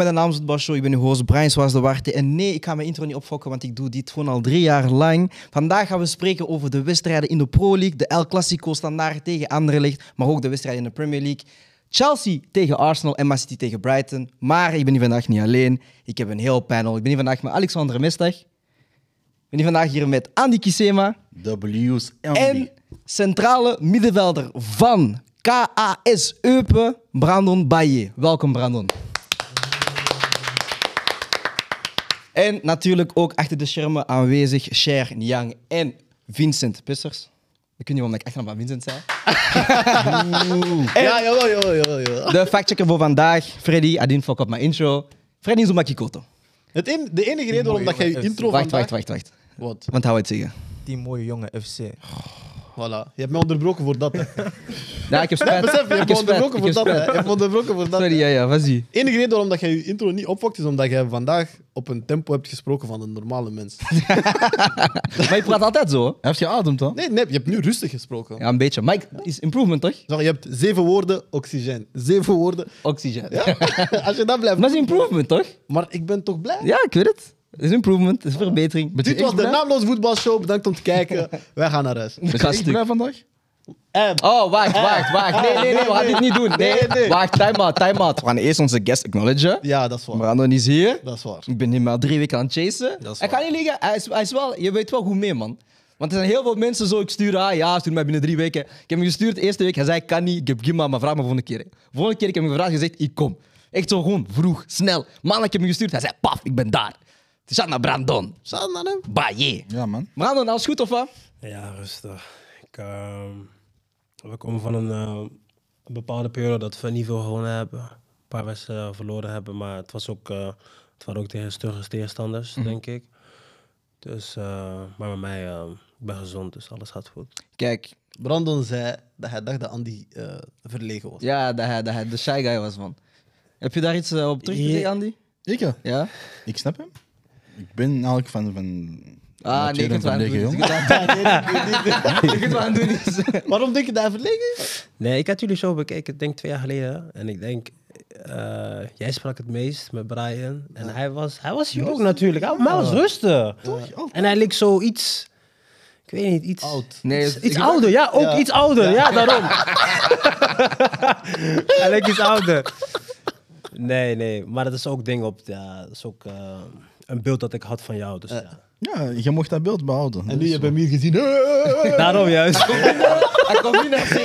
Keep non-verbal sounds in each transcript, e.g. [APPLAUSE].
Mijn naam is het Basho, ik ben uw host Brian Swaas de Warte. En nee, ik ga mijn intro niet opfokken, want ik doe dit gewoon al drie jaar lang. Vandaag gaan we spreken over de wedstrijden in de Pro League, de El Clasico standaard tegen Anderlecht, maar ook de wedstrijden in de Premier League. Chelsea tegen Arsenal en Man City tegen Brighton. Maar ik ben hier vandaag niet alleen. Ik heb een heel panel. Ik ben hier vandaag met Alexander Mestag. Ik ben hier vandaag hier met Andy Kisema. W's En centrale middenvelder van KAS Eupen, Brandon Baye. Welkom, Brandon. En natuurlijk ook achter de schermen aanwezig Cher Niang en Vincent Pissers. Ik weet niet waarom ik echt van Vincent zei. Ja, jawel, jawel, jawel, jawel. De factchecker voor vandaag, Freddy, Adin Fok op mijn intro. Freddy Zumakikoto. Het en- de enige reden waarom dat jij je intro Wacht, vandaag... wacht, wacht, wacht. Wat? Want hou het zeggen. Die mooie jonge FC. Voilà. Je hebt me onderbroken [LAUGHS] voor dat, hè. Ja, ik heb spijt. [LAUGHS] Besef, je ik hebt me heb spijt. onderbroken Ik heb voor dat, hè. spijt. Je hebt me onderbroken voor dat. Sorry, ja, ja, was ie. De enige reden waarom dat jij je intro niet opfokt, is omdat jij vandaag op een tempo hebt gesproken van een normale [LAUGHS] mens. Maar je praat altijd zo. hè? Hij heeft geademd, dan? Nee, nee, je hebt nu rustig gesproken. Ja, een beetje. Maar ik- is improvement, toch? Zo, Je hebt zeven woorden oxygen. Zeven woorden. Oxygen. Ja? [LAUGHS] Als je dat blijft... Maar het is improvement, toch? Maar ik ben toch blij? Ja, ik weet het. Het is improvement, het is verbetering. Ben je Dit was echt de blij? Naamloos Voetbalshow. Bedankt om te [LAUGHS] kijken. Wij gaan naar huis. Ben je Ga echt stuk. blij vandaag? En... Oh, wacht, wacht, wacht. Nee, nee, nee, we gaan dit niet doen. Nee, Nee, nee. Wacht, time out, time out. We gaan eerst onze guest acknowledgen. Ja, dat is waar. Brandon is hier. Dat is waar. Ik ben hem al drie weken aan het chasen. Dat is Ik ga waar. niet liegen, hij is, hij is wel, je weet wel goed mee, man. Want er zijn heel veel mensen zo, ik stuur, ah ja, stuur mij binnen drie weken. Ik heb hem gestuurd, de eerste week, hij zei, ik kan niet, ik heb Gimma, maar vraag me volgende keer. hè. Volgende keer, ik heb hem gevraagd, gezegd, ik kom. Echt zo gewoon, vroeg, snel. Maandag heb ik hem gestuurd, hij zei, paf, ik ben daar. Het is aan naar Brandon. Shout naar hem. Baie. Ja, man. Brandon, alles goed of wat? Ja, rustig. Ik, ehm, we komen van een, eh, een bepaalde periode dat we niet veel gewonnen hebben. Een paar wedstrijden verloren hebben, maar het was ook, eh, het waren ook tegen stugge tegenstanders, denk ik. Dus, eh, maar bij mij, eh, ik ben gezond, dus alles gaat goed. Kijk, Brandon zei dat hij dacht dat Andy eh, verlegen was. Ja, dat hij, dat hij de shy guy was, man. Heb je daar iets eh, op terug te Ja. zeggen, Andy? Ik, ja. Ja? Ik snap hem. Ik ben eigenlijk van... van Ah, nee, ik ah, van kan het lege, wel aan jongen. doen. Ik kan het wel aan doen. is- Waarom denk je dat hij verlegen is? Nee, ik had jullie show bekeken, ik denk twee jaar geleden. En ik denk, eh, jij sprak het meest met Brian. En hij was, hij was hier ook natuurlijk, hij, maar hij was rustig. En hij leek zoiets, ik weet niet, iets... Oud. Nee, Iets, het- iets ik- ouder, ja, ook Ja. iets ouder, ja, [LAUGHS] daarom. Hij lijkt iets ouder. Nee, nee, maar dat is ook ding op, ja, dat is ook eh, een beeld dat ik had van jou, dus ja. Ja, je mocht dat beeld behouden. Dus En nu heb je hem hier gezien. Daarom juist. Hij komt niet naar zee.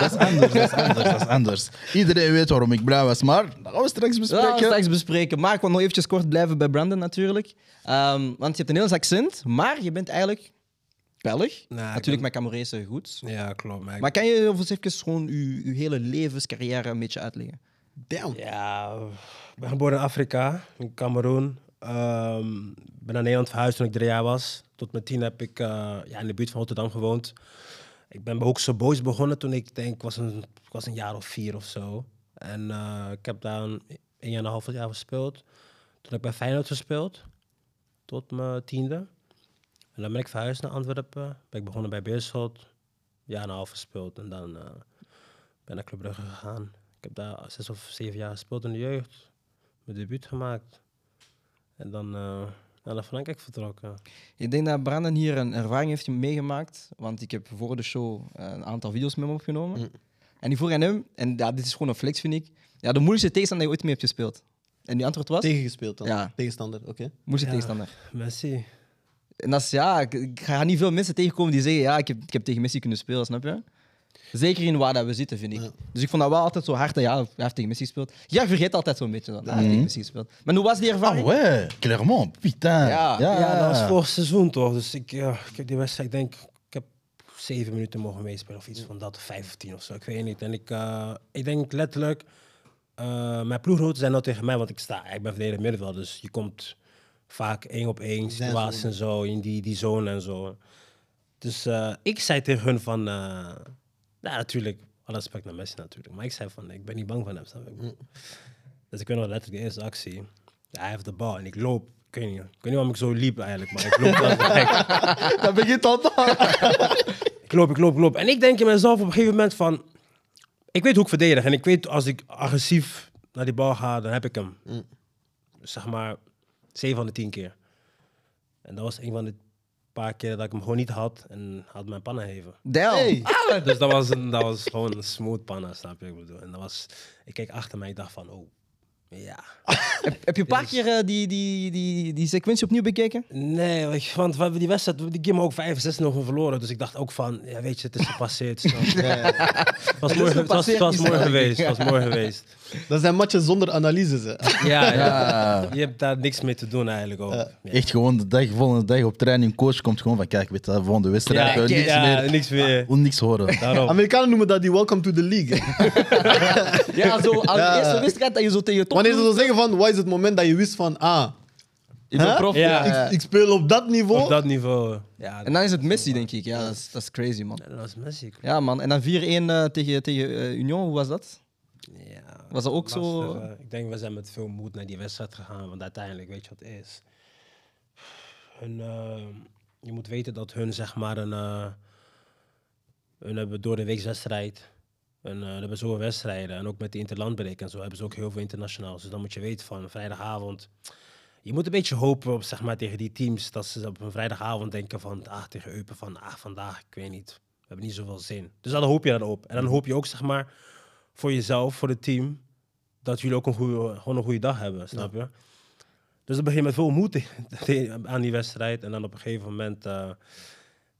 Dat is anders, dat is anders, dat is anders. Iedereen weet waarom ik blij was, maar dat gaan we straks We gaan bespreken. straks bespreken. Maar ik wil nog eventjes kort blijven bij Brandon natuurlijk. Ehm, want je hebt een Nederlands accent, maar je bent eigenlijk Belg. Nou, ik natuurlijk ben- met Camerese goed. ja, klopt. Maar ik- Maar kan je ons even gewoon je, je hele levenscarrière een beetje uitleggen? Damn. Ja, ik ben geboren in Afrika, in Cameroen. Ehm, ben naar Nederland verhuisd toen ik drie jaar was. Tot mijn tien heb ik eh, ja, in de buurt van Rotterdam gewoond. Ik ben bij Hoekse Boys begonnen toen ik denk, ik was een, ik was een jaar of vier of zo. En eh, ik heb daar een, een jaar en een half jaar gespeeld. Toen heb ik bij Feyenoord gespeeld, tot mijn tiende. En dan ben ik verhuisd naar Antwerpen. Ben ik begonnen bij Beerschot, een jaar en een half gespeeld. En dan eh, ben naar Club Brugge gegaan. Ik heb daar zes of zeven jaar gespeeld in de jeugd. Mijn debuut gemaakt. En dan eh, naar Frankrijk vertrokken. Ik denk dat Brandon hier een ervaring heeft meegemaakt. Want ik heb voor de show eh, een aantal video's met hem opgenomen. En die vroeg aan hem, en ja, dit is gewoon een flex, vind ik. Ja, de moeilijkste tegenstander die je ooit mee hebt gespeeld. En die antwoord was? Tegengespeeld dan. Ja. Tegenstander, oké. [LAUGHS] Moeilijkste Ja. tegenstander. Messi. En dat is, ja, ik, ik ga niet veel mensen tegenkomen die zeggen, ja, ik heb, ik heb tegen Messi kunnen spelen, snap je? Zeker in waar dat we zitten, vind ik. Ja. Dus ik vond dat wel altijd zo hard. dat, Ja, hij heeft tegen Messi gespeeld. Ja, vergeet altijd zo'n beetje dat hij heeft tegen Messi gespeeld. Maar hoe was die Ah, ervaring? ouais, clairement, putain. Ja, Ja, dat was vorig seizoen toch. Dus ik, ja, ik heb die wedstrijd, ik denk, ik heb zeven minuten mogen meespelen of iets van dat, of vijf of tien of zo. Ik weet niet. En ik, eh, ik denk letterlijk, eh, mijn ploeggenoten zijn nou tegen mij, want ik sta, ik ben verdedigend middenveld, dus je komt vaak één op één Zijn situaties zone. en zo, in die, die zone en zo. Dus eh, ik zei tegen hun van, eh nou natuurlijk, alle respect naar Messi natuurlijk, maar ik zei van, ik ben niet bang van hem, snap je? Dus ik weet nog letterlijk de eerste actie. Ja, Hij heeft de bal en ik loop. Ik weet niet, ik weet niet waarom ik zo liep eigenlijk, maar ik loop. als een [LAUGHS] gek. Dat begint al ik loop, ik loop, ik loop. En ik denk in mezelf op een gegeven moment van... Ik weet hoe ik verdedig en ik weet als ik agressief naar die bal ga, dan heb ik hem. Dus zeg maar 7 van de 10 keer. En dat was een van de paar keer dat ik hem gewoon niet had en had mijn pannen heven. Del. Dus dat was, een, dat was gewoon een smooth panna, snap je? wat Ik bedoel, en dat was, ik keek achter mij, ik dacht van, oh, ja. Heb je een paar keer eh, die, die, die, die sequentie opnieuw bekeken? Nee, weet je, want we hebben die wedstrijd, die game ook 5 6 nog verloren. Dus ik dacht ook van, ja, weet je, het is gepasseerd. snap je? Het was mooi, het was, het was mooi geweest, het was mooi geweest. [LAUGHS] Dat zijn matchen zonder analyses. Hè. Ja, Ja. je hebt daar niks mee te doen eigenlijk ook. Ja. Echt gewoon de dag, volgende dag op training, coach komt gewoon van kijk, weet je, volgende wedstrijd, Ja, eh, niks ja, meer. Ah. niks meer. Wil niks horen. Daarom. Amerikanen noemen dat die welcome to the league. [LAUGHS] hè. Ja, [LAUGHS] zo als Ja. eerste wedstrijd dat je zo tegen je top... Wanneer ze zo zeggen van, wat is het moment dat je wist van, ah, in de Hè? prof, Ja. ja. ik, ik speel op dat niveau. Op dat niveau. Ja, En dat dan is het Messi, denk ik. Ja, dat is, dat is crazy, man. was Messi. Ja, man. En dan 4-1 eh, tegen, tegen eh, Union, hoe was dat? Ja, Was dat ook zo- lastig, eh. Ik denk, we zijn met veel moed naar die wedstrijd gegaan, want uiteindelijk, weet je wat het is? Hun, eh, je moet weten dat hun, zeg maar, een, eh, hun hebben door de week wedstrijd. En eh, hebben zoveel wedstrijden. En ook met de interlandbreek en zo hebben ze ook heel veel internationaals. Dus dan moet je weten van vrijdagavond. Je moet een beetje hopen op, zeg maar, tegen die teams. Dat ze op een vrijdagavond denken van, ah, tegen Eupen van, ah, vandaag, ik weet niet. We hebben niet zoveel zin. Dus dan hoop je dat op. En dan hoop je ook, zeg maar, voor jezelf, voor het team, dat jullie ook een goede, gewoon een goede dag hebben, snap je? Dus dan begin je met veel moed [LAUGHS] aan die wedstrijd. En dan op een gegeven moment, eh,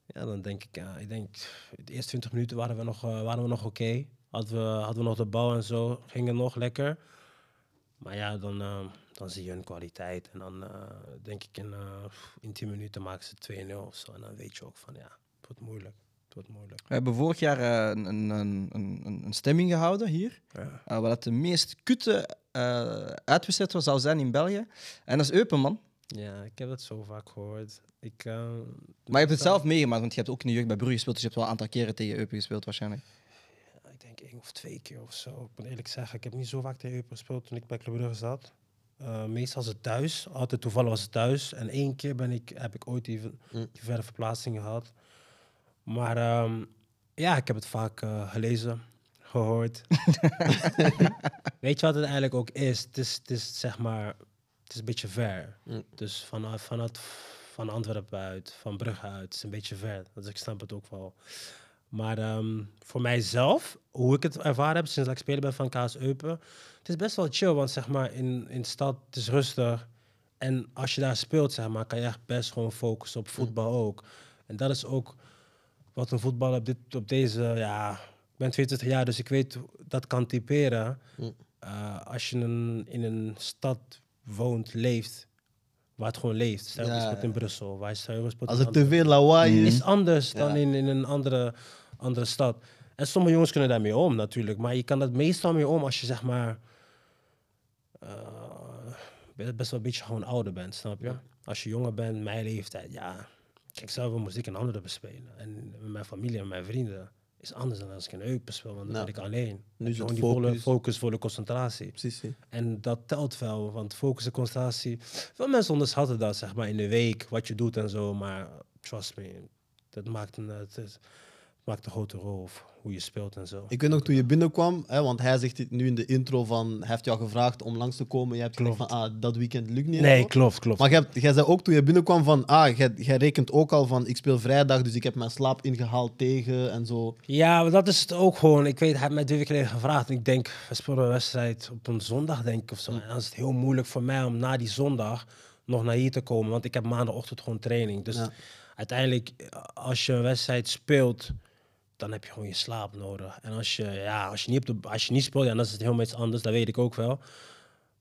ja, dan denk ik, ja, ik denk, de eerste 20 minuten waren we nog, eh, waren we nog oké. Hadden, we, hadden we nog de bal en zo, ging het nog lekker. Maar ja, dan, eh, dan zie je hun kwaliteit. En dan eh, denk ik, in, eh, in 10 minuten maken ze 2-0 of zo. En dan weet je ook van, ja, het wordt moeilijk. Het wordt moeilijk. We hebben vorig jaar eh, een, een, een, een, een stemming gehouden hier. Ja. eh, waar het de meest kutte eh uitwedstrijd was- zou zijn in België. En dat is Eupen, man. Ja, ik heb dat zo vaak gehoord. Ik, eh, Maar je hebt het zelf meegemaakt, want je hebt ook in de jeugd bij Brugge gespeeld. Dus je hebt wel een aantal keren tegen Eupen gespeeld, waarschijnlijk. ik denk één of twee keer of zo. Ik moet eerlijk zeggen, ik heb niet zo vaak tegen Eupen gespeeld toen ik bij Club Brugge zat. Eh, meestal was het thuis. Altijd toevallig was het thuis. En één keer ben ik, heb ik ooit die, die verre verplaatsing gehad. Maar ehm, ja, ik heb het vaak eh, gelezen, gehoord. Weet je wat het eigenlijk ook is? Het is, het is zeg maar, het is een beetje ver. Dus vanaf, vanaf van Antwerpen uit, van Brugge uit, het is een beetje ver. Dus ik snap het ook wel. Maar ehm, voor mijzelf, hoe ik het ervaren heb sinds dat ik speler ben van KS Eupen, het is best wel chill, want zeg maar in, in de stad het is rustig. En als je daar speelt, zeg maar, kan je echt best gewoon focussen op voetbal ook. En dat is ook wat een voetballer op, dit, op deze, ja, ik ben 22 jaar, dus ik weet hoe- dat kan typeren. Eh, als je in een, in een stad woont, leeft, waar het gewoon leeft. Stel je Ja, speelt in ja. Brussel, waar je stel je speelt Als er in Antwerpen te veel lawaai is. is anders dan in, in een andere, andere stad. En sommige jongens kunnen daarmee om natuurlijk, maar je kan dat meestal mee om als je zeg maar eh, be- best wel een beetje gewoon ouder bent, snap je? Als je jonger bent, mijn leeftijd, ja. Ik zou wel muziek en anderen bespelen. En met mijn familie en mijn vrienden is anders dan als ik een heup bespeel, want dan Nou, ben ik alleen. nu is Gewoon het die volle focus. focus, volle concentratie. Precies. hè. En dat telt wel, want focus en concentratie. Veel mensen onderschatten dat, zeg maar, in de week, wat je doet en zo. Maar trust me, dat maakt een, het is- maakt een grote rol of hoe je speelt en zo. Ik weet nog toen je binnenkwam, hè, want hij zegt dit nu in de intro van, hij heeft jou gevraagd om langs te komen. Je hebt gezegd van, ah, dat weekend lukt niet. nee, en zo. klopt, klopt. Maar jij hebt- jij zei ook toen je binnenkwam van, ah, jij, jij rekent ook al van, ik speel vrijdag, dus ik heb mijn slaap ingehaald tegen en zo. Ja, maar dat is het ook gewoon. Ik weet, hij heeft mij twee weken geleden gevraagd. En ik denk, we spelen een wedstrijd op een zondag, denk ik, of zo. En dan is het heel moeilijk voor mij om na die zondag nog naar hier te komen. Want ik heb maandagochtend gewoon training. Dus Ja. uiteindelijk, eh, als je een wedstrijd speelt, dan heb je gewoon je slaap nodig. En als je, ja, als je, niet, op de, als je niet speelt, ja, dan is het helemaal iets anders. Dat weet ik ook wel.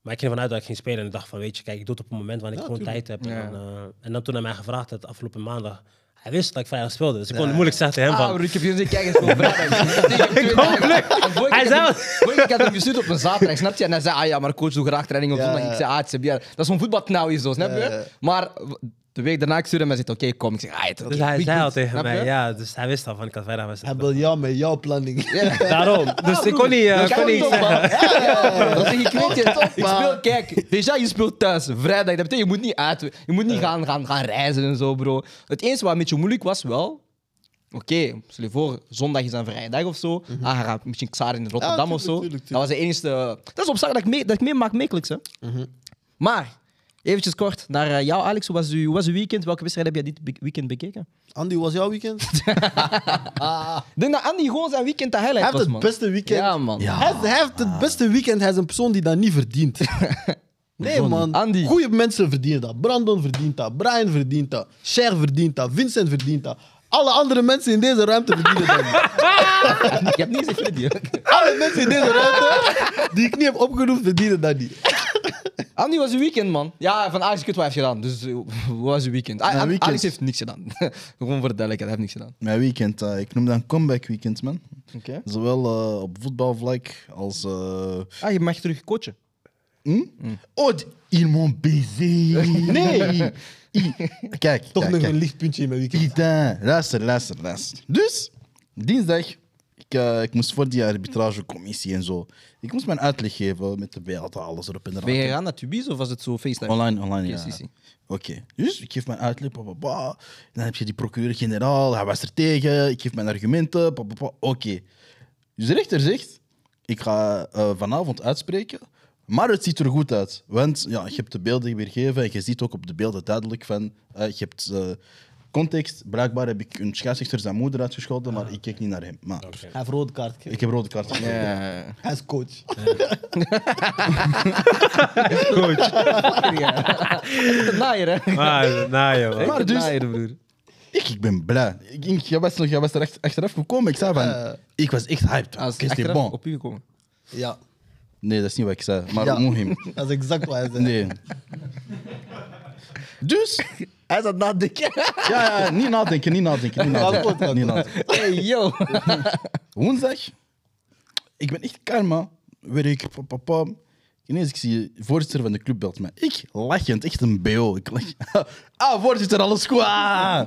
Maar ik ging ervan uit dat ik ging spelen. En ik dacht van, weet je, kijk, ik doe het op een moment waar ik Ja, gewoon tuurlijk. tijd heb. Ja. En, dan, eh, en dan toen hij mij gevraagd had, afgelopen maandag... Hij wist dat ik vrijdag speelde, dus ik kon het moeilijk zeggen tegen hem van... Ah, broer, ik heb hier zitten kijken [LAUGHS] voor vrijdag. Ik hoop het. Hij zei- Ik had hem gestuurd op een zaterdag, snap je? En hij zei, ah ja, maar coach doe graag training op Ja, zondag. Ik zei, ah, het is bier. Dat is gewoon voetbal nou is zo, snap Ja, ja. je? Maar w- de week daarna, ik stuurde hem en zei, oké, kom. Ik zeg, ah, het Dus hij zei al tegen Snap mij, je? ja, dus hij wist al van ik had vrijdag Hij wedstrijd. wil jou met jouw planning. Daarom, dus ik kon niet, eh, Dat kon kan niet toch, zeggen. man? Ja, ja, [LAUGHS] ja. Dat zeg ik, weet je, Top, ik man. speel, kijk, déjà je speelt thuis, vrijdag. Dat betekent, je moet niet uit, je moet niet gaan, gaan, gaan reizen en zo, bro. Het enige wat een beetje moeilijk was wel, Oké, stel je voor, zondag is dan vrije dag of zo. Ah, hij gaat misschien Xaar in Rotterdam Mhm. of tuurlijk, zo. tuurlijk, Mhm. tuurlijk. Dat was de enige... Dat is op zaterdag dat ik mee- dat ik meemaak makkelijks, hè. Maar, eventjes kort naar eh, jou, Alex. Hoe was, uw, hoe was uw weekend? Welke wedstrijd heb je dit be- weekend bekeken? [LAUGHS] Andy, hoe was jouw [LAUGHS] weekend? Ik denk dat Andy gewoon zijn weekend de highlight Hij was, heeft man. het beste weekend. Ah. Ja, man. Ja. Hij, hij heeft het beste weekend. Hij is een persoon die dat niet [LAUGHS] verdient. Nee, man. Andy. Goede mensen verdienen dat. Brandon verdient dat. Brian verdient dat. Cher verdient dat. Vincent verdient dat. Alle andere mensen in deze ruimte verdienen dat. [LAUGHS] niet. [LAUGHS] Je hebt niet gezegd, Freddy. hè? Alle mensen in deze ruimte die ik niet heb opgenoemd verdienen dat niet. Andy, was uw weekend, man? Ja, van Alex Kut, wat heeft gedaan? Dus eh, hoe was uw weekend? Ah, Mijn An- weekend? Alex heeft niks gedaan. [LAUGHS] Gewoon voor de duidelijkheid, hij heeft niks gedaan. Mijn weekend, eh, ik noem dat een comeback weekend, man. Oké. Zowel eh, op voetbalvlak als. eh, Ah, je mag terug coachen. hm? Oh, d- ils m'ont baisé. [LAUGHS] Nee! I- kijk, Toch kijk, nog kijk. een lichtpuntje in mijn weekend. Putain, luister, luister, luister. Dus, dinsdag, ik, eh, ik moest voor die arbitragecommissie en zo. Ik moest mijn uitleg geven met de beelden, alles erop en eraan. Ben je gegaan naar Tubies of was het zo FaceTime? Online, online, Oké, ja. Eh, zie, zie. Oké, dus ik geef mijn uitleg, pa, pa, pa. dan heb je die procureur-generaal, hij was er tegen, ik geef mijn argumenten, pa, pa, pa. oké. Dus de rechter zegt, ik ga eh, vanavond uitspreken, maar het ziet er goed uit. Want ja, je hebt de beelden weergeven en je ziet ook op de beelden duidelijk van, eh, je hebt eh, context, blijkbaar heb ik een scheidsrechter zijn moeder uitgescholden, maar ik keek niet naar hem. Maar Oké. Hij heeft rode kaart gekregen. ik heb rode kaart gekregen. Ja. Hij is coach. [LAUGHS] Naaier, hè? Maar, [LAUGHS] nou, joh, man. Maar dus- Naaier, broer. Ik, ik ben blij. Ik, ik, jij, was, nog- jij was er echt- achteraf gekomen. Ik zei van, ik was echt hyped. Als Ik zei, bon. op u gekomen. Ja, Nee, dat is niet wat ik zei. Maar Ja. Mohim. dat is exact wat hij zei. Nee. Dus. Hij zat nadenken. Ja, ja, niet nadenken, niet nadenken. Niet Akkoord, nadenken. akkoord. Niet nadenken. Hey, yo. Woensdag. Ik ben echt karma. Werk, pam, pam, pam. Ineens, ik zie voorzitter van de club belt mij. Ik lachend, echt een BO. Ik lach. [LAUGHS] Ah, voorzitter, alles goed. Ah.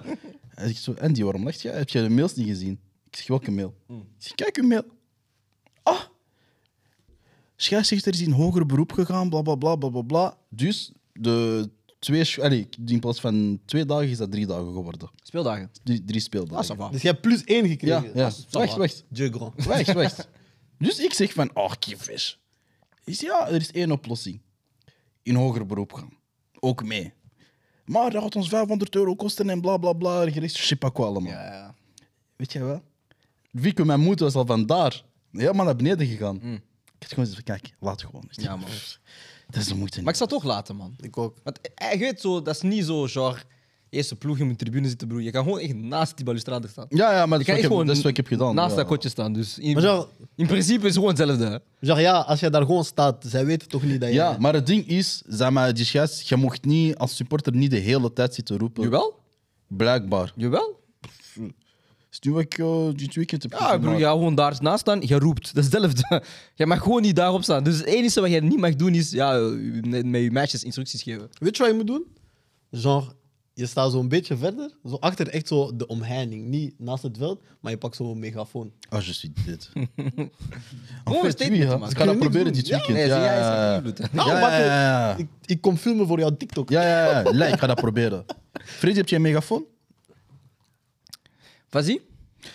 Hij zegt zo, Andy, waarom lacht jij? Heb jij de mails niet gezien? Ik zeg, welke mail? Hmm. Ik zeg, kijk, een mail. Ah, scheidsrechter is in hoger beroep gegaan, bla bla bla bla bla. bla. Dus de twee, sch- allee, in plaats van twee dagen is dat drie dagen geworden. [LAUGHS] Speeldagen. Drie, drie Ah, speeldagen. ça va. Dus jij hebt plus één gekregen. Ja, ja. Dat is- Wacht, wacht. Dieu grand. Wacht, wacht. Dus ik zeg van, oh, kievis. Is ja, er is één oplossing. In hoger beroep gaan. Ook mee. Maar dat gaat ons 500 euro kosten en bla bla bla. Gericht, shit, pak wel allemaal. Ja. Weet je wel? Wieke, mijn moeder was al vandaar helemaal naar beneden gegaan. Ik had gewoon zoiets van, kijk, laat gewoon. Mm. Ja, man. Dat is de moeite Maar ik niet. zou het toch laten, man. Ik ook. Want eh, je weet zo, dat is niet zo, genre, eerste ploeg in de tribune zitten, broer. Je kan gewoon echt naast die balustrade staan. Ja, ja, maar Ik dat is, kan wat echt ik, heb, gewoon dat is wat ik heb gedaan. Naast ja. dat kotje staan. Dus in, Maar zo- in principe is het gewoon hetzelfde. hè. Zeg ja, als jij daar gewoon staat, zij weten toch niet dat jij. Ja, maar het ding is, zeg maar, die scheids, je mocht niet als supporter niet de hele tijd zitten roepen. Jawel? Blijkbaar. Jawel? Is nu wat ik eh, dit weekend heb Ja, gezien, broer, maar- je gaat gewoon daar naast staan, je roept. Dat is hetzelfde. [LAUGHS] Jij mag gewoon niet daarop staan. Dus het enige wat jij niet mag doen is ja, met met je meisjes instructies geven. Weet je wat je moet doen? Genre, je staat zo'n beetje verder, zo achter echt zo de omheining. Niet naast het veld, maar je pakt zo'n megafoon. Ah, je suis [LAUGHS] dit. Gewoon een statement te maken. Ik ga dat Kun je niks proberen doen. dit Ja. weekend. Nee, ja, zie jij, is ja, dat niet bloed, hè? Oh, Nou, ja, wat- ja, ja, ja. Ik, ik kom filmen voor jouw TikTok. Ja, ja, ja. Nee, ik ga dat proberen. Freddy, heb je een megafoon? Vas-y,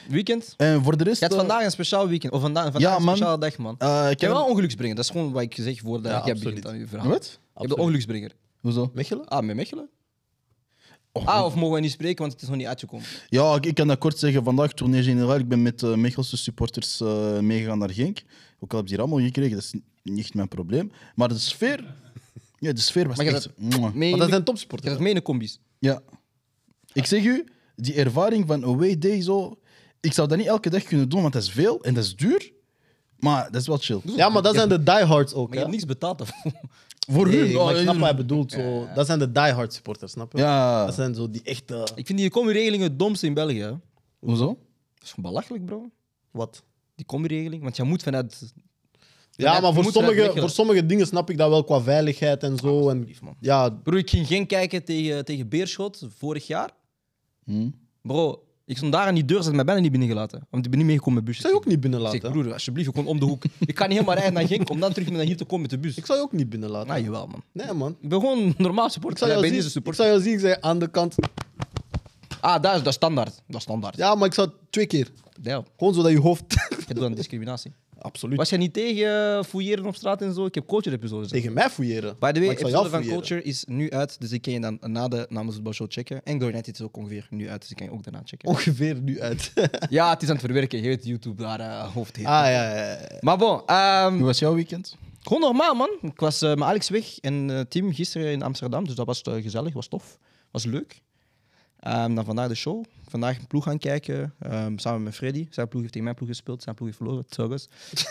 weekend. En voor de rest... Je hebt eh, vandaag een speciaal weekend. Of vandaag, vandaag Ja, een man. speciale dag, man. eh, ik Ik heb heb... wel ongeluksbrenger. Dat is gewoon wat ik zeg voordat Ja, jij absoluut. begint aan je verhaal. Wat? Je hebt de Absoluut. ongeluksbrenger. Hoezo? Mechelen? Ah, met Mechelen? Och, Ah, of mogen we niet spreken, want het is nog niet uitgekomen. Ja, ik, ik kan dat kort zeggen. Vandaag tournee generaal. Ik ben met eh, Mechelse supporters eh, meegegaan naar Genk. Ook al heb je hier allemaal gekregen, dat is ni- niet echt mijn probleem. Maar de [LAUGHS] sfeer... Ja, de sfeer was Maar je echt... Mee Mwah. Want dat zijn je gaat topsporters. mee in de combis. Ja. Ik zeg u, die ervaring van away day zo... Ik zou dat niet elke dag kunnen doen, want dat is veel en dat is duur. Maar dat is wel chill. Ja, maar dat zijn de diehards ook. Maar je hè? hebt niks betaald daarvoor. Voor Nee, hun... maar oh, ik snap eh, wat hij bedoelt. Zo. Dat zijn de diehard supporters, snap je? Ja. Dat zijn zo die echte. Ik vind die combi-regeling het domste in België. hè. Dat Hoezo? is gewoon belachelijk, bro. Wat? Die combi-regeling. Want jij moet vanuit... Ja, net- maar voor moet eruit sommige, Mechelen. voor sommige dingen snap ik dat wel qua veiligheid en zo. En, man. ja, Bro, ik ging geen kijken tegen, tegen Beerschot vorig jaar. Hmm. Bro, ik stond daar aan die deur, ze hadden mij bijna niet binnengelaten. Want ik ben niet meegekomen met busjes. ik zou je ook niet Ik binnenlaten. zeg, hè? broer, alsjeblieft, je komt om de hoek. ik kan niet helemaal rijden naar Genk om dan terug naar hier te komen met de bus. Ik zou je ook niet binnenlaten. Nou, jawel, man. Nee, man. Ik ben gewoon normaal Ik supporter. zou Ik ben jou deze zien, ik supporter. zou jou zien, ik zei aan de kant. Ah, dat is, dat is standaard. Dat is standaard. Ja, maar ik zou het twee keer. Damn. Gewoon zodat je hoofd. [LAUGHS] Je doet aan discriminatie. Absoluut. Was jij niet tegen eh, fouilleren op straat en zo? Ik heb coacher-episode gezien. Tegen mij fouilleren. By the way, Maar ik zou episode jou van fouilleren. Culture is nu uit, dus ik kan je dan na de namens de show checken. En Glory Night is ook ongeveer nu uit, dus ik kan je ook daarna checken. Oh. Ongeveer nu uit. [LAUGHS] Ja, het is aan het verwerken. Je weet YouTube daar eh hoofd heeft. ah ja, ja, ja. Maar bon, ehm, Hoe was jouw weekend? gewoon normaal man. Ik was eh, met Alex weg en eh Tim gisteren in Amsterdam, dus dat was eh, gezellig, was tof, was leuk. Ehm, dan vandaag de show. Vandaag een ploeg gaan kijken, ehm, samen met Freddy. Zijn ploeg heeft tegen mijn ploeg gespeeld, zijn ploeg heeft verloren, [LAUGHS] trouwens.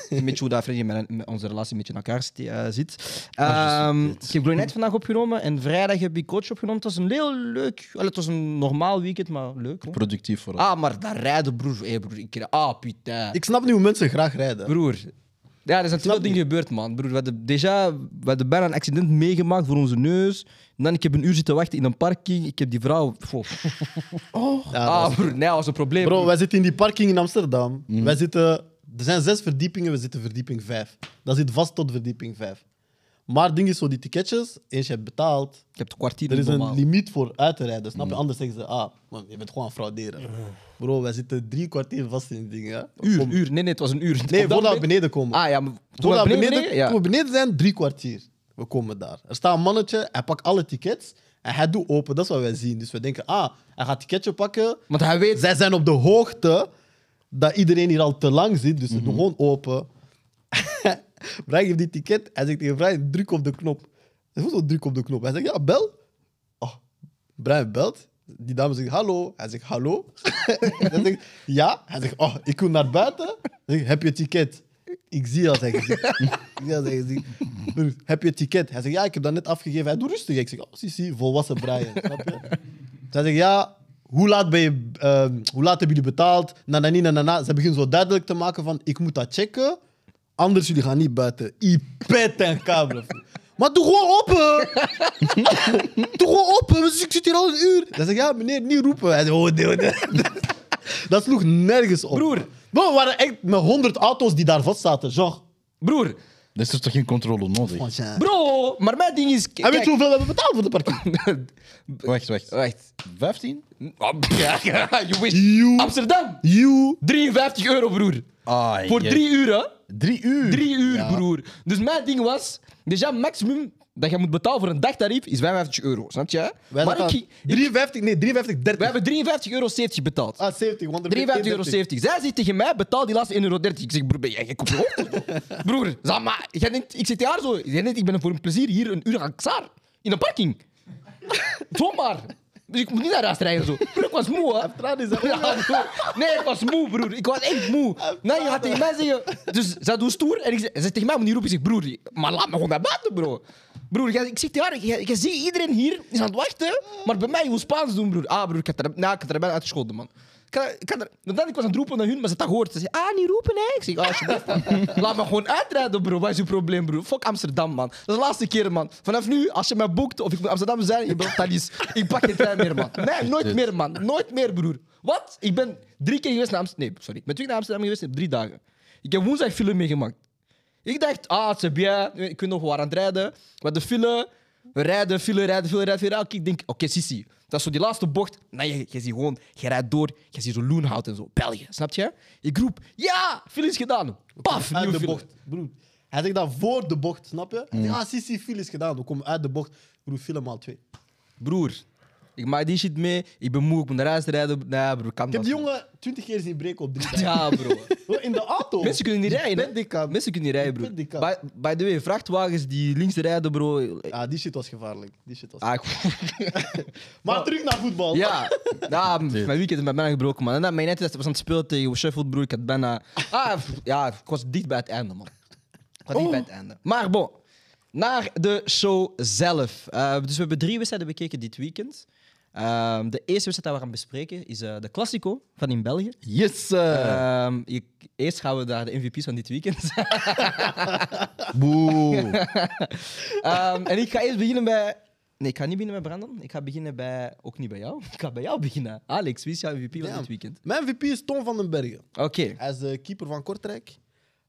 een beetje hoe dat Freddy met, met onze relatie een beetje in elkaar sti- eh, zit. Ehm, ik heb Glory Night vandaag opgenomen en vrijdag heb ik Coach opgenomen. Het was een heel leuk, wel, het was een normaal weekend, maar leuk. hoor. Productief vooral. Ah, maar dat rijden, broer. Hé, broer. Ik, ah, putain. Ik snap niet hoe mensen graag rijden. Broer. Ja, er zijn te veel dingen gebeurd, man. Broer, we hadden, déjà, we hadden bijna een accident meegemaakt voor onze neus. En dan, ik heb een uur zitten wachten in een parking. Ik heb die vrouw... Pff. [LAUGHS] Ja, dat ah, is- broer. Nee, dat was een probleem. Oh. Bro, broer. Mhm. wij zitten in die parking in Amsterdam. Wij zitten, er zijn zes verdiepingen, we zitten verdieping vijf. Dat zit vast tot verdieping vijf. Maar het ding is zo, die ticketjes, eens je hebt betaald, Ik heb het kwartier er is niet een normaal. Mhm. limiet voor uit te rijden. Snap je? Anders zeggen ze, ah, man, je bent gewoon aan het frauderen. Bro, wij zitten drie kwartier vast in die dingen. hè. Uur, Kom- uur. Nee, nee, het was een uur. Nee, Op dat voordat we moment- beneden komen. Ah ja, maar... Toen Voordat we we beneden, beneden, ja. toen we beneden zijn, drie kwartier. We komen daar. Er staat een mannetje, hij pakt alle tickets en hij doet open. Dat is wat wij zien. Dus we denken, ah, hij gaat het ticketje pakken. Want hij weet... Zij zijn op de hoogte dat iedereen hier al te lang zit, dus ze doen gewoon open. [LAUGHS] Brian geeft die ticket. Hij zegt tegen Brian, druk op de knop. Hij voelt zo druk op de knop. Hij zegt, ja, bel. Oh, Brian belt. Die dame zegt, hallo. Hij zegt, hallo. [LAUGHS] hij zegt, ja. Hij zegt, oh, ik moet naar buiten. Hij zegt, heb je ticket? Ik zie dat, hij gezicht. Ik zie dat, hij gezicht. Broer, Heb je ticket? Hij zegt, ja, ik heb dat net afgegeven. Hij doet rustig. Ik zeg, oh, zie, zie, volwassen Brian. Snap je? Zij zegt, ja, hoe laat, ben je, ehm, hoe laat hebben jullie betaald? Na, na, ni, na, na, na. Ze beginnen zo duidelijk te maken van, ik moet dat checken. Anders jullie gaan niet buiten. Ipet en kabel. Maar doe gewoon open! [LAUGHS] doe gewoon open, want ik zit hier al een uur. Hij zegt, ja meneer, niet roepen. Hij zegt, oh nee, oh, nee. [LAUGHS] Dat sloeg nergens op. Broer. Bro, we waren echt met honderd auto's die daar vast zaten. Genre, Broer. Er is toch geen controle nodig? want ja. Bro. Maar mijn ding is... En weet kijk- je hoeveel we hebben betaald voor de parking? Wacht, wacht. [LAUGHS] Wacht. [LAUGHS] 15? Ja, ja, you wish. You. Amsterdam. You. 53 euro, broer. Ah, Voor jee. drie uur, hè. Drie uur? Drie uur, broer. Dus mijn ding was, dus ja, maximum dat je moet betalen voor een dagtarief is 55 euro, snap je? Wij maar ik, zaten- ging- ik- 53, nee, 53, 30. we hebben 53,70 euro betaald. Ah, 70, 53,70 euro. Zij zegt tegen mij, betaal die laatste 1,30 euro. Ik zeg, broer, ben jij gek op je [LAUGHS] hoofd? broer, zeg maar, jij denkt, ik zit daar zo. Jij denkt, ik ben voor een plezier hier een uur aan Xaar. In een parking. [LAUGHS] Zomaar. Dus ik moet niet naar huis rijden zo. Broer, ik was moe, hè. tranen in zijn Ja, broer. Nee, ik was moe, broer. Ik was echt moe. Nee, je gaat tegen mij zeggen... Dus zij doet stoer en ik zeg, zij tegen mij moet niet roepen. Ik zeg, broer, maar laat me gewoon naar buiten, bro. Broer, jij- ik zeg tegen haar, jij- jij ziet iedereen hier is aan het wachten, maar bij mij hoe Spaans doen, broer. Ah, broer, ik had er, nou, ik had er bijna uitgescholden, man. Ik had, ik had er, want dan, ik was aan het roepen naar hun, maar ze had dat gehoord. Ze zei, ah, niet roepen, hè. Ik zeg, ah, alsjeblieft, man. laat me gewoon uitrijden, bro. Wat is je probleem, bro? Fuck Amsterdam, man. Dat is de laatste keer, man. Vanaf nu, als je mij boekt of ik moet Amsterdam zijn, je bent Thalys. Ik pak geen trein meer, man. Nee, nooit meer, man. Nooit meer, broer. Wat? Ik ben drie keer geweest naar Amsterdam. Nee, sorry. Ik ben twee keer naar Amsterdam geweest in drie dagen. Ik heb woensdag file meegemaakt. Ik dacht, ah, c'est bien. Ik weet nog waar aan het rijden. Maar de file, we rijden, file, rijden, file, rijden, file. rijden. Ik denk, oké, Sissi. Dat is zo die laatste bocht. Nee, je, je ziet gewoon, je rijdt door. Je ziet zo Loenhout en zo. België, snap je? Ik roep, ja, file is gedaan. Paf, uit nieuwe de file. bocht. Broer. Hij zegt dat voor de bocht, snap je? Mm. Hij zegt, ah, Sissi, file is gedaan. We komen uit de bocht. Broer, film al twee. Broer, ik maak die shit mee. Ik ben moe, ik moet naar huis rijden. Nee, broer, kan Ik heb dat die niet. jongen 20 keer zien [LAUGHS] breken op drie dagen. Ja, bro. [LAUGHS] Bro, In de auto. Mensen kunnen niet rijden. hè? Mensen kunnen niet rijden, Ik ben dik, broer. hè. By, by the way, vrachtwagens die links rijden, bro. Ah, die shit was gevaarlijk. Die shit was... Ah, ik- Maar terug naar voetbal. Ja, [LAUGHS] ja m- mijn weekend is bij bijna gebroken, man. En dan mijn net was aan het spelen tegen Sheffield, broer. Ik had bijna... Ah, Oh. f- ja, ik was dicht bij het einde, man. Ik was Oh. dicht bij het einde. Maar bon, naar de show zelf. Eh, dus we hebben drie wedstrijden bekeken dit weekend. Ehm, de eerste wedstrijd die we gaan bespreken is eh, de Classico van in België. Yes! eh. Ehm, ik- eerst gaan we naar de MVP's van dit weekend. [LAUGHS] Boe! Ehm, en ik ga eerst beginnen bij. Nee, ik ga niet beginnen bij Brandon. Ik ga beginnen bij. Ook niet bij jou. [LAUGHS] Ik ga bij jou beginnen. Alex, wie is jouw MVP van Ja. dit weekend? Mijn VP is Tom van den Bergen. Oké. Hij is de keeper van Kortrijk.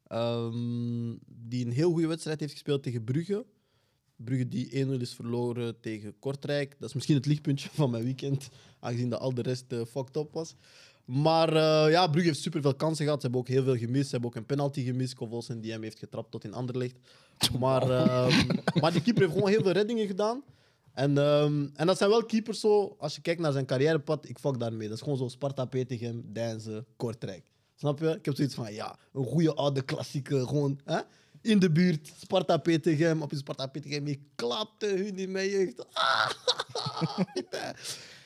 Ehm, die een heel goede wedstrijd heeft gespeeld tegen Brugge. Brugge die 1-0 is verloren tegen Kortrijk. Dat is misschien het lichtpuntje van mijn weekend, aangezien dat al de rest eh, fucked up was. Maar eh, ja, Brugge heeft superveel kansen gehad. Ze hebben ook heel veel gemist. Ze hebben ook een penalty gemist. Kovolsen die hem heeft getrapt tot in Anderlecht. Maar, ehm, maar die keeper heeft gewoon heel veel reddingen gedaan. En, ehm, en dat zijn wel keepers zo, als je kijkt naar zijn carrièrepad, ik fuck daarmee. Dat is gewoon zo Sparta, Petegem, Deinze, Kortrijk. Snap je? Ik heb zoiets van, ja, een goede oude klassieke, gewoon hè? in de buurt, Sparta, Petegem. Op je Sparta, Petegem, je klapte hun in mijn jeugd. Ah, [LAUGHS] putain.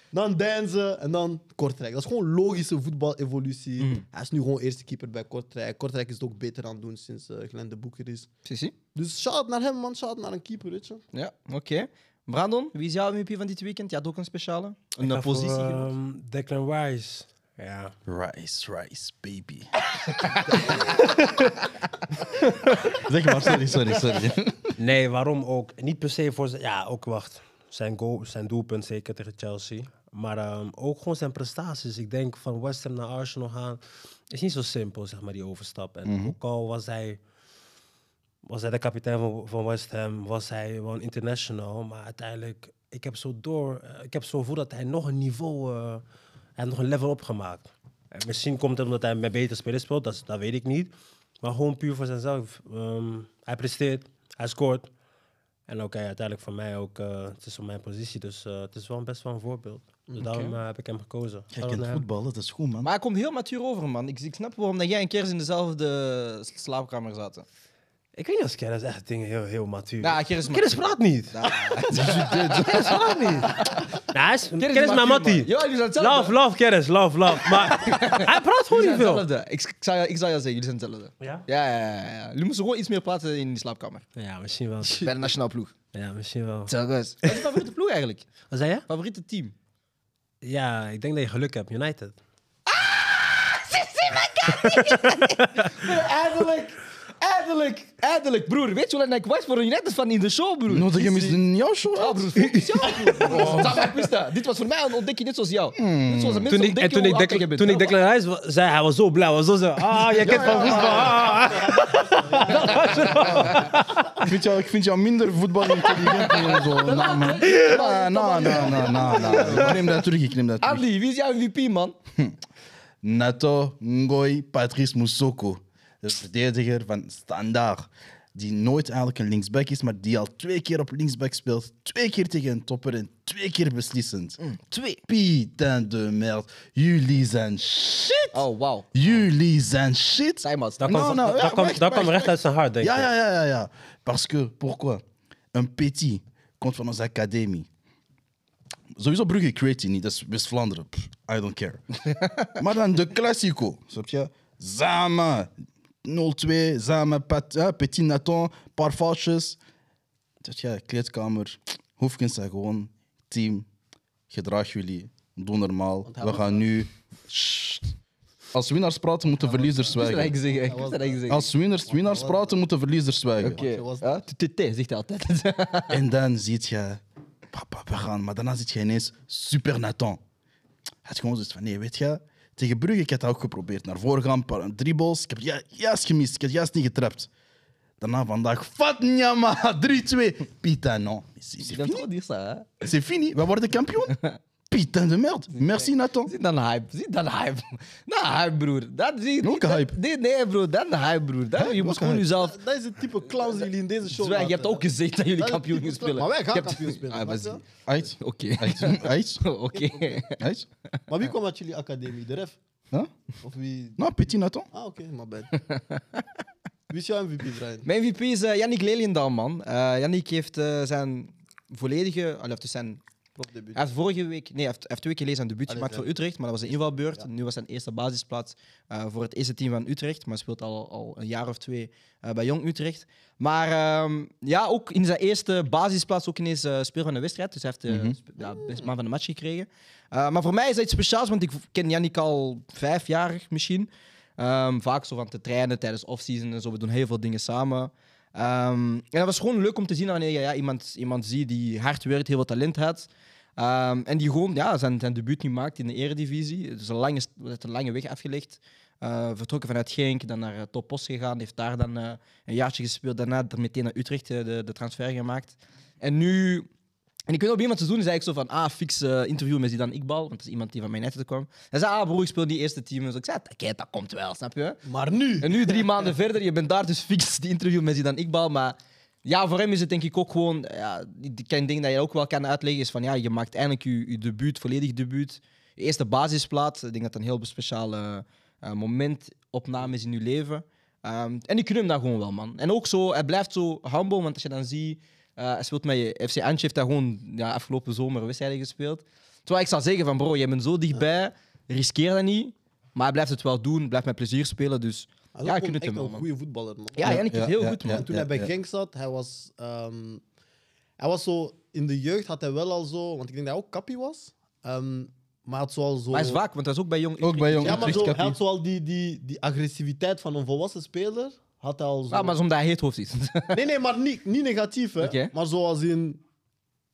dan Deinze en dan Kortrijk. Dat is gewoon logische voetbalevolutie. Mm. Hij is nu gewoon eerste keeper bij Kortrijk. Kortrijk is het ook beter aan het doen sinds eh Glenn de Boeker is. Sissi? Dus shout-out naar hem, man. Shout-out naar een keeper, weet je. Ja, oké. Brandon, wie is jouw MVP van dit weekend? Je had ook een speciale. Een eh, ga voor, positie. genoemd. ehm, Declan Rice. Ja. Rice, rice, baby. [LAUGHS] zeg maar, sorry, sorry, sorry. Nee, waarom ook? Niet per se voor zijn... Ja, ook wacht. Zijn, goal, zijn doelpunt zeker tegen Chelsea. Maar ehm, ook gewoon zijn prestaties. Ik denk van West Ham naar Arsenal gaan... is niet zo simpel, zeg maar, die overstap. En Mhm. ook al was hij... Was hij de kapitein van, van West Ham? Was hij wel een international? Maar uiteindelijk... Ik heb zo door... eh, Ik heb zo gevoel dat hij nog een niveau... eh, hij heeft nog een level opgemaakt. En misschien komt het omdat hij met betere spelers speelt. Dat, is- dat weet ik niet. Maar gewoon puur voor zichzelf. Ehm, hij presteert. Hij scoort. En oké, uiteindelijk voor mij ook, eh, het is op mijn positie, dus eh, het is wel best wel een voorbeeld. Dus daarom eh, heb ik hem gekozen. Jij Daarom, kent eh, voetbal, dat is goed, man. Maar hij komt heel matuur over, man. Ik, ik snap waarom dat jij een keer in dezelfde s- slaapkamer zaten. [LAUGHS] Ik weet niet als Keres echt dingen heel, heel matuur. Ja, Nou, Keres Keres is matuur. praat niet. Keres praat niet. Nou, hij is, Keres is mijn mattie. Ja, jullie zijn hetzelfde. Love, love, Keres, love, love. Maar [LAUGHS] hij praat gewoon Jullie niet zijn veel. hetzelfde. Ik, ik, zou, ik zou jou zeggen, jullie zijn hetzelfde. Ja? Ja, ja, ja, ja. Jullie moesten gewoon iets meer praten in die slaapkamer. ja, misschien wel. [LAUGHS] Bij de nationale ploeg. Ja, misschien wel. Zo, guys. Wat is je favoriete ploeg eigenlijk? Wat zei je? Favoriete team? Ja, ik denk dat je geluk hebt, United. Eindelijk! Eindelijk! Eindelijk, broer. Weet je hoe lang ik wacht voor een United van in de show, broer? Nottingham is in jouw show, Oh, broer, focus jou, broer. Zag ik wist dat. Dit was voor mij een ontdekking, net zoals jou. Net zoals de mensen Toen ik, en ontdekken toen ik, hoe oud jij dek, bent. toen ik Declan Rice wa- zei, hij was zo blij, hij was zo zo. Ah, jij kent van voetbal. ah, ah. Ik vind, jou, ik vind jou minder voetbalintelligent en zo. Nou, man. Nou, nou, nou, nou, nou, nou. Ik neem dat terug, ik neem dat terug. Andy, wie is jouw MVP, man? Nato Ngoy Patrice Moussoko. De verdediger van Standaard. Die nooit eigenlijk een linksback is, maar die al twee keer op linksback speelt. Twee keer tegen een topper en twee keer beslissend. Mm, Twee. Putain de merde. Jullie zijn shit. Oh, wauw. Jullie zijn shit. Zij, man. Dat Nou, kwam nou, dat- ja, dat kwam- wacht, dat kwam wacht, recht uit zijn hart, denk ik. Ja, ja, ja, ja, ja. Parce que, pourquoi? Een petit komt van onze academie. Sowieso Brugge creëert die niet, dat is West-Vlaanderen. Pff, I don't care. maar dan de Classico, snap je? Samen. 0-2, samen, Pat- hè, Petit Nathan, paar foutjes. Dus ja, kleedkamer, Hoefkens zei gewoon, team, gedraag jullie, doe normaal. We gaan nu... Sst. Als winnaars praten, moeten verliezers Ik wist dat zwijgen. ik zeg. Ik wist dat ik zeg. Als winnaars, winnaars praten, moeten verliezers zwijgen. Oké. Ja, TT zegt hij altijd. [LAUGHS] [LAUGHS] En dan ziet je... Papa, we gaan. Maar daarna ziet je ineens Super Nathan. Het gewoon zoiets van, nee, weet je... Tegen Brugge, ik had dat ook geprobeerd. Naar voren gaan, paar dribbles. Ik heb ju- juist gemist. Ik heb juist niet getrapt. Daarna vandaag, vat [LAUGHS] Nyama, 3-2. Pita, non. C'est c'est Ik ben fini. toch niet zo, C'est fini. We worden kampioen. Pita de merde. Merci, Nathan. Zie dan hype, zie dan hype. [LAUGHS] Nou, hype, broer. Dat zie je. Welke hype? Nee, nee, broer, dan de hype, broer. Dat, je moet gewoon hype? jezelf. Dat is het type clowns die jullie in deze show Zwijg, je laten. hebt ook gezegd dat jullie Dat is kampioen typisch gaan spelen. maar wij gaan Je hebt- kampioen spelen, Ah, snap maar je? zie- Uit. Oké. [LAUGHS] Uit. Uit. Oké. Uit. Maar wie kwam uit jullie academie? De ref? Huh? Of wie? Nou, Petit Nathan. Ah, oké, my [LAUGHS] bad. Wie is jouw MVP, Brian? Mijn VP is eh, Yannick Leliendaal, man. Eh Yannick heeft eh, zijn volledige... Allee, dus zijn, Profdebuut. hij heeft vorige week... Nee, hij heeft, hij heeft twee keer geleden zijn debuut Allee, gemaakt ja. voor Utrecht, maar dat was een invalbeurt. Nu was zijn eerste basisplaats eh, voor het eerste team van Utrecht, maar hij speelt al, al een jaar of twee eh, bij Jong Utrecht. Maar ehm, ja, ook in zijn eerste basisplaats ook ineens eh speel van de wedstrijd. Dus hij heeft de ja, best man van de match gekregen. Eh, maar voor mij is dat iets speciaals, want ik ken Yannick al vijf jaar misschien. Ehm, vaak zo van te trainen tijdens off-season en zo. We doen heel veel dingen samen. Ehm, en dat was gewoon leuk om te zien wanneer je ja, iemand, iemand ziet die hard werkt, heel veel talent had. Ehm, en die gewoon ja, zijn, zijn debuut nu maakt in de eredivisie. Het is een lange, het is een lange weg afgelegd. eh, vertrokken vanuit Genk, dan naar eh, Top Os gegaan. Heeft daar dan eh, een jaartje gespeeld. Daarna er meteen naar Utrecht eh, de, de transfer gemaakt. En nu... En ik weet op iemand te doen, zei ik zo van, ah, fix eh, interview met Zidane Iqbal, want dat is iemand die van mijn netten kwam. Hij zei, ah broer, ik speel die eerste team. Dus ik zei, kijk, dat komt wel, snap je? Maar nu. En nu, drie maanden verder, je bent daar dus fix die interview met Zidane Iqbal. Maar ja, voor hem is het denk ik ook gewoon... Ja, ik ken- ding dat je ook wel kan uitleggen is van... Ja, je maakt eindelijk je, je debuut, volledig debuut. Je eerste basisplaats. Ik denk dat dat een heel speciaal eh, eh, momentopname is in je leven. Ehm, en ik gun hem dat gewoon wel, man. En ook zo, hij blijft zo humble, want als je dan ziet... eh, hij speelt met je FC Antje, heeft daar gewoon ja, afgelopen zomer wedstrijden gespeeld. Terwijl ik zou zeggen van, bro, jij bent zo dichtbij, riskeer dat niet. Maar hij blijft het wel doen, blijft met plezier spelen, dus... Hij is ja, ook ik gun het gewoon hem echt wel, een man. goede voetballer, man. Ja, Jannik is heel goed, man. ja, toen ja, hij bij ja. Genk zat, hij was, ehm, hij was zo... In de jeugd had hij wel al zo... Want ik denk dat hij ook kappie was. ehm, maar hij had zoal zo... Maar hij is vaak, want hij is ook bij Jong Ook bij Jong Ja, maar Utrecht, zo, hij Kappie. had zoal die, die, die agressiviteit van een volwassen speler. Had hij al zo... Ja, maar dat is omdat hij heet hoofd is. Nee, nee, maar niet, niet negatief, hè. Oké. Maar zoals in...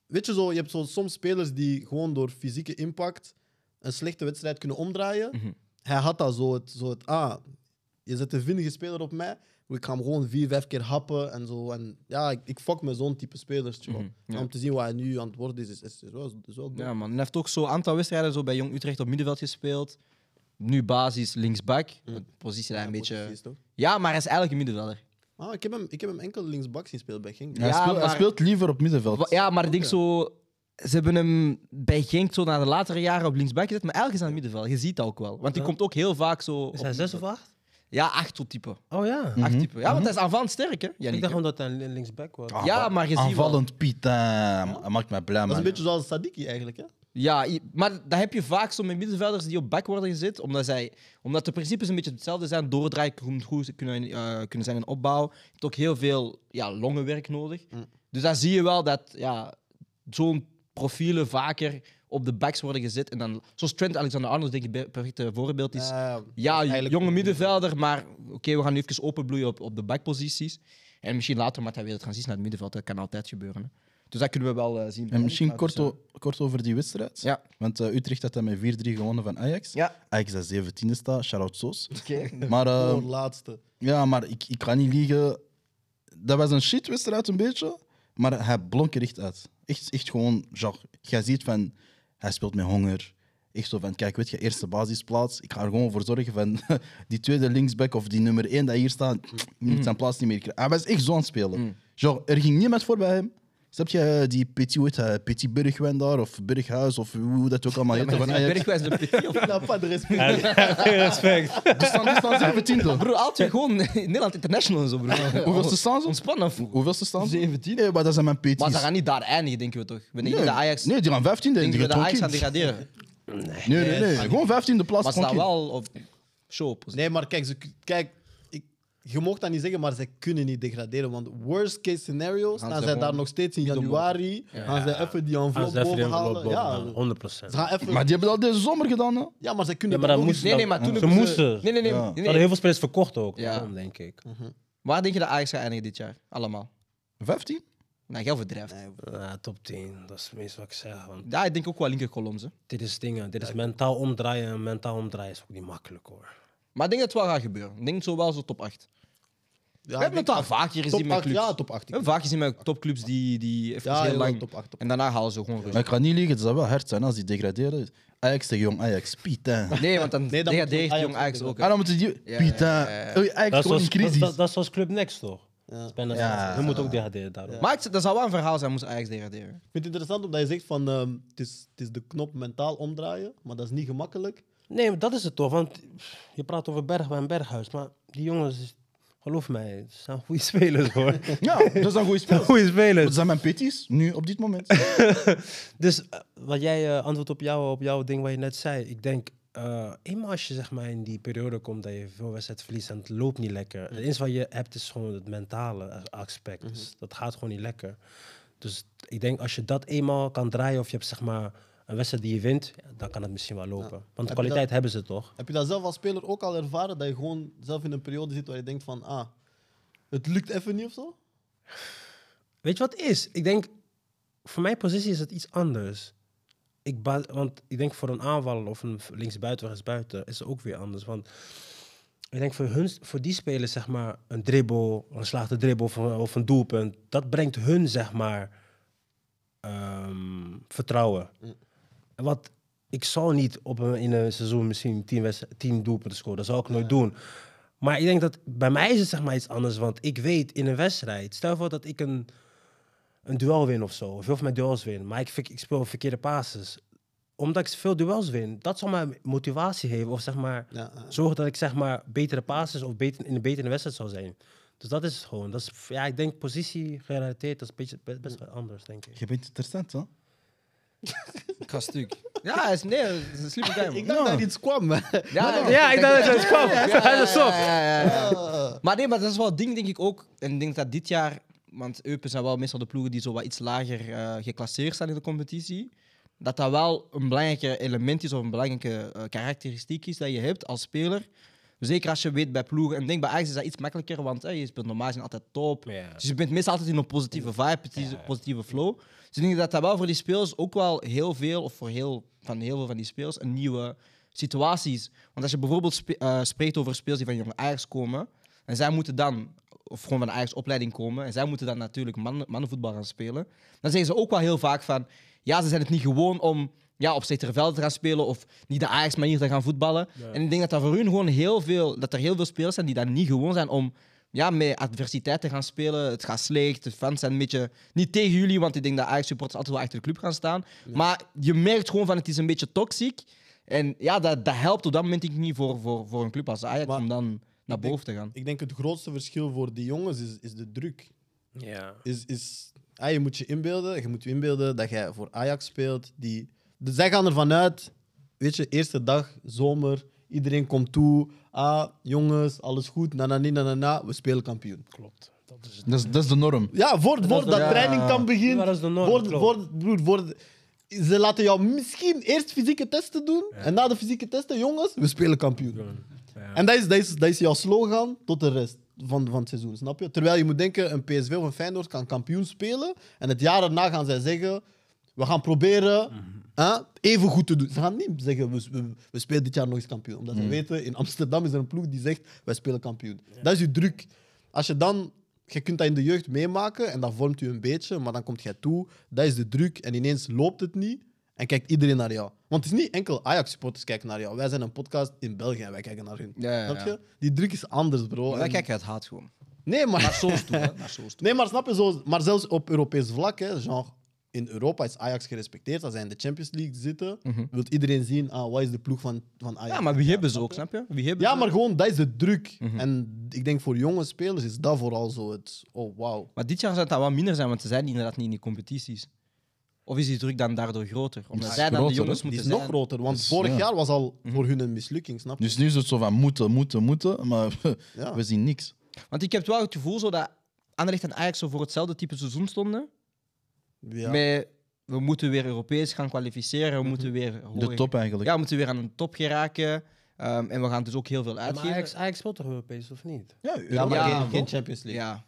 Weet je, zo, je hebt zo soms spelers die gewoon door fysieke impact een slechte wedstrijd kunnen omdraaien. Mhm. Hij had dat zo het, zo het... Ah, je zet een vinnige speler op mij. Ik ga hem gewoon vier, vijf keer happen en zo. En ja, ik, ik fuck met zo'n type spelers, tjoh. En Om te zien wat hij nu aan het worden is, is, is, is wel... Is wel dope. Mhm. ja, man. Hij heeft ook zo'n aantal wedstrijden zo bij Jong Utrecht op middenveld gespeeld. Nu basis linksback. De Positie daar een Ja, beetje. precies, toch? Ja, maar hij is eigenlijk een middenvelder. Ah, ik, heb hem, ik heb hem enkel linksbak zien spelen bij Genk. Hij, Ja, speelt, hij maar- speelt liever op middenveld. Ja, maar ik denk zo. Ze hebben hem bij Genk zo na de latere jaren op linksback gezet, maar eigenlijk is hij aan het middenveld. Je ziet dat ook wel. Want die Ja. komt ook heel vaak zo. op Is hij zes of middenveld. acht? Ja, acht tot type. Oh ja. Acht type. Ja, want hij is aanvallend sterk, hè? Jannik, Ik hè? dacht gewoon dat hij een linksback was. Ah, Ja, wat- maar je ziet wel- Aanvallend Piet, eh, hij maakt mij blij, Dat man. is een beetje zoals Sadiki eigenlijk, hè? Ja, i- maar dat heb je vaak zo met middenvelders die op back worden gezet, omdat, zij, omdat de principes een beetje hetzelfde zijn. Doordraaien kun- goed kunnen, eh, kunnen zijn in opbouw. Je hebt ook heel veel ja, longenwerk nodig. Mm. Dus daar zie je wel dat ja, zo'n profielen vaker op de backs worden gezet. En dan, zoals Trent Alexander-Arnold denk ik een perfect voorbeeld is. Ja, ja, eigenlijk- jonge middenvelder, maar oké, we gaan nu even openbloeien op, op de backposities. En misschien later maakt hij weer de transitie naar het middenveld. Dat kan altijd gebeuren. hè. Dus dat kunnen we wel eh, zien. En misschien Maar dus, kort, o- kort over die wedstrijd. Ja. Want eh, Utrecht had dat met 4-3 gewonnen van Ajax. Ja. Ajax dat 17e staat, shout-out Soos. eh, oké. Maar, eh, Gewoon laatste. ja, maar ik, ik kan niet liegen. Dat was een shitwedstrijd een beetje, maar hij blonk er echt uit. Echt, echt gewoon, genre, jij ziet van, hij speelt met honger. Echt zo van, kijk, weet je, eerste basisplaats. Ik ga er gewoon voor zorgen van [LAUGHS] die tweede linksback of die nummer één dat hier staat, die Mm. moet zijn plaats niet meer krijgen. Hij was echt zo aan het spelen. Genre, er ging niemand voor bij hem. Snap je, eh, die Petit, hoe heet hij, Petit Bergwijn daar, of Berghuis, of hoe dat ook allemaal heet. Maar van eh, is Ajax. [LAUGHS] Berghuis de petit of- [LAUGHS] Nou, pas de respect. Geen respect. Die staan die staan [LAUGHS] zeventiende. Bro, altijd gewoon Nederland International en [LAUGHS] zo, bro. Hoeveelste staan ze? Ontspannen. Hoe- Hoeveelste staan ze? 17. Nee, maar dat zijn mijn Maar ze Petits. gaan niet daar eindigen, denken we toch? We denken Nee, dat Ajax, nee, die gaan 15e. denken Die we dat gaan Ajax toch gaat in. degraderen. Nee, nee, nee. Gewoon 15e plaats. Maar ze gewoon staan wel in. op show. Nee, maar kijk, ze, kijk ik, je mocht dat niet zeggen, maar ze kunnen niet degraderen. Want worst case scenario staan ze zij daar gewoon nog steeds in januari. Gaan zij even die Als envelop hij even de bovenhalen. envelop Ja, bovenhaalt, 100 procent. ze gaan even, Maar die hebben dat deze zomer gedaan. Hè? ja, maar ze kunnen maar dat dat ook moest- niet. Nee, nee, maar toen Ze hebben moesten. Nee, nee, nee. Ja. nee. Ze hadden heel veel spelers verkocht ook. Ja. Daarom denk ik. Waar denk je dat Ajax gaat eindigen dit jaar? Allemaal. 15? Nou, jij overdrijft. Ja, top 10. Dat is het meest wat ik zeg. Want Ja, ik denk ook wel linkercolumns. hè. dit is dingen. Dit is mentaal omdraaien. En mentaal omdraaien is ook niet makkelijk hoor. Maar ik denk dat het wel gaat gebeuren. Ik denk zo wel zo top 8. Ja, We hebben het al vaker gezien top met 8, clubs. ja, top 8. We hebben vaak gezien met topclubs die, die even Ja, heel ja, lang... top acht, top En daarna halen ze gewoon Maar rustig. ik ga niet liegen, het zou wel hard zijn als die degraderen. Ajax tegen jong Ajax. Pietain. Nee, want dan Nee, dan moet degradeert Ajax jong Ajax [LAUGHS] ook ook. hè. Ah, dan moeten die... Ja, Pietain. ja, ja. Oei, Ajax Dat gewoon in is zoals- dat- crisis. dat- dat is zoals Club Next toch? Ja. Dat is bijna Ja. hetzelfde. Ze moeten ook degraderen daarom. Maar ik- dat zou wel een verhaal zijn, moest Ajax degraderen. Ik vind het interessant omdat je zegt van ehm, het, is, het is de knop mentaal omdraaien, maar dat is niet gemakkelijk. Nee, maar dat is het toch. Want je praat over Bergwijn en Berghuis. Maar die jongens, geloof mij, ze zijn goede spelers [LAUGHS] hoor. Ja, dat is een goede [LAUGHS] spel. goede Dat spelers. zijn mijn Petits, nu op dit [LAUGHS] moment. Dus eh, wat jij eh, antwoordt op, jou, op jouw ding wat je net zei. Ik denk, eh, eenmaal als je zeg maar, in die periode komt dat je veel wedstrijd verliest en het loopt niet lekker. Het enige wat je hebt is gewoon het mentale aspect. Dus dat gaat gewoon niet lekker. Dus ik denk als je dat eenmaal kan draaien of je hebt zeg maar, een wedstrijd die je wint, ja, dan kan het misschien wel lopen. Want de dat- kwaliteit hebben ze toch? Heb je dat zelf als speler ook al ervaren? Dat je gewoon zelf in een periode zit waar je denkt van, ah, het lukt even niet of zo? Weet je wat het is? Ik denk, voor mijn positie is het iets anders. Ik ba- want ik denk voor een aanvaller of een linksbuiten, rechtsbuiten is het ook weer anders. Want Ik denk voor, hun, voor die spelers, zeg maar, een dribbel, een slaagde dribbel of, een- of een doelpunt, dat brengt hun, zeg maar, ehm, vertrouwen. Mm. En wat ik zal niet op een, in een seizoen misschien 10 wedst- 10 doelpunten scoren, dat zal ik nooit doen. Maar ik denk dat bij mij is het zeg maar iets anders, want ik weet in een wedstrijd, stel voor dat ik een, een duel win of zo, of heel veel mijn duels win, maar ik, fik- ik speel verkeerde passes. Omdat ik veel duels win, dat zal mij motivatie geven, of zeg maar Ja, ja. zorgen dat ik zeg maar betere passes of beter, in een betere wedstrijd zou zijn. Dus dat is het gewoon. Dat is, ja, ik denk positie gerelateerd, dat is beetje, best, best wel anders, denk ik. Je bent interessant, hè? Ik ga stuk. Ja, altså, hij is, nee, hij is een slimme guy, man. Ik dacht dat iets kwam. [LAUGHS] maar- Ja, Ja, ik dacht dat het kwam. Hij is op. ja, ja, ja. Maar nee, maar dat is wel het ding, denk ik ook. En ik denk dat dit jaar, want Eupen zijn wel meestal de ploegen die zo wat iets lager eh, geclasseerd staan in de competitie. Dat dat wel een belangrijk element is of een belangrijke eh, karakteristiek is dat je hebt als speler. Zeker als je weet bij ploegen. En ik denk bij Ajax is dat iets makkelijker, want eh, je speelt normaal gezien altijd top. Ja. Dus je bent meestal altijd in een positieve vibe, een positieve flow. Dus ik denk dat dat wel voor die spelers ook wel heel veel, of voor heel, van heel veel van die spelers, een nieuwe situatie is. Want als je bijvoorbeeld spe- eh, spreekt over spelers die van jonge Ajax komen, en zij moeten dan, of gewoon van de Ajax opleiding komen, en zij moeten dan natuurlijk mannen, mannenvoetbal gaan spelen, dan zeggen ze ook wel heel vaak van, ja, ze zijn het niet gewoon om ja, op zekere velden te gaan spelen of niet de Ajax manier te gaan voetballen. En ik denk dat, dat voor hun gewoon heel veel, dat er heel veel spelers zijn die dan niet gewoon zijn om ja, met adversiteit te gaan spelen. Het gaat slecht, de fans zijn een beetje niet tegen jullie, want ik denk dat Ajax supporters altijd wel achter de club gaan staan. Maar je merkt gewoon van het is een beetje toxiek. En ja, dat, dat helpt op dat moment denk ik niet voor, voor, voor een club als Ajax Maar om dan naar denk- boven te gaan. Ik denk het grootste verschil voor die jongens is, is de druk. Ja. Is, is, ah, je moet je inbeelden, je moet je inbeelden dat jij voor Ajax speelt. Die, dus zij gaan ervan uit, weet je, eerste dag, zomer, iedereen komt toe. Ah, jongens, alles goed, na na ni, na na na, we spelen kampioen. Klopt. Dat is het. Dat is, dat is de norm. Ja, voor, voor dat ja. training kan Ja, maar beginnen. dat is de norm, voor, klopt. voor, broer, voor, ze laten jou misschien eerst fysieke testen doen. En na de fysieke testen, jongens, we spelen kampioen. Ja. En dat is, dat, is, dat is jouw slogan tot de rest van, van het seizoen, snap je? Terwijl je moet denken, een PSV of een Feyenoord kan kampioen spelen. En het jaar daarna gaan zij zeggen, we gaan proberen Mhm. hè, even goed te doen. Ze gaan niet zeggen, we, we, we spelen dit jaar nog eens kampioen. Omdat Mhm. ze weten, in Amsterdam is er een ploeg die zegt, wij spelen kampioen. Dat is je druk. Als je dan... Je kunt dat in de jeugd meemaken en dat vormt u een beetje, maar dan komt jij toe, dat is de druk en ineens loopt het niet en kijkt iedereen naar jou. Want het is niet enkel Ajax-supporters kijken naar jou. Wij zijn een podcast in België en wij kijken naar hun. Ja, ja, Snap je? ja. Die druk is anders, bro. Maar wij En- kijken Oh, het haat gewoon. Nee, Naar maar, Soos toe, hè. Naar Soos toe. nee, maar snap je zo? Maar zelfs op Europees vlak, hè, genre, in Europa is Ajax gerespecteerd. Als zij in de Champions League zitten, wil iedereen zien ah, wat is de ploeg van, van Ajax. Mhm. Ja, maar Mhm. wie hebben ze ook, snap je? Wie hebben Ja, ze? maar gewoon, dat is de druk. En ik denk voor jonge spelers is dat vooral zo het. Oh, wauw. Maar dit jaar zou het dan wat minder zijn, want ze zijn inderdaad niet in die competities. Of is die druk dan daardoor groter? Omdat is zij dan groter, de jongens hè? Die moeten is zijn. Mhm. nog groter, want Dus, vorig ja. jaar was al voor hun een mislukking, snap je? Dus nu is het zo van moeten, moeten, moeten. Maar [LAUGHS] Ja. we zien niks. Want ik heb wel het gevoel zo dat Anderlecht en Ajax zo voor hetzelfde type seizoen stonden. Ja. Met, we moeten weer Europees gaan kwalificeren, we moeten weer... De hoger- top eigenlijk. Ja, we moeten weer aan de top geraken. Ehm, en we gaan dus ook heel veel Maar uitgeven. Ajax, Ajax speelt toch Europees, of niet? Ja, Ja, maar Ja, geen, bro. geen Champions League. Ja.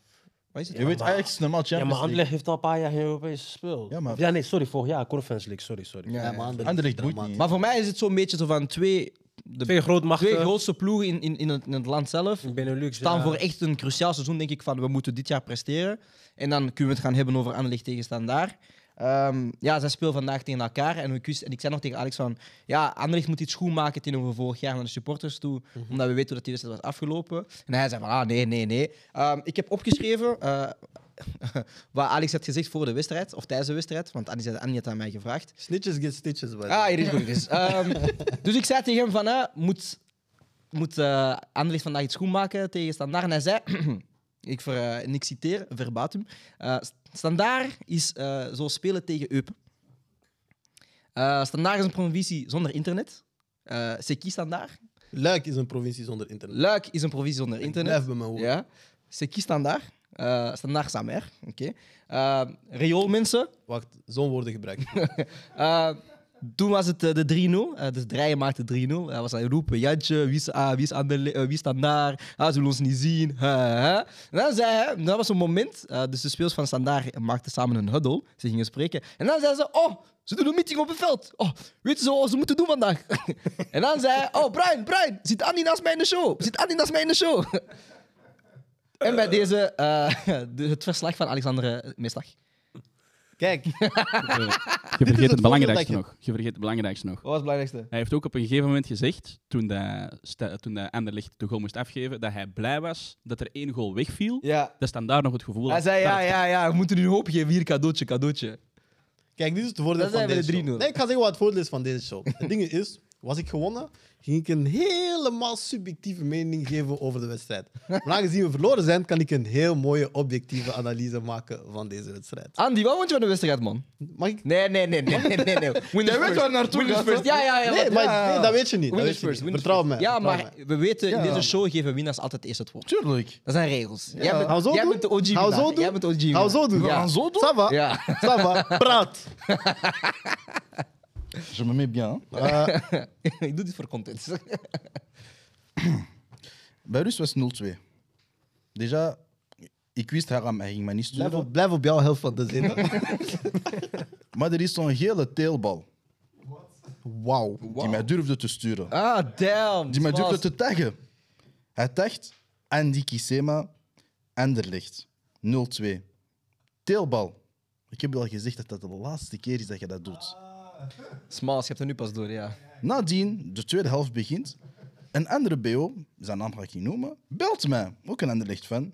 Wat is het? Je weet Ajax is normaal Ja, maar Champions League. Anderlecht heeft al een paar jaar geen Europees gespeeld. Ja, maar- Of ja, nee, sorry, vorig jaar Conference League, sorry, sorry. Ja, Ja, ja. maar Anderlecht Anderlecht is boeit dramatisch. niet. Maar voor mij is het zo'n beetje zo van twee... De Twee grootmachten. twee grootste ploegen in, in, in, het, in het land zelf in Benelux. staan ja. voor echt een cruciaal seizoen, denk ik, van we moeten dit jaar presteren. En dan kunnen we het gaan hebben over Anderlecht tegen Standaard. Ehm, ja, zij spelen vandaag tegen elkaar. En ik, wist- en ik zei nog tegen Alex van... Ja, Anderlecht moet iets goed maken tegenover vorig jaar naar de supporters toe. Omdat we weten hoe dat die wedstrijd was afgelopen. En hij zei van, ah, nee, nee, nee. Ehm, ik heb opgeschreven eh, [LAUGHS] wat Alex had gezegd voor de wedstrijd. Of tijdens de wedstrijd. Want Annie, zei- Annie had aan mij gevraagd. Snitches get stitches, bij. Ah, hier is goed. Dus, ehm, [LAUGHS] dus ik zei tegen hem van, eh, moet, moet eh Anderlecht vandaag iets goed maken tegen Standaard? En hij zei, [CLEARS THROAT] ik, ver, eh, en ik citeer, verbatim, eh Standaard is eh, zo spelen tegen Eupen. Eh Standaard is een provincie zonder internet. Eh Seki Standaard. Luik is een provincie zonder internet. Luik is een provincie zonder Ik internet. blijf bij mijn woord. Ja. Seki Standaard. Eh Standaard Samer. Oké. Eh, Rioolmensen. [LAUGHS] Wacht, zo'n woorden gebruiken. Eh, Toen was het eh, de 3-0. Eh, dus Drijen maakte 3-0. Hij was aan het roepen, Jantje, wie, is, ah, wie, is aan de, li- eh, wie staat daar? Ah, ze willen ons niet zien. Ha, ha. En dan zei hij, dat was een moment, eh, dus de spelers van Standaard maakten samen een huddle. Ze gingen spreken. En dan zeiden ze, oh, ze doen een meeting op het veld. Oh, weet je zo wat ze moeten doen vandaag? [LAUGHS] en dan zei hij, oh, Brian, Brian, zit Andy naast mij in de show? Zit Andy naast mij in de show? [LAUGHS] en bij deze, eh, [LAUGHS] de- het verslag van Alexander Mestag. Kijk, Je het vergeet het voordeel belangrijkste dat je- nog. Je vergeet het belangrijkste nog. Wat was het belangrijkste? Hij heeft ook op een gegeven moment gezegd, toen, de, sta- toen de Anderlicht de goal moest afgeven, dat hij blij was dat er één goal wegviel. Ja. Dat staan daar nog het gevoel Hij had zei, dat ja, het- ja, ja, we moeten nu een hoop geven. Hier, cadeautje, cadeautje. kijk, dit is het voordeel Dan van zijn we deze de 3-0. show. Nee, ik ga zeggen wat het voordeel is van deze show. Het ding is, was ik gewonnen, ging ik een helemaal subjectieve mening geven over de wedstrijd. Maar aangezien we verloren zijn, kan ik een heel mooie objectieve analyse maken van deze wedstrijd. Andy, wat vond je van de wedstrijd, man? Mag ik? Nee, nee, nee, nee, nee, nee. nee. [LAUGHS] Winners weet first. waar naartoe Winners gaat, first. hè? Ja, ja, ja. Nee, wat- maar, ja. nee, dat weet je niet. Dat Winners weet je first. winners niet. Vertrouw first. me. Ja, vertrouw maar me. we weten, in Ja. deze show geven winnaars altijd eerst het woord. Tuurlijk. Dat zijn regels. Jij bent, Hou zo jij doen. bent de OG. Hou vandaag. zo doen. Jij bent de OG. vandaag. Hou zo doen. Ja. Gaan zo doen? Ça va? [LAUGHS] Ja. Ça [LAUGHS] va? Praat. Je me mets bien. hein. Eh, Ik doe dit voor content. Bij Rus was 0-2. Déjà, ik wist haram, hij ging mij niet blijf, sturen. op, blijf op jouw helft van de zin. Maar er is zo'n gele teelbal Wauw. die mij durfde te sturen. Ah, damn. Die mij Zoals- durfde te taggen. Hij tagt Andy Kisema, Anderlecht, 0-2. Teelbal. Ik heb je al gezegd dat dat de laatste keer is dat je dat doet. Smalls, je hebt er nu pas door, ja. Nadien, de tweede helft begint. Een andere BO, zijn naam ga ik niet noemen, belt mij. Ook een ander licht van.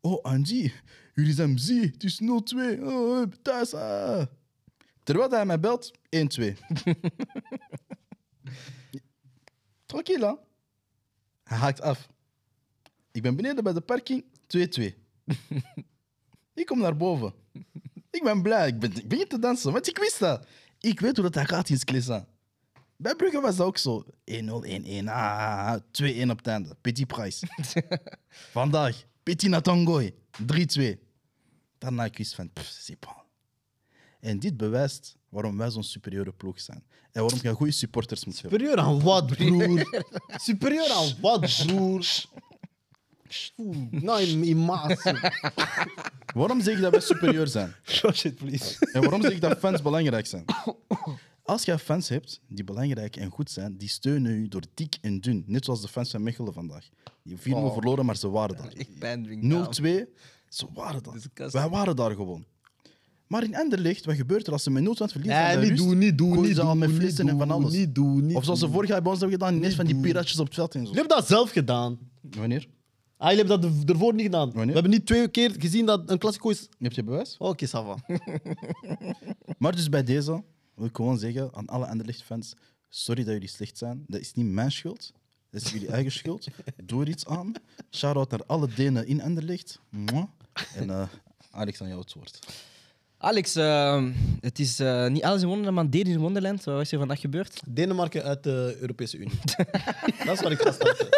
Oh, Andy, jullie zijn zie, het is 0-2. Oh, eh, thuis. ah." Terwijl hij mij belt, 1-2. Tranquil, hè? Hij haakt af. Ik ben beneden bij de parking, 2-2. [LAUGHS] ik kom naar boven. Ik ben blij, ik, ben, ik begin te dansen, want ik wist dat. Ik weet hoe dat hij gaat in Sclesa. Bij Brugge was dat ook zo. 1-0, 1-1, ah, 2-1 op het einde. Petit prijs. Vandaag, Petit Natangoy, 3-2. Daarna ik wist van, pff, c'est bon. En dit bewijst waarom wij zo'n superieure ploeg zijn. En waarom je goede supporters moet hebben. Superieur aan wat, broer? Superieur aan wat, broer? Oeh, Nou, in, in maas. Waarom zeg ik dat wij superieur [LAUGHS] zijn? Shit, please. En waarom zeg ik dat fans belangrijk zijn? Als jij fans hebt die belangrijk en goed zijn, die steunen je door dik en dun. Net zoals de fans van Mechelen vandaag. Die 4-0 Oh. verloren, maar ze waren daar. Ik ben drink. 0-2, ze waren daar. Disgusting. Wij waren daar gewoon. Maar in Anderlecht, wat gebeurt er als ze met 0-2 verliezen? Nee, aan de niet rust? doen, niet doen, Gooien niet ze al doen, met niet flessen en doen, van alles. niet doen, niet of zoals ze vorig jaar bij ons hebben gedaan, ineens van die piratjes op het veld en zo. Jullie hebben dat zelf gedaan. Wanneer? Ah, jullie hebben dat ervoor niet gedaan. Wanneer? We hebben niet twee keer gezien dat een klassico is... Oh, Heb je bewijs? Oké, Sava. Maar dus bij deze wil ik gewoon zeggen aan alle Anderlecht-fans: sorry dat jullie slecht zijn. Dat is niet mijn schuld. Dat is jullie eigen schuld. Doe er iets aan. Shout-out naar alle Denen in Anderlecht. Mwah. En eh, Alex, aan jou het woord. Alex, ehm, het is eh, niet alles in Wonderland, maar Deed in Wonderland. Wat is er vandaag gebeurd? Denemarken uit de Europese Unie. [LAUGHS] dat is waar ik ga starten.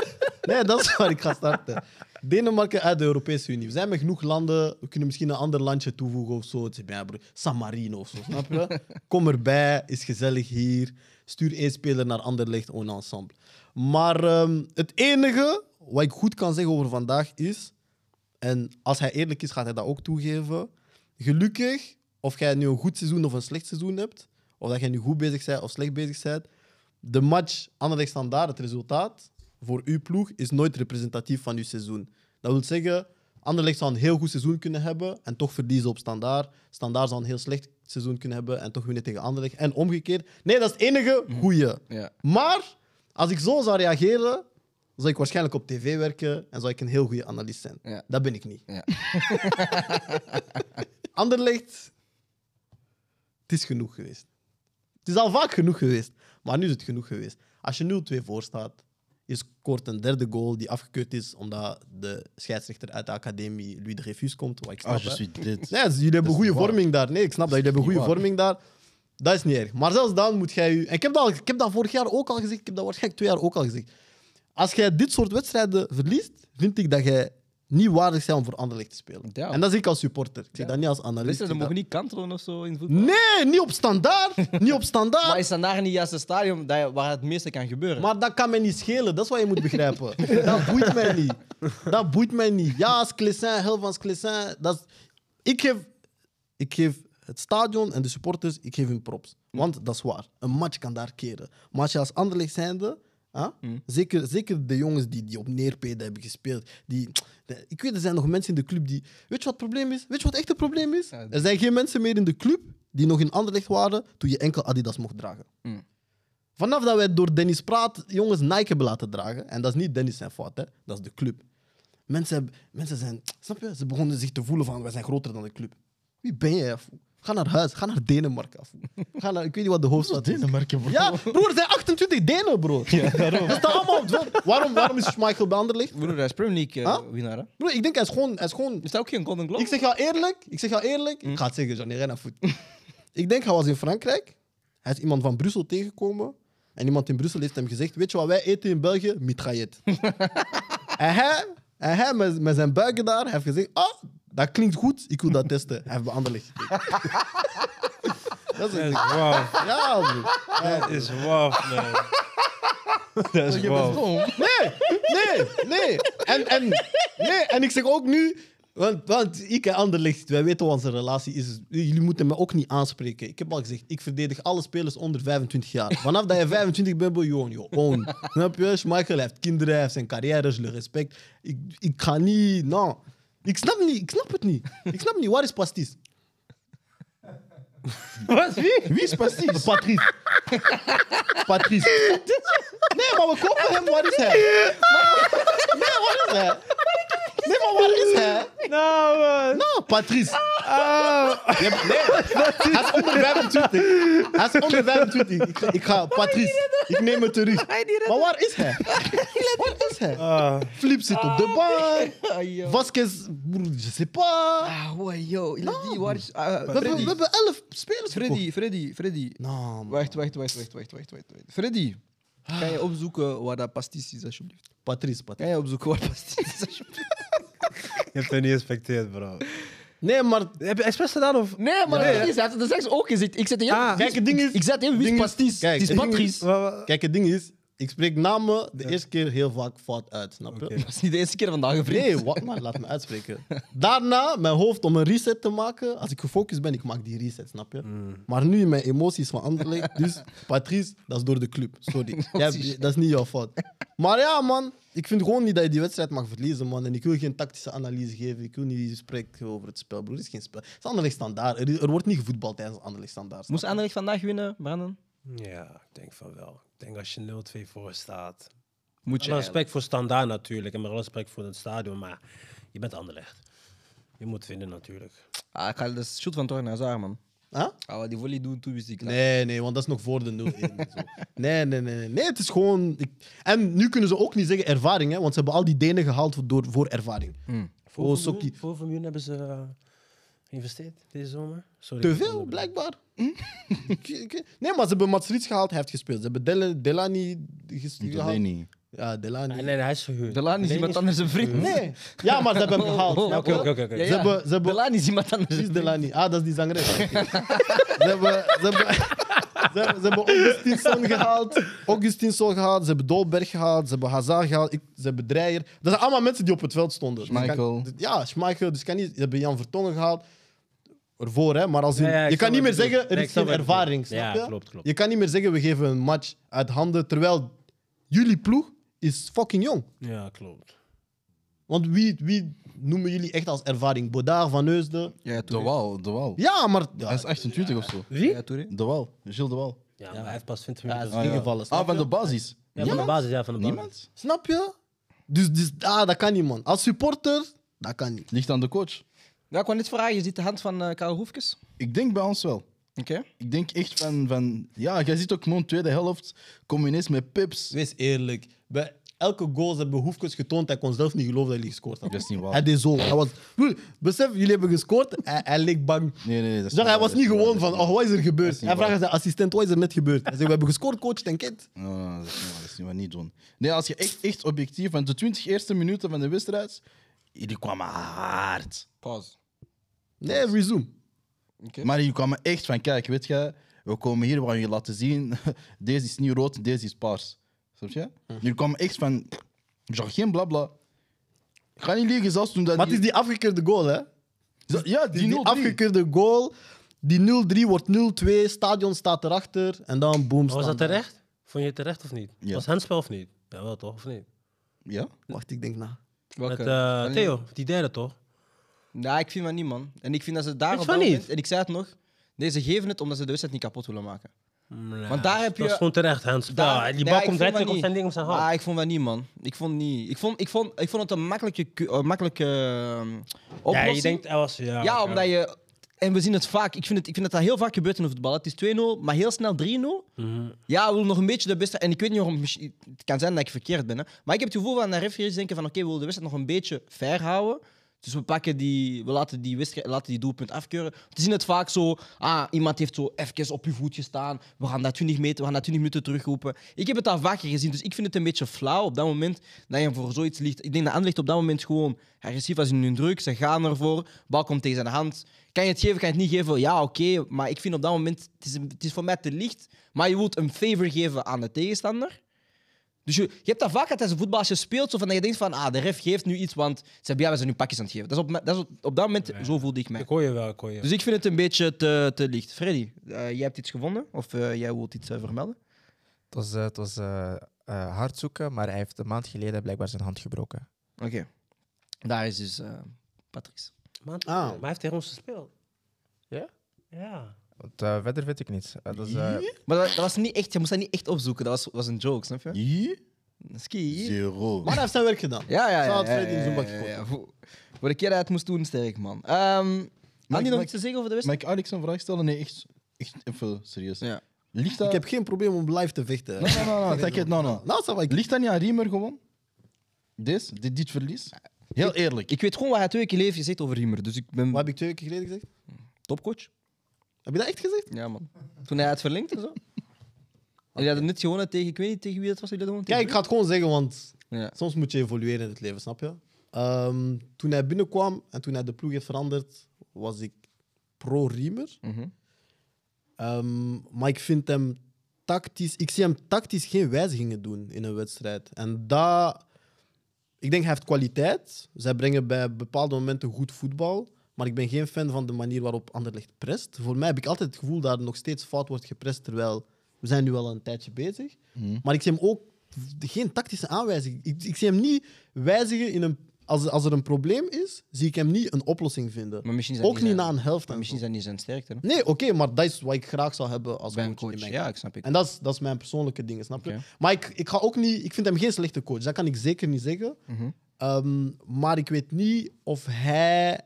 Nee, dat is waar ik ga starten. Denemarken uit de Europese Unie. We zijn met genoeg landen. We kunnen misschien een ander landje toevoegen of zo. Het is bij- San Marino of zo, snap je? Kom erbij, is gezellig hier. Stuur één speler naar Anderlecht, on ensemble. Maar ehm, het enige wat ik goed kan zeggen over vandaag is... En als hij eerlijk is, gaat hij dat ook toegeven. Gelukkig, of jij nu een goed seizoen of een slecht seizoen hebt, of dat jij nu goed bezig bent of slecht bezig bent, de match Anderlecht Standaard, het resultaat voor uw ploeg, is nooit representatief van uw seizoen. Dat wil zeggen, Anderlecht zou een heel goed seizoen kunnen hebben en toch verliezen op Standaard. Standaard zou een heel slecht seizoen kunnen hebben en toch winnen tegen Anderlecht. En omgekeerd. Nee, dat is het enige goeie. Ja. Maar als ik zo zou reageren, zou ik waarschijnlijk op tv werken en zou ik een heel goede analist zijn. Ja. Dat ben ik niet. [LAUGHS] Ja. Anderlecht, het is genoeg geweest. Het is al vaak genoeg geweest, maar nu is het genoeg geweest. Als je 0-2 voor staat, je scoort een derde goal die afgekeurd is omdat de scheidsrechter uit de academie Louis de Refus komt. Wat ik snap, Ah, je hè. ziet dit. Nee, dus jullie hebben niet goede waar. vorming daar. Nee, ik snap dat, jullie hebben niet goede waar. vorming daar. Dat is niet erg. Maar zelfs dan moet jij je... En ik heb, dat, al- ik heb dat vorig jaar ook al gezegd. Ik heb dat waarschijnlijk twee jaar ook al gezegd. Als jij dit soort wedstrijden verliest, vind ik dat jij niet waardig zijn om voor Anderlecht te spelen. Ja. En dat zeg ik als supporter. Ik zeg Ja. dat niet als analist. Wisten ze Ik zeg mogen dat- niet kantelen of zo in voetbal? Nee, niet op standaard. niet op standaard. [LAUGHS] Maar is dan daar niet juist het stadion dat- waar het meeste kan gebeuren? Maar dat kan mij niet schelen, dat is wat je moet begrijpen. [LAUGHS] dat boeit mij niet. Dat boeit mij niet. Ja, als Clessin, heel van Clessin. Dat is... ik, geef, ik geef het stadion en de supporters, ik geef hun props. Want dat is waar. Een match kan daar keren. Maar als je als Anderlecht zijnde... Huh? Hmm. Zeker, zeker de jongens die, die op neerpeden hebben gespeeld. Die, de- ik weet, er zijn nog mensen in de club die... Weet je wat het probleem is? Weet je wat echt het probleem is? Ja, Er zijn geen mensen meer in de club die nog in Anderlecht waren toen je enkel Adidas mocht dragen. Vanaf dat wij door Dennis Praat jongens Nike hebben laten dragen. En dat is niet Dennis zijn fout, hè. dat is de club. Mensen, hebben- mensen zijn, snap je? Ze begonnen zich te voelen van wij zijn groter dan de club. Wie ben jij? fool? Ga naar huis, ga naar Denemarken. fool. Ga naar, ik weet niet wat de hoofdstad is. Denemarken, bro. Ja, broer, er zijn 28 Denen, bro. daarom. Dat staat allemaal op het veld. Waarom, waarom is Schmeichel bij Anderlecht? Broer, hij is Premier League eh, Huh? winnaar. hè? Broer, ik denk hij is gewoon, hij is gewoon Is dat ook geen Golden Globe? ik zeg jou eerlijk, ik zeg jou eerlijk. Ik ga het zeggen, Johnny, ren naar voet. [LAUGHS] ik denk, hij was in Frankrijk. Hij is iemand van Brussel tegengekomen. En iemand in Brussel heeft hem gezegd, weet je wat wij eten in België? Mitraillet. en hij, en hij met, met zijn buiken daar, hij heeft gezegd, oh, dat klinkt goed, ik wil dat testen. Hij heeft behandeld. dat is echt... Wow, Ja, broer. dat is wow, man. Dat is wow. Nee, nee, nee. En, en, nee. en ik zeg ook nu, want, want ik en Anderlecht, wij weten hoe onze relatie is. Jullie moeten me ook niet aanspreken. Ik heb al gezegd, ik verdedig alle spelers onder 25 jaar. Vanaf dat je 25 bent, ben je gewoon je own. Snap je? Michael heeft kinderen, hij heeft zijn carrière, je respect. Ik, ik ga niet, nou. Ik snap, niet, ik snap het niet. Ik snap niet, waar is Pastis? Wat? Wie? Wie is Pastis? Patrice. Patrice. [LAUGHS] Nee, maar we kopen hem. Waar is hij? Nee, waar is hij? Nee, maar waar is hij? Nou, Ah. man. Nou, Patrice. Je hebt- Nee, hij is onder 25. Hij is onder 25. Ik, ga- ik ga, Patrice, ik neem het terug. Maar waar is hij? Waar is hij? Ah. Flip zit op de bank. Ah, yo. Vasquez, broer, je sais pas. Ah, wow, yo. Nou. Die, waar is... ah, We hebben, we Freddy. hebben elf spelers verkocht. Freddy, Freddy, Freddy. Nou, man. Ah. Wacht, wacht, wacht, wacht, wacht, wacht, wacht. Freddy, kan je opzoeken waar dat pastis is, alsjeblieft? Patrice, Patrice. Kan je opzoeken waar pastis is, alsjeblieft? Je hebt hem niet respecteerd, bro. Nee, maar Heb je expres gedaan of... Nee, maar dat is, hij had het er straks ook gezegd. Ik zet hem, Ah. Kijk, het ding is- ik zet hem, wie ding is is- pastis? kijk, Het is het ding is- Patrice. Wa- wa- Kijk, het ding is, ik spreek namen de eerste keer heel vaak fout uit, snap je? Oké. Dat is niet de eerste keer vandaag, vriend. Nee, wat, maar laat me uitspreken. Daarna, mijn hoofd om een reset te maken. Als ik gefocust ben, ik maak die reset, snap je? Maar nu mijn emoties van Anderlecht. Dus Patrice, dat is door de club. Sorry. Jij hebt- dat is niet jouw fout. Maar ja, man, ik vind gewoon niet dat je die wedstrijd mag verliezen, man. En ik wil geen tactische analyse geven. Ik wil niet spreken over het spel, broer. Het is geen spel. Het is Anderlecht standaard. Er, er wordt niet gevoetbald tijdens Anderlecht standaard. snap Moest je? Anderlecht vandaag winnen, Brandon? Ja, ik denk van wel. Ik denk als je 0-2 voor staat. Moet Alle respect voor standaard natuurlijk. En met alle respect voor het stadion. Maar je bent Anderlecht. Je moet winnen natuurlijk. Ah, ik ga de shoot van Torren Hazard, man. Huh? Ah, wat die volley doen, toen wist ik dat. Nee, nee, want dat is nog voor de 0-1. en zo. nee, nee, nee, nee. Nee, het is gewoon... ik- En nu kunnen ze ook niet zeggen ervaring, hè, want ze hebben al die Denen gehaald door, voor ervaring. Hmm. Oh, Hoeveel Sokkie. miljoen- Hoeveel miljoen hebben ze eh, geïnvesteerd deze zomer? Sorry, Te ik veel, onderbreek. blijkbaar. Hmm? Ik- ik- nee, maar ze hebben Mats Rits gehaald, hij heeft gespeeld. Ze hebben Del Delani ges- gehaald. Delaney. Ja, Delani. Ah, nee, hij is gehuurd. Delani is Nee, iemand anders een vriend. Nee. Ja, maar ze hebben hem gehaald. [LAUGHS] Oh, snap Oké, je? oké, oké, oké. Ja, ja. Ze hebben- ze hebben- Delani is iemand anders. Precies Delani. Ah, dat is die zangeres. Oké. [LAUGHS] ze, hebben, ze, hebben, ze, hebben, ze hebben Augustinsson gehaald. Augustinsson gehaald. Ze hebben Dolberg gehaald. Ze hebben Hazard gehaald. Ik- ze hebben Dreyer. Dat zijn allemaal mensen die op het veld stonden. Dus kan- Schmeichel. ja, Schmeichel. Dus kan niet, ze hebben Jan Vertongen gehaald. Ervoor, hè. Maar als in- Ja, ja, ik je snap kan niet meer wat je zeggen, bedoelt. er is Nee, ik snap geen wat je bedoelt. ervaring. Snap Ja, je? klopt, klopt. Je kan niet meer zeggen, we geven een match uit handen. Terwijl jullie ploeg is fucking jong. Ja, klopt. Want wie, wie noemen jullie echt als ervaring? Bodaar, Van Heusden? Ja, De Touré. Waal, De Waal. Ja, maar... Hij is 28 of zo. Wie? Ja, Touré. De Waal, Gilles De Waal. Ja, maar hij heeft pas 20 Ja, minuten. dat is ingevallen. snap Ah, van je? de basis. Ja, van de basis, ja, van de basis. Niemand? Snap je? Dus, dus ah, dat kan niet, man. Als supporter, dat kan niet. Ligt aan de coach. Ja, Nou, ik kwam net vragen, je ziet de hand van eh Karel Hoefkes. Ik denk bij ons wel. Oké. Ik denk echt van, van ja, jij ziet ook gewoon tweede helft, kom ineens met pips. Wees eerlijk. Bij elke goal hebben Hoefkes getoond. Hij kon zelf niet geloven dat hij gescoord had. Dat is niet waar. Hij deed zo. Hij was, broer, besef, jullie hebben gescoord. Hij, hij leek bang. Nee, nee, nee. dat is Zeg, hij waar, was dat niet is gewoon waar, van, dat is oh, wat is er gebeurd? is niet Hij vraagt waar. aan zijn assistent, wat is er net gebeurd? Hij zegt, we hebben gescoord, coach, denk het. niet waar. Nee, nee, nee, dat is niet waar, dat is niet waar, niet doen. Nee, als je echt, echt objectief, want de 20 eerste minuten van de wedstrijd die kwamen hard. Pause. Nee, resume. Oké. Maar die kwamen echt van, kijk, weet je, we komen hier, we gaan je laten zien, [LAUGHS] deze is niet rood, deze is paars. Snap je? Hm. Jullie kwamen echt van, ik zag geen blabla. Ik ga niet liegen, zelfs toen dat... Maar het is die afgekeurde goal, hè? die, ja, Die, die die, 0-3. afgekeurde goal. Die 0-3 wordt 0-2, stadion staat erachter en dan boom. was dat standaard. terecht? Vond je het terecht of niet? Ja. Was handspel of niet? Jawel toch, of niet? Ja? Wacht, ik denk na. Welke? Met eh, Theo, die derde toch? Nou, ik vind van niet, man. En ik vind dat ze Vind daar je op van dat niet? moment- En ik zei het nog. Nee, ze geven het omdat ze de wedstrijd niet kapot willen maken. Want daar heb Dat is je- gewoon terecht, Hans. Daar- Ja, nee, die bal ik komt vond letterlijk van op zijn ding, op zijn hand. Ah, ik vond dat niet, man. Ik vond, niet. Ik vond, ik vond, ik vond het een makkelijke, ku- eh, makkelijke ehm, ja, oplossing. je denkt, hij was... Ja, Ja, oké. omdat je... En we zien het vaak. Ik vind, het, ik vind dat dat heel vaak gebeurt in het voetbal. Het is 2-0, maar heel snel 3-0. Mhm. Ja, we willen nog een beetje de beste... En ik weet niet waarom... misschien- Het kan zijn dat ik verkeerd ben. Hè. Maar ik heb het gevoel van de referees denken van... Oké, we willen de wedstrijd nog een beetje fair houden. Dus we, pakken die, we laten, die wedstrijd, laten die doelpunt afkeuren. We zien het vaak zo... Ah, iemand heeft zo even op je voet gestaan. We gaan dat 20 meter, we gaan dat 20 minuten terugroepen. Ik heb het al vaker gezien, dus ik vind het een beetje flauw op dat moment dat je voor zoiets ligt. Ik denk dat Anderlecht op dat moment gewoon agressief was in hun druk. Ze gaan ervoor, bal komt tegen zijn hand. Kan je het geven, kan je het niet geven? Ja, oké. maar ik vind op dat moment, het is, het is voor mij te licht. Maar je wilt een favor geven aan de tegenstander. Dus je, je hebt dat vaak tijdens voetbal als je speelt, zo van dat je denkt van, ah, de ref geeft nu iets, want ze hebben ja, ze nu pakjes aan het geven. Dat is op, me- dat is op, op dat moment, zo voelde ik mij. Ik hoor je wel, ik hoor je. Dus ik vind het een beetje te, te licht. Freddy, eh, jij hebt iets gevonden? Of eh, jij wilt iets eh, vermelden? Het was, eh, het was eh, eh, hard zoeken, maar hij heeft een maand geleden blijkbaar zijn hand gebroken. Oké. Daar is dus eh, Patrice. Man, Ah. Maar hij heeft tegen ons gespeeld. Ja? Ja. Want, eh, verder weet ik niets. Eh, dat is, eh, Maar dat, dat was niet echt, je moest dat niet echt opzoeken. Dat was, was een joke, snap je? Hier? Ski. Zero. Maar hij heeft zijn werk gedaan. Ja, ja, ja. Zo had ja, Freddy in ja, zijn ja, bakje ja, gekocht. ja. Voor- Voor de keer dat hij het moest doen, sterk, man. Ehm had je nog mag- iets te zeggen over de Mag wedstrijd? ik Alex een vraag stellen? Nee, echt, echt even serieus. Ja. Ligt dat... Ik heb [LAUGHS] geen probleem om live te vechten. hè. Nee, nee, nee, nee, nee, nee, nee. Nou, dat ik Ligt dat niet aan Riemer gewoon? Deze, dit, dit verlies? Heel eerlijk. Ik weet gewoon wat hij twee keer heeft gezegd over Riemer. Dus ik ben Wat heb ik twee keer geleden gezegd? topcoach. Heb je dat echt gezegd? Ja, man. Toen hij het verlengt [LAUGHS] en zo. En jullie hadden net gewonnen tegen, ik weet niet tegen wie dat was. Jullie hadden Kijk, gewonnen ik ga het gewoon zeggen, want tegen- Ja. soms moet je evolueren in het leven, snap je? Ehm, toen hij binnenkwam en toen hij de ploeg heeft veranderd, was ik pro-Riemer. Mhm. Ehm, maar ik vind hem tactisch... Ik zie hem tactisch geen wijzigingen doen in een wedstrijd. En dat... Ik denk, hij heeft kwaliteit. Zij brengen bij bepaalde momenten goed voetbal. Maar ik ben geen fan van de manier waarop Anderlecht prest. Voor mij heb ik altijd het gevoel dat er nog steeds fout wordt geprest, terwijl we zijn nu al een tijdje bezig. Mhm. Maar ik zie hem ook v- geen tactische aanwijzing. Ik, ik zie hem niet wijzigen in een... Als, als er een probleem is, zie ik hem niet een oplossing vinden. Maar misschien is dat Ook niet zijn- na een helft. Maar en misschien zo. zijn die zijn sterkte. hè? Nee, oké, maar dat is wat ik graag zou hebben als Bij een coach in coach. mijn Ja, ik snap ik. en dat is, dat is mijn persoonlijke ding, snap je? Oké. Maar ik, ik, ga ook niet, ik vind hem geen slechte coach, dat kan ik zeker niet zeggen. Mhm. Ehm, maar ik weet niet of hij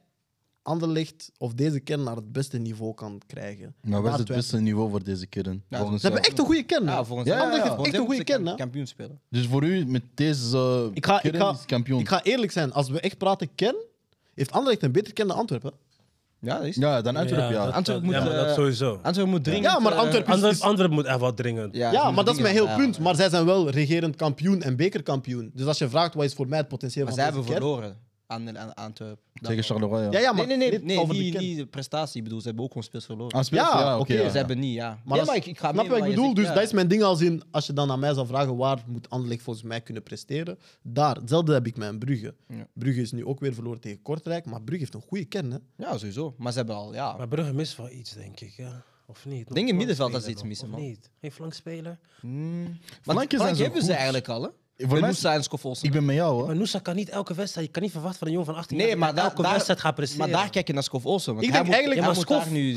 Anderlecht of deze kern naar het beste niveau kan krijgen. Nou, wat is Daar het twijfel ik. beste niveau voor deze kern? Ja, volgens Ze hebben jou? echt een goede kern. hè? Ja, volgens Ja, ja, mij. ja. Volgens Echt hem een goede moeten ze kern, hè? Kampioen spelen. Dus voor u, met deze Ik ga- ik kern ga- is kampioen. Ik ga eerlijk zijn, als we echt praten kern, heeft Anderlecht een beter kern dan Antwerpen. Ja, dat is. Ja, dan Antwerpen, ja. dat- Antwerpen dat- moet, Ja, maar dat eh, sowieso. Antwerpen moet eh, dringen. Ja, maar Antwerpen is- Antwerp, Antwerp moet echt wat dringen. Ja, maar dat is mijn heel punt. Maar zij zijn wel regerend kampioen en bekerkampioen. Dus als je vraagt wat is voor mij het potentieel Maar zij van hebben deze kern... verloren aan, aan Antwerpen. Tegen Charleroi, Ah ja. Ja, ja, maar nee, nee, nee, dit nee over de die, kern. die prestatie. Ik bedoel, ze hebben ook gewoon speels verloren. Ah, speelt- Ja, ja, oké. oké, ja. Ze hebben niet, ja. Maar, dat nee, is- maar ik, ik ga Snap mee je wat ik je bedoel? zegt, Dus ja. dat is mijn ding als in... Als je dan aan mij zou vragen waar moet Anderlecht volgens mij kunnen presteren, daar. Hetzelfde heb ik met Brugge. Ja. Brugge is nu ook weer verloren tegen Kortrijk, maar Brugge heeft een goede kern, hè. Ja, sowieso. Maar ze hebben al, ja. Maar Brugge mist wel iets, denk ik. Ja. Of niet? denk in middenveld dat ze Flankspeler iets missen, nog, man. Of niet? Geen flankspeler. Want Flanken zijn Frank zo hebben ze goed. eigenlijk al, hè? mij Voor is- mij zijn Skof Ik ben met jou, hè. Maar Noosa kan niet elke wedstrijd. Je kan niet verwachten van een jongen van 18 Nee, jaar maar dat daar, elke daar, wedstrijd gaat presteren. maar daar kijk je naar Skof Olsen. want Ik hij denk moet- eigenlijk- hij Ja, moet maar daar nu...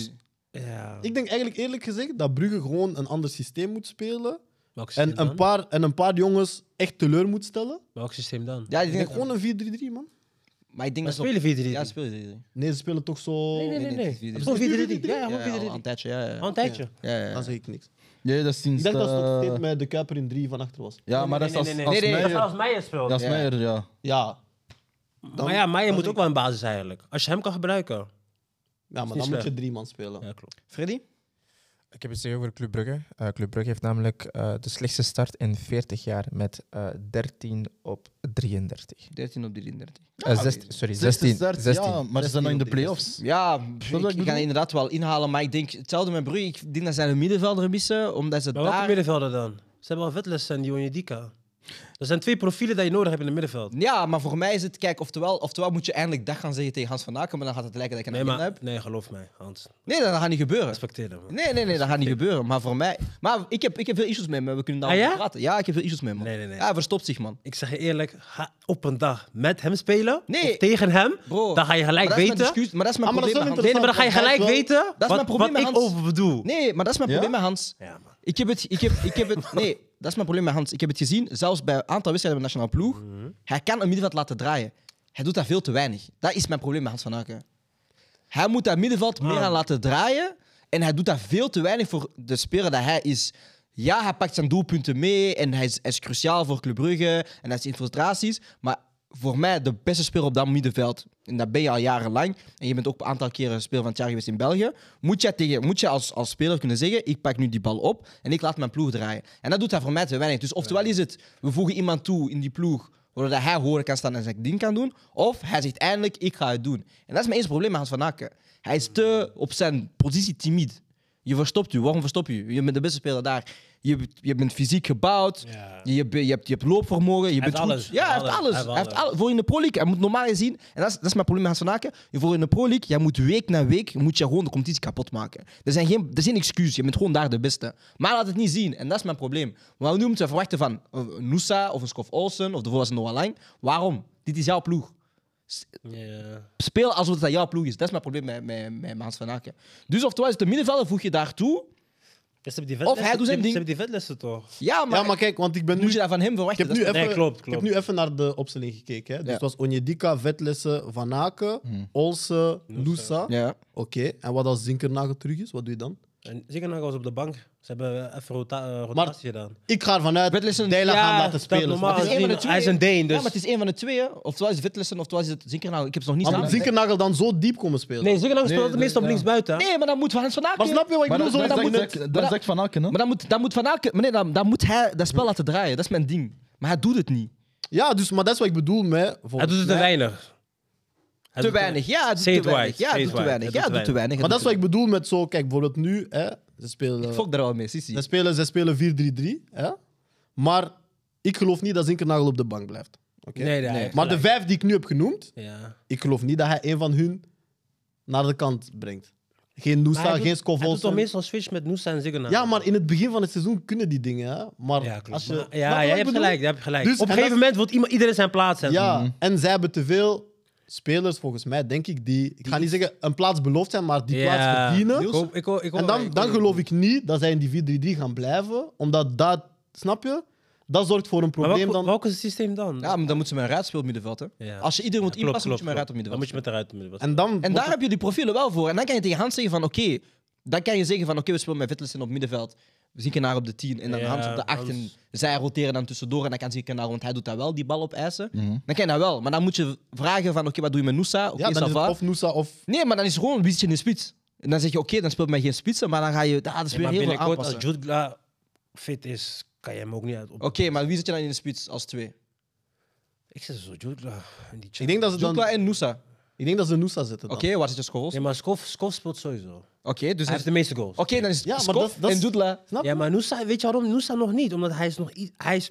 Ja. Ik denk eigenlijk eerlijk gezegd dat Brugge gewoon een ander systeem moet spelen. Welk systeem En een, dan? paar, en een paar jongens echt teleur moet stellen. Welk systeem dan? Ja, ik Ik denk denk gewoon een 4-3-3, man. Maar ik denk We dat ze op- spelen 4-3. Ja, speel je. Nee, ze spelen toch zo... Nee, nee, nee. nee. nee, Het is Gewoon 4-3-3. Ja, Ja, al gewoon een 4-3-3. tijdje, ja, ja. Al een tijdje. Ja, ja, ja. Dan zeg ik niks. Ja, dat is sinds... Ik dacht dat ze nog eh, steeds met de Kuiper in 3 van achter was. Ja, maar dat is als Nee, nee, als nee. Nee, nee, Meijer. Als Meijer speelt. Als Ja. Meijer, ja. Ja. Dan- maar ja, Meijer dan moet denk ook wel een basis eigenlijk. Als je hem kan gebruiken. Ja, maar niet dan moet slecht. je drie man spelen. Ja, klopt. Freddy? Ik heb het zeggen over Club Brugge. Eh, Club Brugge heeft namelijk eh, de slechtste start in 40 jaar met eh, 13 op 33. 13 op 33. Eh, zest- sorry, 16. 16, 16. Ja, maar ze zijn nog in de playoffs. Ja, pff, wat ik ik, ik ga bedoel? inderdaad wel inhalen. Maar ik denk hetzelfde met Brugge. Ik denk dat zij een middenvelder missen, omdat ze Maar welke daar... middenvelder dan? Ze hebben al Vetles en Dionidika. Er zijn twee profielen die je nodig hebt in het middenveld. Ja, maar voor mij is het, kijk, oftewel, oftewel moet je eindelijk dag gaan zeggen tegen Hans van Aken, maar dan gaat het lijken dat ik een Nee, agenda maar, heb. nee, geloof mij, Hans. Nee, dat gaat niet gebeuren. Respecteer hem. man. Nee, nee, nee, dat gaat niet gebeuren. Maar voor mij... Maar ik heb, ik heb veel issues mee, maar we kunnen daar Ah, over ja? praten. Ja, ik heb veel issues mee, man. Nee, nee, nee. Ja, hij verstopt zich, man. Ik zeg je eerlijk, ga op een dag met hem spelen Nee. of tegen hem, Bro, dan ga je gelijk maar dat is mijn weten. discussie- maar dat is mijn Ah, maar dat is probleem met wel Nee, maar dan ga je gelijk Dat is wel- weten mijn wat, probleem wat met ik Hans. over bedoel. Hans. Nee, maar dat is mijn Ja? probleem met Hans. Ja, man. Ik heb het... Ik heb, ik heb het nee, dat is mijn probleem met Hans. Ik heb het gezien, zelfs bij een aantal wedstrijden met de nationale ploeg. Mhm. Hij kan een middenveld laten draaien. Hij doet dat veel te weinig. Dat is mijn probleem met Hans van Aken. Hij moet dat middenveld meer aan laten draaien. En hij doet dat veel te weinig voor de speler dat hij is. Ja, hij pakt zijn doelpunten mee en hij is, hij is cruciaal voor Club Brugge en hij is infiltraties. Maar voor mij de beste speler op dat middenveld, en dat ben je al jarenlang, en je bent ook een aantal keren speler van het jaar geweest in België, moet je, tegen, moet je als, als speler kunnen zeggen, ik pak nu die bal op en ik laat mijn ploeg draaien. En dat doet hij voor mij te weinig. Dus oftewel is het, we voegen iemand toe in die ploeg Waardoor dat hij horen kan staan en zijn ding kan doen. Of hij zegt eindelijk, ik ga het doen. En dat is mijn eerste probleem met Hans van Aken. Hij is te op zijn positie timid. Je verstopt u. Waarom verstop je? Je bent de beste speler daar. Je, bent- je bent fysiek gebouwd. Ja. Je, be- je, hebt, je hebt loopvermogen. Je Hij bent heeft goed. alles. Ja, hij heeft alles. Hij heeft alles. Voor in de Pro League. Hij moet normaal gezien... En dat is, dat is mijn probleem met Hans van Aken. Je Voor in de Pro League, jij moet week na week moet je gewoon de competitie kapot maken. Er zijn geen, er zijn excuses. Je bent gewoon daar de beste. Maar laat het niet zien. En dat is mijn probleem. Maar nu moeten we verwachten van eh, Nusa of een Skof Olsen of de voorwaarts Noah Lang. Waarom? Dit is jouw ploeg. Ja. Speel alsof het jouw ploeg is. Dat is mijn probleem met, met, met Hans van Aken. Dus oftewel is het een middenvelder, voeg je daartoe. Ja, Ze hebben die Of hij doet zijn vetlessen- ze hebben- ding. ze hebben die vetlessen toch? Ja, maar, Ja, maar kijk, want ik ben nu... moet je dat van hem Ik verwachten? heb, nu Dat is- even, Nee, klopt, ik heb klopt. nu even naar de opstelling gekeken. Hè. Dus Ja. het was Onjedika, Vetlessen, Van Aken, Olsen, Lusa. Ja. Oké, en wat als Zinkernagel terug is, wat doe je dan? En Ziekenhagen was op de bank. Ze hebben eh, even rota- eh, rotatie Maar- gedaan. Ik ga ervan uit Vetlessen- dat Deila gaan Ja, laten dat spelen. normaal. Maar Maar het is Als één van die- de twee. hij is een Deen, dus- Ja, maar het is één van de twee. hè. Oftewel is het Witlessen, oftewel is het Zinkernagel. Ik heb ze nog niet maar moet samen. Zinkernagel dan zo diep komen spelen? Nee, Ziekenhagen speelt het meestal op linksbuiten. Nee, maar dan moet Hans van Aken... Maar snap je wat ik Maar bedoel? dat, Zo dat, dat dat, moet- dat, maar dat- zegt Van Aken, hè? Maar dan moet, dan moet Van Aken... Meneer, dan, dan moet hij dat spel laten draaien. Dat is mijn ding. Maar hij doet het niet. Ja, dus, maar dat is wat ik bedoel met... Hij doet dus het te mij- weinig. Hij Te doet het- weinig. Ja, hij doet Say te it weinig. right. Ja, Say hij it doet te right. weinig. Ja, Hij hij doet doet te te weinig. Maar Hij dat is doet wat ik bedoel met zo... Kijk, bijvoorbeeld nu, hè, ze te- spelen... Fok daar wel mee, Sissi. Ze spelen, ze spelen 4-3-3, hè? maar ik geloof niet dat Zinkernagel op de bank blijft. Oké? Nee, nee, hij heeft Maar de gelijk. vijf die ik nu heb genoemd, Ja. ik geloof niet dat hij een van hun naar de kant brengt. Geen Noosa, Maar hij geen doet- Hij doet toch Scovolsen. meestal switch met Noosa en Ziekenhagen. Ja, maar in het begin van het seizoen kunnen die dingen. Hè? Maar Ja, klopt. als je, Maar- snap je ja, wat jij ik hebt bedoel? gelijk. Jij hebt gelijk. Dus- op een en gegeven dat- moment wil iemand, iedereen zijn plaats hebben. Ja, en zij hebben te veel spelers, volgens mij, denk ik, die... Ik ga niet zeggen een plaats beloofd zijn, maar die Ja. plaats verdienen. Ik hoop- ik hoop- ik hoop- En dan, dan geloof ik niet dat zij in die 4-3-3 gaan blijven, omdat dat, snap je? Dat zorgt voor een Maar probleem welk, dan. welk is het systeem dan? Ja, maar dan moeten ze met een ruit spelen op middenveld. Hè. Ja. Als je iedereen moet inpassen, moet je met een ruit op Dan middenveld moet je met eruit op middenveld. En, dan En wordt daar heb je die profielen wel voor. En dan kan je tegen Hans zeggen van oké, dan kan je zeggen van oké, we spelen met Vitlessen op middenveld. Ziekenaar op de 10 en dan Ja, Hans op de 8. En Hans. zij roteren dan tussendoor en dan kan Ziekenaar, want hij doet dat wel, die bal opeisen. Mhm. Dan kan je dat wel. Maar dan moet je vragen van oké, wat doe je met Noosa? Oké, ja, dan ça is va. het of Noosa of... Nee, maar dan is het gewoon een beetje in de spits. En dan zeg je oké, dan speelt men geen spitsen, maar dan ga je ah, dat is Ja, maar weer heel veel binnenkort, aanpassen. als Jude Gla fit is, kan je hem ook niet uit. op- Oké, maar wie zit je dan in de spits als twee? Ik zeg zo, Jude Gla. en die Ik denk dat ze, dan, Jukla en Noosa. ik denk dat ze Noosa zetten Oké, dan. waar zit je Scholes? Nee, maar Skof, Skof speelt sowieso. Hij Oké, dus hij- heeft de oké, meeste goals. dan is Ja, ja, maar Skof dat- dat is- en Doedla. Snap je? Ja, maar Noosa, weet je waarom? Noosa nog niet. Omdat hij is nog iets. Hij is,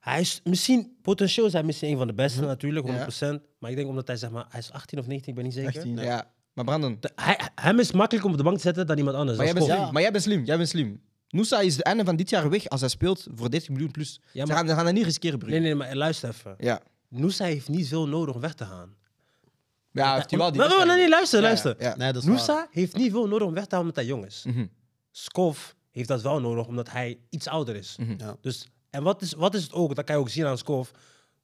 hij is misschien, potentieel is hij misschien een van de beste Mhm. natuurlijk, 100%. Maar ik denk omdat hij zeg maar, hij is 18 of 19, ik ben niet zeker. 18. Ja, maar Brandon. De- hij, hem is makkelijk om op de bank te zetten dan iemand anders. Maar jij, Dat bent is slim. Kof. maar jij bent slim. Jij bent slim. Noosa is het einde van dit jaar weg als hij speelt voor 30 miljoen plus. Ja, Ze maar- gaan, ze gaan dat niet riskeren, Brugge. Nee, nee, maar luister even. Ja. Noosa heeft niet veel nodig om weg te gaan. Ja, heeft hij wel die... Maar- maar- nee, nee, luister, Ja, ja, luister. ja. Nee, dat is waar. Noosa heeft niet veel nodig om weg te halen met dat jongens. Mhm. Skof heeft dat wel nodig omdat hij iets ouder is. Mhm. Ja. Dus, en wat is, wat is het ook? Dat kan je ook zien aan Skof.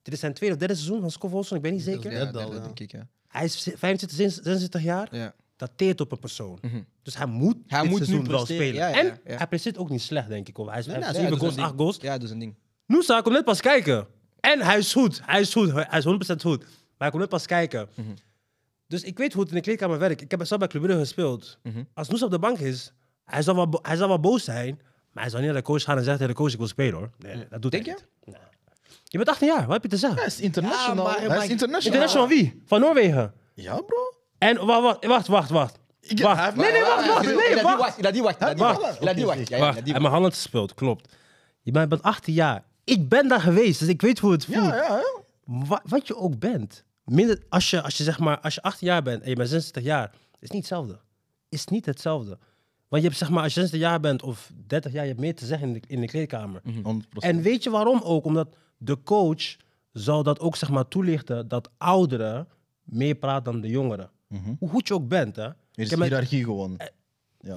Dit is zijn tweede of derde seizoen van Skof Olsen, ik ben niet zeker. Ja, dat dat wel, ja. denk ik, ja. Hij is 25, 26 jaar. Ja. Dat teert op een persoon. Mhm. Dus hij moet Hij dit moet nu seizoen wel presteren, spelen. ja, ja, En ja. nou, hij presteert ook niet slecht, denk ik. Hoor. Hij is Ja, hij heeft dat zeven is goals, een acht ding. goals. Ja, dat is een ding. Noosa komt net pas kijken. En hij is goed. Hij is goed. Hij is 100% goed. Maar hij komt net pas kijken. Mhm. Dus ik weet hoe het in de kleedkamer werkt. Ik heb zelf bij Club Brugge gespeeld. Mhm. Als Noosa op de bank is, hij zal, wel, bo- Mhm. hij zal wel boos zijn. Maar hij zal niet naar de coach gaan en zeggen tegen de coach, ik wil spelen hoor. Nee, dat doet Denk hij je? niet. Nee. Je bent 18 jaar, wat heb je te zeggen? Hij is international. Ja, maar- hij maar- is international. International van wie? Van Noorwegen. Ja, bro. En wacht, wacht, wacht, wacht. wacht. Ik- Wacht. hij heeft- Nee, nee, wacht, wacht, nee, Laat die wacht. wacht, laat die wacht, laat die Wacht. wacht. Laat die wacht. Ja, ja, Wacht, laat die en mijn handen gespeeld, klopt. Je bent, bent 18 jaar. Ik ben daar geweest, dus ik weet hoe het voelt. Ja, ja, ja. Wa- wat je ook bent, minder, als, je, als, je, zeg maar, als je 18 jaar bent en je bent 26 jaar, is niet hetzelfde. Is niet hetzelfde. Want je hebt, zeg maar, als je 26 jaar bent of 30 jaar, je hebt meer te zeggen in de, in de kleedkamer. Mhm. 100%. En weet je waarom ook? Omdat de coach zal dat ook zeg maar, toelichten dat ouderen meer praten dan de jongeren. Hoe goed je ook bent, hè? Er Ik Mhm. is heb met hiërarchie gewoon.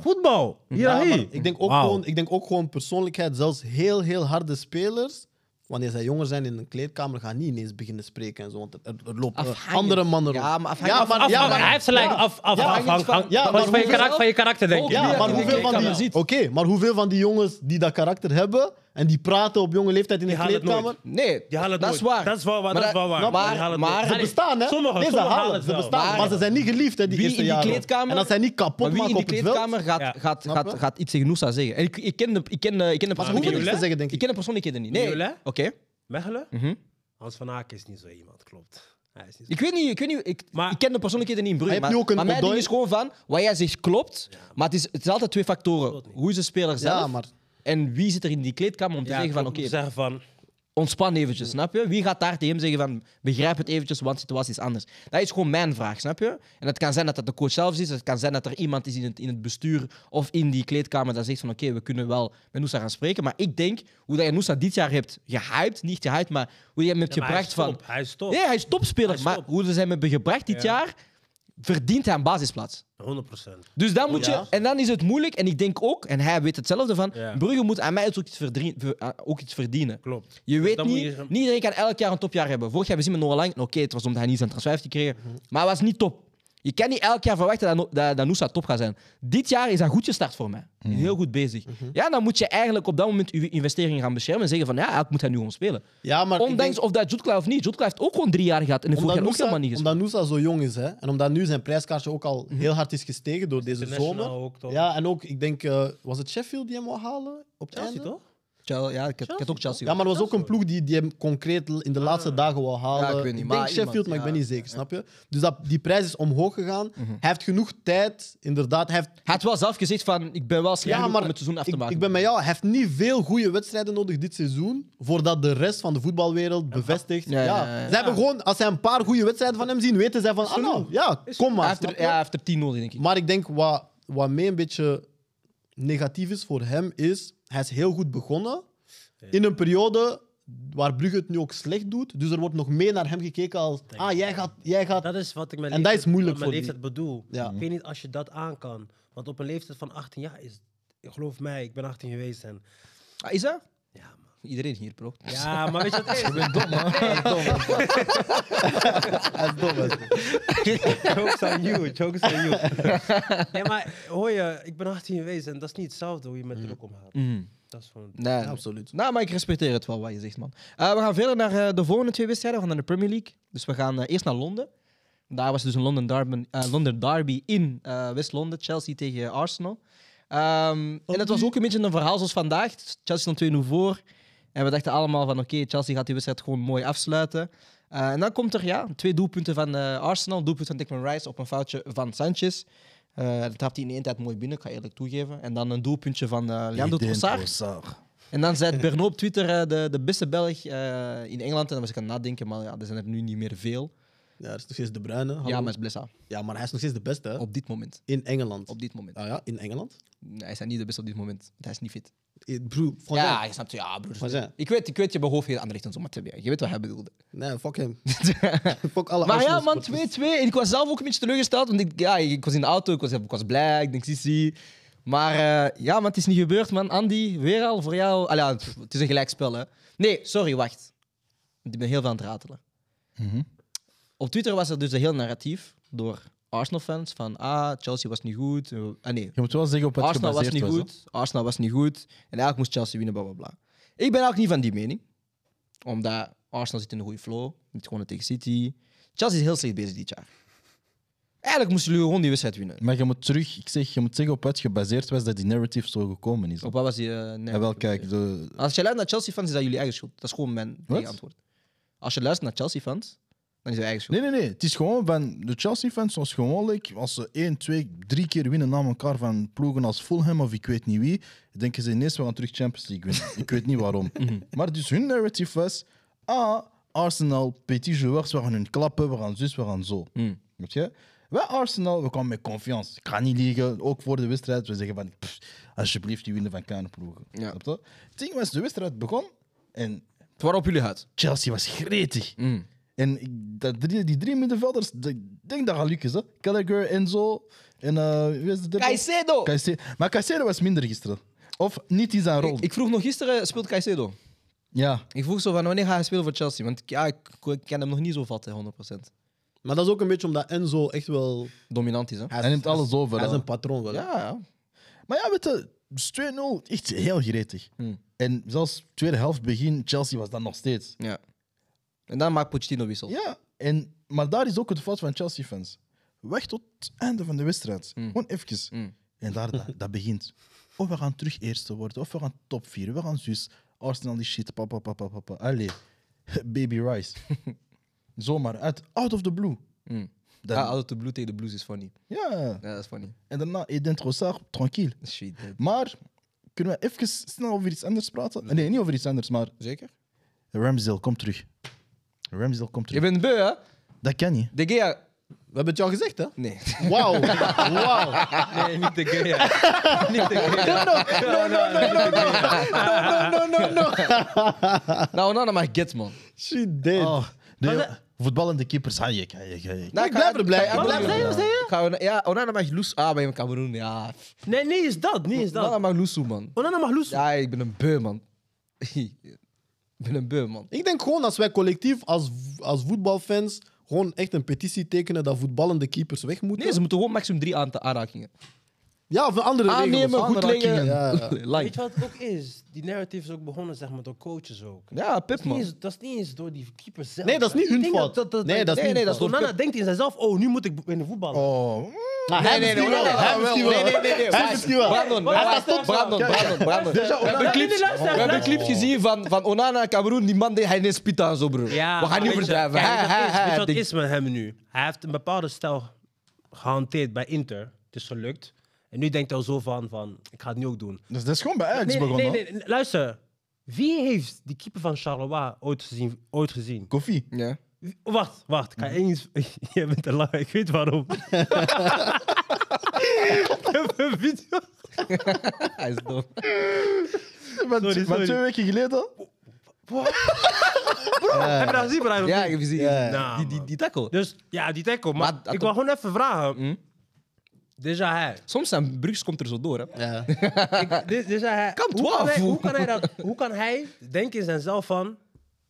voetbal, Ja, hiërarchie. maar ik, denk ook Wauw. gewoon, ik denk ook gewoon persoonlijkheid. Zelfs heel, heel harde spelers, wanneer zij jonger zijn in een kleedkamer, gaan niet ineens beginnen spreken en zo. Want er, er- er lopen eh, Afhangend. andere mannen Ja, rond. maar afhangend Ja, maar, Af- ja, af- maar, hij heeft zijn lijn ja. af, af, Ja, afhang- hangt van- hang- ja, van- maar van, je hoeveel- karakter, van je karakter, denk ik. Ja, Ja, maar ja, hoeveel ja, van ja, die... ja. Oké, maar hoeveel van die jongens die dat karakter hebben en die praten op jonge leeftijd in de Die halen het nooit. kleedkamer... Nee, Je haalt het dat is nooit. waar. Dat is wel waar, dat is wel waar. Maar je haalt Maar, het maar, nooit. Ze Nee, bestaan, hè? sommigen- nee, ze sommigen halen halen het. het Ze wel. bestaan, maar, Maar- ze zijn niet geliefd, hè, die Wie eerste in die jaren. kleedkamer- En als zij niet kapot maar wie in maken die op het veld... kleedkamer gaat, Ja. gaat, Snap je? gaat, gaat iets tegen Noosa zeggen? En ik, ik ken de, ik ken, eh, ik ken de persoonlijkheden hoeven niks te niet. zeggen, denk ik. Ik ken de persoonlijkheden niet. Nee. Mignolet? Oké. Mechelen? Mhm. Hans van Aken is niet zo iemand, klopt. Hij is niet zo... Ik weet niet, ik, weet niet ik, Maar- ik ken de persoonlijkheden niet in Maar Brugge. je Maar, hebt nu ook een maar mijn ding Odoi. is gewoon van, wat jij zegt klopt, maar het is, het is altijd twee factoren. Klopt niet. Hoe is de speler zelf Ja, maar... en wie zit er in die kleedkamer om te Ja, zeggen van, klopt, oké, om te zeggen van... ontspan eventjes, snap je? Wie gaat daar tegen hem zeggen van, begrijp het eventjes, want de situatie is anders. Dat is gewoon mijn vraag, snap je? En het kan zijn dat dat de coach zelf is, het kan zijn dat er iemand is in het, in het bestuur of in die kleedkamer dat zegt van, oké, we kunnen wel met Noosa gaan spreken. Maar ik denk, hoe dat je Noosa dit jaar hebt gehyped, niet gehyped, maar hoe je hem hebt Ja, maar hij gebracht is van... top, Hij is top, Ja, hij is topspeler, Hij is maar top. hoe ze hem hebben gebracht dit Ja. jaar, verdient hij een basisplaats. 100%. Dus dan Oh, moet je, Ja. en dan is het moeilijk, en ik denk ook, en hij weet hetzelfde van, Ja. Brugge moet aan mij ook iets, verdien- ver- eh, ook iets verdienen. Klopt. Je weet dan moet niet, je- niet iedereen kan elk jaar een topjaar hebben. Vorig jaar hebben we zien met Noah Lang, oké, het was omdat hij niet zijn transfer heeft gekregen, maar hij was niet top. Je kan niet elk jaar verwachten dat, No- dat, dat Noosa top gaat zijn. Dit jaar is hij goed gestart voor mij. Heel goed bezig. Mhm. Ja, dan moet je eigenlijk op dat moment je investeringen gaan beschermen en zeggen van, ja, ik moet hij nu gewoon spelen. Ja, maar ik Ondanks denk- of dat Jutkla of niet. Jutkla heeft ook gewoon drie jaar gehad en heeft vorig Omdat jaar ook helemaal niet Mhm. Noosa, gespeeld. omdat Noosa zo jong is hè, en omdat nu zijn prijskaartje ook al heel hard is gestegen door deze International zomer. ook, toch? Ja, en ook, ik denk, eh, was het Sheffield die hem wou halen? Op het Chelsea, einde? toch? Chel- ja, ik had, ik had ook Chelsea. Ja, maar er was ook een ploeg die, die hem concreet in de Ah. laatste dagen wou halen. Ja, ik weet niet, maar denk Sheffield, iemand, maar ik ben ja. Mhm. niet zeker, snap je? Dus dat, die prijs is omhoog gegaan. Hij heeft genoeg tijd, inderdaad. Hij heeft, Hij had wel zelf gezegd van, ik ben wel slecht ja, genoeg maar om het seizoen af te ik, maken. ik ben met jou. Hij heeft niet veel goede wedstrijden nodig dit seizoen, voordat de rest van de voetbalwereld bevestigt. Ja, Ja, ja, ja, ja. Ze hebben gewoon, als zij een paar goede wedstrijden van hem zien, weten zij van, ah nou, ja, kom hij maar. heeft snap er, je? ja, hij heeft er 10 nodig, denk ik. Maar ik denk wat, wat mij een beetje negatief is voor hem, is hij is heel goed begonnen in een periode waar Brugge het nu ook slecht doet. Dus er wordt nog meer naar hem gekeken als, ah, jij gaat... Jij gaat Dat is wat ik met En dat is moeilijk wat mijn voor leeftijd bedoel. Ja. Ik weet niet als je dat aan kan. Want op een leeftijd van 18 jaar is... Geloof mij, ik ben 18 geweest en... Ah, is dat? Ja, man. Iedereen hier, bro. Ja, maar weet [LAUGHS] je wat het is? Hij is dom, hij is dom. [LAUGHS] Jokes on you, jokes on you. nee, maar hoor je, ik ben 18 geweest en dat is niet hetzelfde hoe je met druk omgaat. Mhm. Dat is gewoon... Nee, nee. Absoluut. Nou, maar ik respecteer het wel wat je zegt, man. Eh, we gaan verder naar eh, de volgende twee wedstrijden. We gaan naar de Premier League. Dus we gaan eh, eerst naar Londen. Daar was dus een London derby, eh, London derby in eh, West-Londen. Chelsea tegen Arsenal. Ehm, en dat was ook een beetje een verhaal zoals vandaag. Chelsea stond 2-0 voor. En we dachten allemaal van, oké, Chelsea gaat die wedstrijd gewoon mooi afsluiten. Eh, en dan komt er ja, twee doelpunten van eh, Arsenal. Doelpunt van Declan Rice op een foutje van Sanchez. Eh dat trapt hij in één tijd mooi binnen, ik ga eerlijk toegeven. En dan een doelpuntje van eh Leandro Eden Trossard. Trossard. En dan zei Berno op Twitter eh, de, de beste Belg eh, in Engeland. En dan was ik aan het nadenken, maar ja, er zijn er nu niet meer veel. Ja, hij is nog steeds de bruine. hallo. Ja, maar het is Blessa. ja, maar hij is nog steeds de beste hè? Op dit moment. in Engeland. Op dit moment. Ah ja, in Engeland? Nee, hij is niet de beste op dit moment. want Hij is niet fit. Eh, Broer, fuck ja, hem. je snapt. Ja, Wat broer. zei? Ik weet, ik weet je behoeft geen andere richting om maar te Je weet wat hij bedoelde. Nee, fuck hem. [LAUGHS] fuck alle Maar ja, Arsenal man, 2-2. supporters. En ik was zelf ook een beetje teleurgesteld. Want ik, ja, ik was in de auto, ik was, ik was blij, ik denk Sissi. Maar eh, ja, maar het is niet gebeurd, man. Andy, weer al voor jou. Allee, ja, pff, het is een gelijkspel, hè. Nee, sorry, wacht. Want ik ben heel veel aan het ratelen. Op Twitter was er dus een heel narratief door Arsenal-fans van ah, Chelsea was niet goed. eh, Ah, nee, Je moet wel zeggen op wat het Arsenal was gebaseerd niet was. hè. goed. Arsenal was niet goed. En eigenlijk moest Chelsea winnen, bla bla bla. Ik ben ook niet van die mening. Omdat Arsenal zit in een goede flow. Niet gewoon tegen City. Chelsea is heel slecht bezig dit jaar. Eigenlijk moesten jullie gewoon die wedstrijd winnen. Maar je moet terug, ik zeg, je moet zeggen op wat gebaseerd was dat die narrative zo gekomen is. Op wat was die... eh, nee. Ja, wel, kijk, de, Als je luistert naar Chelsea-fans, is dat jullie eigen schuld. Dat is gewoon mijn Wat? antwoord. Als je luistert naar Chelsea-fans, dan is het je eigen schuld. Nee, nee, nee. Het is gewoon van de Chelsea-fans, zoals gewoonlijk, als ze één, twee, drie keer winnen na elkaar van ploegen als Fulham of ik weet niet wie, denken ze ineens we gaan terug Champions League winnen. ik weet niet waarom. Maar dus hun narrative was, ah, Arsenal, petit joueurs, we gaan hun klappen, we gaan zus, we gaan zo. Weet je? Wij Arsenal, we kwamen met confiance. Ik ga niet liegen, ook voor de wedstrijd. We zeggen van, pff, alsjeblieft, die winnen van kleine ploegen. Ja. Snap je? Het ding was, de wedstrijd begon en Waarop jullie had. Chelsea was gretig. En ik- dat drie, die drie middenvelders, d- ik denk dat gaat lukken. Hè? Gallagher, Enzo en... eh, wie is de derde? Caicedo! Caicedo. Maar Caicedo was minder gisteren. Of niet in zijn rol. Ik, ik vroeg nog gisteren, speelt Caicedo? Ja. Ik vroeg zo van, wanneer ga hij spelen voor Chelsea? Want ja, ik, ik ken hem nog niet zo vatten, 100%. Maar dat is ook een beetje omdat Enzo echt wel... Dominant is, hè? Hij neemt alles over. Hij is hè. een patroon wel. hè. Ja, ja. Maar ja, weet je, dus 2-0, echt heel gretig. En zelfs tweede helft begin, Chelsea was dan nog steeds. ja. En dan maakt Pochettino wissel. Ja, en, maar daar is ook het fout van Chelsea-fans. Wacht tot het einde van de wedstrijd. Mm. Gewoon even. En daar, dat, dat begint. Of we gaan terug eerste worden, of we gaan top 4, we gaan zus. Arsenal die shit, papa, papa, papa. Allee, [LAUGHS] baby [LAUGHS] rice. Zomaar uit, out of the blue. Dan- Ja, altijd de blue tegen de blues is funny. ja, Ja, dat is funny. en daarna Eden Trossard, tranquil. Shit, hè. Maar kunnen we even snel over iets anders praten? Nee, niet over iets anders, maar Zeker? Ramsdale, kom terug. Ramsdale, kom Je terug. bent beu, hè? Dat kan niet. De Gea... We hebben het jou gezegd, hè? Nee. [LAUGHS] Wauw. Wauw. Nee, niet de Gea. niet de Gea. No, no, No, no, no. [LAUGHS] nou, Onana mag get, man. Shit, dead. Oh, nee, voetballende keepers, ah, Hayek, Hayek, Hayek. Nou, Ik blijf er blij. Ik Ga- blijf er blij. Ga- Ga- Ja, Onana mag loes... Ah, bij hem Cameroen, ja. Nee, nee, is dat. Nee, is Onana dat. Oh, mag loesoe, man. Onana mag loes. Ja, ik ben een beu, man. [LAUGHS] ik ben een beu, man. Ik denk gewoon als wij collectief als, als voetbalfans gewoon echt een petitie tekenen dat voetballende keepers weg moeten. Nee, ze moeten gewoon maximum drie aantal aanrakingen. Ja, of een andere Aannemen, regels. goed leggen. Ja, ja. Like. Weet je wat het ook is? Die narrative is ook begonnen zeg maar, door coaches ook. Ja, Dat is, niet Pipman. eens, dat is niet eens door die keepers zelf. Nee, dat is niet Ik hun denk fout. Nee, dat is niet nee, hun dat is fout. Onana denkt in zichzelf, oh, nu moet ik in de voetbal. Oh, Maar hij misschien wel. Hij misschien wel. Hij misschien wel. Brandon, Brandon, Brandon, Brandon, Brandon. We hebben clips- we hebben een clip gezien van, van Onana en Cameroen. Die man, die- hij is pita en zo, broer. we gaan nu verdrijven. Kijk, Hij- dat hij- is- hij- weet je wat ding. is met hem nu? Hij heeft een bepaalde stijl gehanteerd bij Inter. Het is gelukt. En nu denkt hij al zo van, van ik ga het nu ook doen. dus dat is gewoon bij Ajax Nee, begonnen. nee, nee, nee, luister. Wie heeft die keeper van Charleroi ooit gezien? Ooit gezien? Koffie. Ja. Wie- oh, Wacht, wacht. Ik ga eens... [LAUGHS] Je bent te lang, ik weet waarom. ik heb een video... Hij is dom. Maar, Sorry, maar sorry. twee weken geleden, Heb je dat gezien, Brian? Ja, ik heb gezien. Nou, Die- die- Die tackle. Dus ja, die tackle. Maar, Maar dat- ik wil gewoon even vragen. Deja hij. Soms zijn Brugge komt er zo door, hè. Ik- de- Deja hij. Kan hoe, kan 12. hij hoe kan hij dat? Hoe kan hij denken in zichzelf van,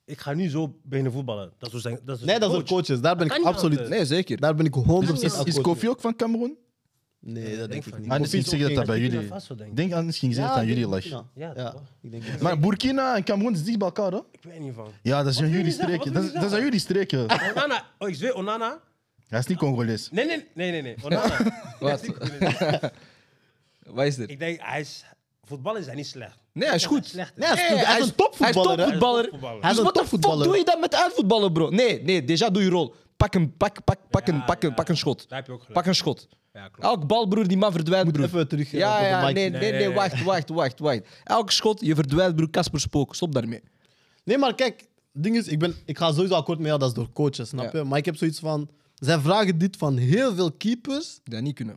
ik ga nu zo beginnen voetballen? Dat is dus zijn. Dat is Nee, dat zijn zijn coach. coaches. Daar ben Dat ik kan niet absoluut... altijd. Nee, zeker. Daar ben ik 100% is, is akkoord mee. Koffie ook van Cameroen? Nee, dat denk ik niet. Ah, misschien zeg je dat dat bij Burkina jullie. Faso, denk Ik ik. denk anders ging zeggen dat aan jullie lag. Ja, Ja, ja, toch? ik denk het. Maar Burkina en Cameroen is dicht bij elkaar, hè? Ik weet niet van. Ja, dat zijn wil jullie je zeggen? streken. Dat Wat wil is je dat zijn jullie streken. Onana. Oh, ik zweer, Onana. Hij is niet Congolees. Nee, nee, nee, nee. nee. Onana. [LAUGHS] Wat? Wat is dit? ik denk, hij is. Voetballen is hij niet slecht. Nee, hij is goed. Slecht. Nee, hij is, hij is een topvoetballer. hè. Hij is topvoetballer. topvoetballer. Hij is Dus een wat de fuck topvoetballer. doe doe je je dat met uitvoetballen, bro? Nee, nee, déjà doe je rol. Pak een, pak, pak, pak een, pak een, pak een schot. Daar heb je ook gelijk. Pak een schot. Ja, klopt. Elk bal, broer, die man verdwijnt, broer. even terug, eh, Ja, naar de ja, mic. nee, nee, Nee, nee, nee, wacht, wacht, wacht, wacht. Elk schot, je verdwijnt, broer, Casper Spook. Stop daarmee. Nee, maar kijk, het ding is, ik, ben, ik ga sowieso akkoord met jou, dat is door coaches, snap Ja. je? Maar ik heb zoiets van... Zij vragen dit van heel veel keepers. Dat niet kunnen.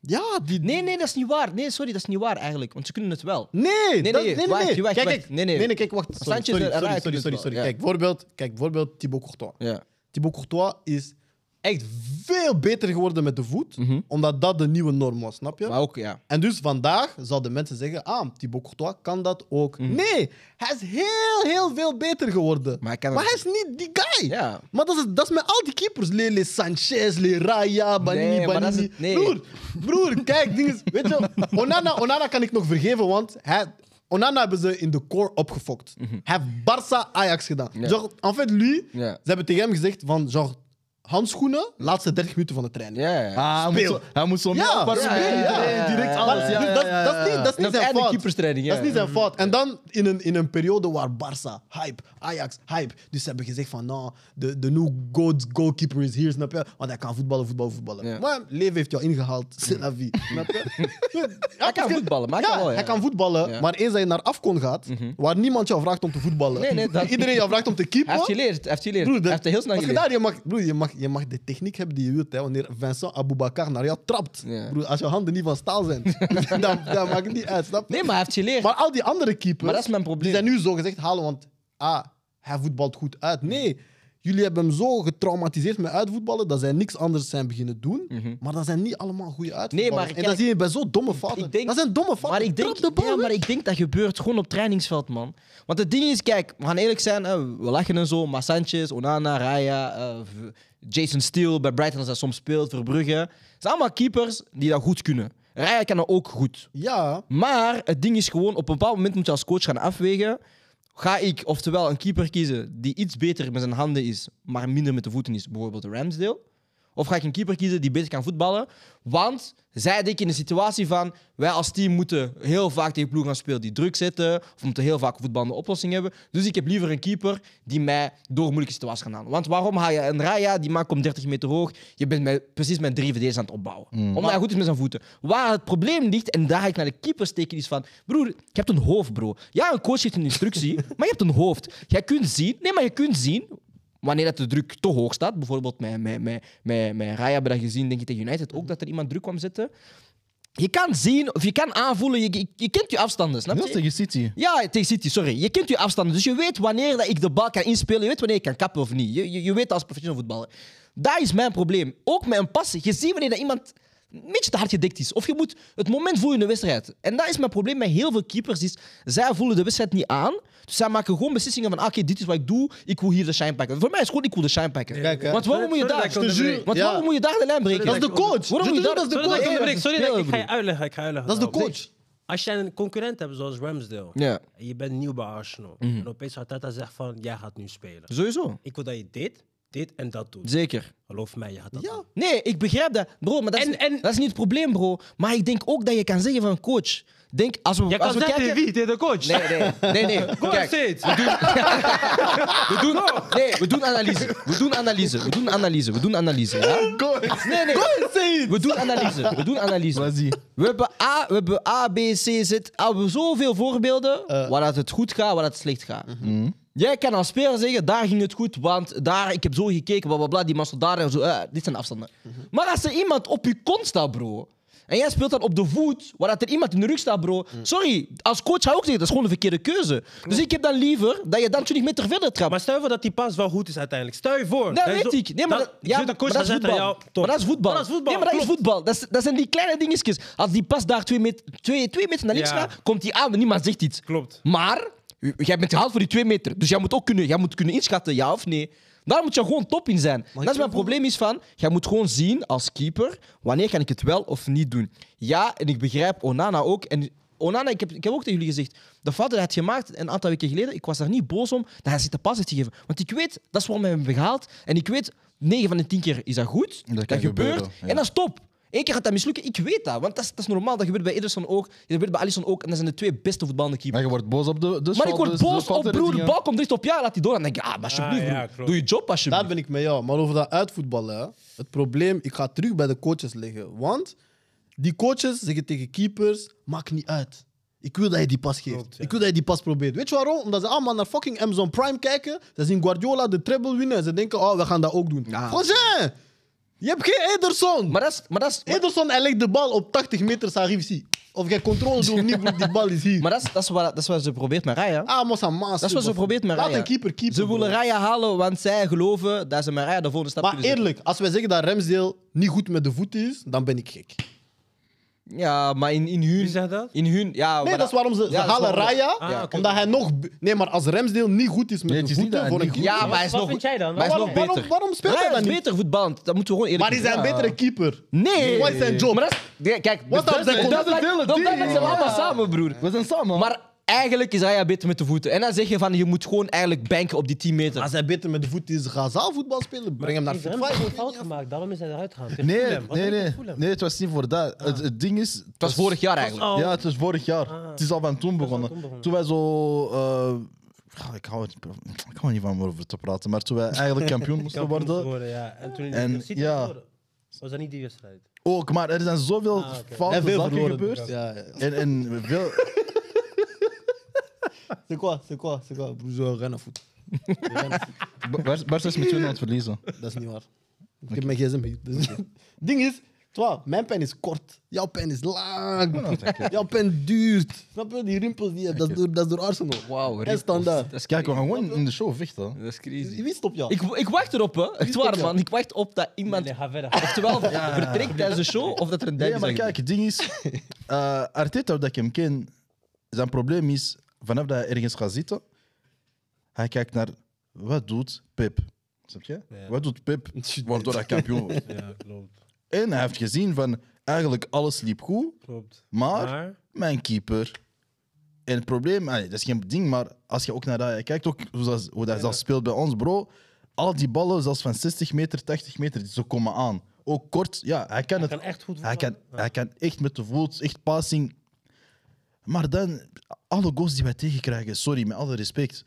Ja, die... Nee, nee, dat is niet waar. Nee, sorry, dat is niet waar eigenlijk. Want ze kunnen het wel. Nee, dat- nee, nee, nee, nee. wacht, wacht, kijk, wacht. kijk. Nee, nee. kijk, wacht. Sorry, Sanchez sorry, en sorry, Raak kunnen sorry, sorry, het wel, sorry. ja. Kijk, bijvoorbeeld, kijk, bijvoorbeeld Thibaut Courtois. Ja. Thibaut Courtois is echt veel beter geworden met de voet, Mhm. omdat dat de nieuwe norm was, snap je? Maar ook, ja. En dus vandaag zouden mensen zeggen, ah, Thibaut Courtois kan dat ook. Nee, hij is heel, heel veel beter geworden. Mhm. Maar hij kan hij het- is niet die guy. Ja. Maar dat is, dat is met al die keepers. Lele Sanchez, Le Raya, Banini, Nee, maar dat is Banini. het- nee. Broer, broer, kijk, ding is, weet je, Onana, Onana kan ik nog vergeven, want hij, Onana hebben ze in de core opgefokt. Hij heeft Barça Ajax gedaan. Mhm. Ja. Genre, en fait, lui, Ja. ze hebben tegen hem gezegd van, genre, handschoenen, laatste 30 minuten van de training. Ja, ja. Ah, hij, Speel. Moet zo, hij moet zo Ja, middelbaar ja, spelen. ja, ja, Iedereen ja. direct Maar alles. Ja, dus ja, dat- ja, dat ja, is niet- ja. dat is niet zijn einde fout. keeperstraining, Dat is ja. Mm. niet zijn fout. En dan in een, in een periode waar Barça, hype, Ajax, hype. Dus ze hebben gezegd van, nou, de, de new goat goalkeeper is hier, snap je? Want hij kan voetballen, voetballen, voetballen. Ja. Maar leven heeft jou ingehaald, [LAUGHS] c'est la vie, snap [LAUGHS] je? Hij kan voetballen, maar hij kan wel, ja. hij kan voetballen, Ja. Mhm. maar eens dat je naar Afcon gaat, waar niemand jou vraagt om te voetballen. Nee, nee, dat- [LAUGHS] Iedereen jou vraagt om te keepen. Hij heeft geleerd, hij heeft geleerd. Broer, hij heeft heel snel als je, geleerd. daar, je, mag, broer, je, mag, je mag de techniek hebben die je wilt. Hè, wanneer Vincent Aboubakar naar jou trapt. Ja. Broer, als je handen niet van staal zijn, [LAUGHS] dan, dan maakt het niet uit. Snap je? Nee, maar hij heeft geleerd. Maar al die andere keepers Maar dat is mijn probleem. die zijn nu zo gezegd halen, want ah, hij voetbalt goed uit. Nee, jullie hebben hem zo getraumatiseerd met uitvoetballen dat zij niks anders zijn beginnen doen. Mhm. Maar dat zijn niet allemaal goede uitvoetballers. maar en kijk, dat zie je bij zo'n domme fouten. ik denk- dat zijn domme fouten. Maar ik, denk, Trap de bal ja, maar weg. ik denk dat gebeurt gewoon op trainingsveld, man. Want het ding is, kijk, we gaan eerlijk zijn, hè, we lachen en zo. Maar Sanchez, Onana, Raya, eh, v- Jason Steele bij Brighton als hij soms speelt, Verbrugge. Het zijn allemaal keepers die dat goed kunnen. Raya kan dat ook goed. Ja, Maar het ding is gewoon, op een bepaald moment moet je als coach gaan afwegen. Ga ik oftewel een keeper kiezen die iets beter met zijn handen is, maar minder met de voeten is, bijvoorbeeld de Ramsdale? Of ga ik een keeper kiezen die beter kan voetballen? Want zij denken in de situatie van wij als team moeten heel vaak tegen ploegen gaan spelen die druk zetten. Of moeten heel vaak voetballende oplossingen hebben. Dus ik heb liever een keeper die mij door moeilijke situaties kan halen. Want waarom haal je een Raya, die maakt om 30 meter hoog. Je bent met, precies met drie verdedigers aan het opbouwen. Omdat hij goed is met zijn voeten. Waar het probleem ligt, en daar ga ik naar de keeper steken, is van... Broer, je hebt een hoofd, bro. Ja, een coach heeft een instructie, [LAUGHS] maar je hebt een hoofd. Jij kunt zien... Nee, maar je kunt zien wanneer dat de druk te hoog staat, bijvoorbeeld met, met, met, met, met Raya hebben we dat gezien, denk ik tegen United ook, dat er iemand druk kwam zetten. Je kan zien of je kan aanvoelen, je, je, je kent je afstanden, snap Dat je? is tegen City. Ja, tegen City, sorry. Je kent je afstanden. Dus je weet wanneer dat ik de bal kan inspelen. Je weet wanneer ik kan kappen of niet. Je, je, je weet als professioneel voetballer. Dat is mijn probleem. Ook met een passen. Je ziet wanneer dat iemand een beetje te hard gedikt is. Of je moet het moment voelen in de wedstrijd. En dat is mijn probleem met heel veel keepers. Is, zij voelen de wedstrijd niet aan. Dus zij maken gewoon beslissingen van... ah, Oké, dit is wat ik doe. Ik wil hier de shine pakken. Voor mij is het gewoon... Ik wil de shine pakken. Kijk, hè. Want waarom moet je Sorry daar... dat ik onderbreek. Want Ja. waarom moet je daar de lijn breken? dat is de coach. Waarom moet je Junior, daar... dat is de Sorry dat ik coach. onderbreek. Sorry dat ik, ik ga je Speler, uitleggen. Ik ga je uitleggen Dat is de nou. coach. Als jij een concurrent hebt zoals Ramsdale, Ja. Mhm. en je bent nieuw bij Arsenal, en opeens gaat Tata zegt van, jij gaat nu spelen. Sowieso. Ik wil dat je dit, dit en dat doet. Zeker. Geloof mij, je gaat dat Ja. doen. Nee, ik begrijp dat, bro. Maar dat is, En- en- dat is niet het probleem, bro. Maar ik denk ook dat je kan zeggen van coach. Denk, als we, Jij als kan we zeggen kijken... tegen wie? Tegen de coach? [LAUGHS] Nee, nee, nee. nee. Coach Kijk, steeds. we doen, [LAUGHS] nee, we doen analyse. We doen analyse. We doen analyse. We doen analyse. Ja? Nee, nee. We doen analyse. We doen analyse. Was die? We hebben A, we hebben A, B, C, Z. Ah, We hebben zoveel voorbeelden Eh. waar dat het goed gaat, waar dat het slecht gaat. Mhm. Mhm. Jij kan als speler zeggen, daar ging het goed, want daar, ik heb zo gekeken, bla bla bla, die man stond daar en zo. eh, dit zijn afstanden. Mhm. Maar als er iemand op je kont staat, bro, en jij speelt dan op de voet, waar dat er iemand in de rug staat, bro. Mhm. Sorry, als coach ga ik ook zeggen, dat is gewoon de verkeerde keuze. Dus ik heb dan liever dat je dan 20 meter verder trapt. Ah, Maar stel je voor dat die pas wel goed is uiteindelijk. Stel je voor. Dat Dan is weet zo- ik. Nee, maar dan- dat, ja, zodat de coach maar dat dan is zegt voetbal. aan jou, top. maar dat is voetbal. Maar dat is voetbal, Nee, maar dat is klopt. voetbal. Dat, is- dat zijn die kleine dingetjes. Als die pas daar twee, met, twee, twee meter naar links Ja. gaat, komt die aan en niemand zegt iets. Klopt. Maar u- jij bent gehaald voor die twee meter. Dus jij moet ook kunnen, jij moet kunnen inschatten, ja of nee. Daar moet je gewoon top in zijn. Dat is mijn probleem is van, jij moet gewoon zien als keeper, wanneer kan ik het wel of niet doen. Ja, en ik begrijp Onana ook. En Onana, ik heb, ik heb ook tegen jullie gezegd, de fout die hij had gemaakt een aantal weken geleden, ik was daar niet boos om dat hij zich de pas heeft gegeven. Want ik weet, dat is waarom hij hem heeft gehaald. En ik weet, 9 van de 10 keer is dat goed. Dat Dat, kan gebeurt. gebeuren, ja. En dat is top. Eén keer gaat dat mislukken, ik weet dat. Want dat is, dat is normaal, dat gebeurt bij Ederson ook, dat gebeurt bij Alisson ook. En dat zijn de twee beste voetballende keepers. Maar je wordt boos op de, dus de Maar ik dus word boos op broer, de bak. bal komt dicht op jou, laat die door. Dan denk ik, ah, maar alsjeblieft, Ah, ja, broer, klopt. doe je job alsjeblieft. Daar ben ik mee, ja. Maar over dat uitvoetballen, hè. het probleem, ik ga terug bij de coaches liggen. Want die coaches zeggen tegen keepers: maakt niet uit. Ik wil dat je die pas geeft. Klopt, ja. Ik wil dat je die pas probeert. Weet je waarom? Omdat ze allemaal naar fucking Amazon Prime kijken. Ze zien Guardiola de treble winnen en ze denken: oh, we gaan dat ook doen. Ja. Cousin, je hebt geen Ederson. Maar dat is, maar dat is, maar, Ederson, hij legt de bal op 80 meter aan Rivsi. Of jij controle [LAUGHS] doet of niet, broer, die bal is hier. maar dat is, dat is, wat, dat is wat ze probeert met Raya. ah, Massa Maas. dat is wat ze probeert met Raya. Laat een keeper keeper. Ze willen bro. Raya halen, want zij geloven dat ze met Raya de volgende stap Maar kunnen zetten. eerlijk, als wij zeggen dat Ramsdale niet goed met de voet is, dan ben ik Oh, gek. Ja, maar in, in hun... Wie zegt dat? In hun, ja, maar Nee, dat is waarom ze, ze ja, dat is halen waarom- Raya. Ah, Ja. oké. Omdat hij nog... Nee, maar als Ramsdale niet goed is met Nee, het de is niet dat voeten hij voor een niet goed keeper... Ja, maar hij is Wat nog, vind jij dan? Maar hij is nog Waarom- beter. waarom- waarom speelt Raya hij dan is niet? beter voetballend, dat moeten we gewoon eerlijk Maar is hij zijn. een betere keeper? Nee. Wat is zijn job? Maar dat is, nee, kijk, Wat dat, dat- dat, dat, dat- dat, dat- dat, dat zijn we allemaal samen, broer. We zijn samen. Maar Eigenlijk is Raya beter met de voeten. En dan zeg je van je moet gewoon eigenlijk banken op die 10 meter. Als hij beter met de voet is, ga zaalvoetbal spelen. Breng hem naar Heeft fit Rem geen 5. fout gemaakt, daarom is hij eruit gegaan. Tegen Nee, Fulham. Wat nee, heeft hij nee. tegen Fulham? Nee, het was niet voor dat. Het, het ding is... Ah. Het was vorig jaar eigenlijk. Ja, het is vorig jaar. Ah. Het is al van toen al begonnen. toen begonnen. Toen wij zo... eh, ja, ik, hou het, ik hou er niet van om over te praten, maar toen wij eigenlijk [LAUGHS] kampioen moesten Kampioen worden... geworden, ja. En toen En, in de City ja. geworden. Was dat niet die wedstrijd? Ook, maar er zijn zoveel Ah, oké. foute En veel zaken verloren. gebeurd. Ja, ja. En, en veel... C'est quoi, c'est quoi, c'est quoi Broer, rien à foutre. Ba- Bar- Barca is met 2-0 aan het verliezen. Dat is niet waar. Ik heb mijn gsm bij. Dus- [LAUGHS] Ding is, twa, mijn pen is kort. Jouw pen is Oh, lang. Jouw pen duurt. Snap je? Die rimpels die je hebt, dat is door, dat is door Arsenal. Wauw, En standaard. Dat is Kijk, we crazy. gaan gewoon in de show vechten. Dat is Je crazy. wist op jou. Ik, ik wacht erop, hè. Echt waar, man. Ik wacht op dat Nee, iemand... nee, ga verder. Oftewel vertrekt tijdens de show, of dat er een Nee, derde maar kijk, het ding is... eh, Arteta, hoe dat ik hem ken, zijn probleem is... Vanaf dat hij ergens gaat zitten, hij kijkt naar... Wat doet Pep? Snap je? Wat doet Pep? Waardoor hij kampioen wordt. Ja, klopt. En hij heeft gezien van eigenlijk alles liep goed, klopt. maar, Maar? mijn keeper. En het probleem, allee, dat is geen ding, maar als je ook naar dat kijkt, ook hoe dat, hoe dat zelf speelt bij ons, bro. Al die ballen, zelfs van 60 meter, 80 meter, ze komen aan. Ook kort, ja, hij kan Hij het. kan echt goed hij, kan, voetballen. hij kan echt met de voet, echt passing. Maar dan, alle goals die wij tegenkrijgen, sorry, met alle respect.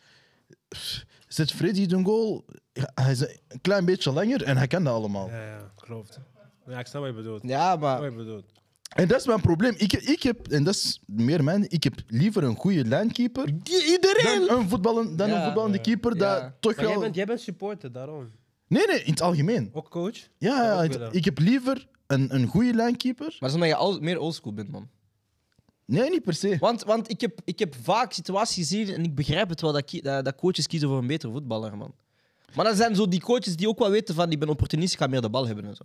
Zet Freddy de goal, hij is een klein beetje langer en hij kan dat allemaal. Ja, ja, klopt. Ja, ik snap wat je bedoelt. Ik Ja, snap maar wat je bedoelt. En dat is mijn probleem. Ik, ik heb, en dat is meer mijn, ik heb liever een goede linekeeper iedereen. dan een voetballen, dan een Ja. voetballende keeper dat Ja. toch Maar jij wel... bent, jij bent supporter, daarom. Nee, nee, in het algemeen. Ook coach? Ja, ja, ook het- willen. ik heb liever een, een goede linekeeper. Maar dat is omdat je al, meer oldschool bent, man. Nee, niet per se. Want, want ik, heb, ik heb vaak situaties gezien en ik begrijp het wel dat, ki- dat, dat coaches kiezen voor een betere voetballer, man. Maar dat zijn zo die coaches die ook wel weten van die ben opportunist, ik ga meer de bal hebben en zo.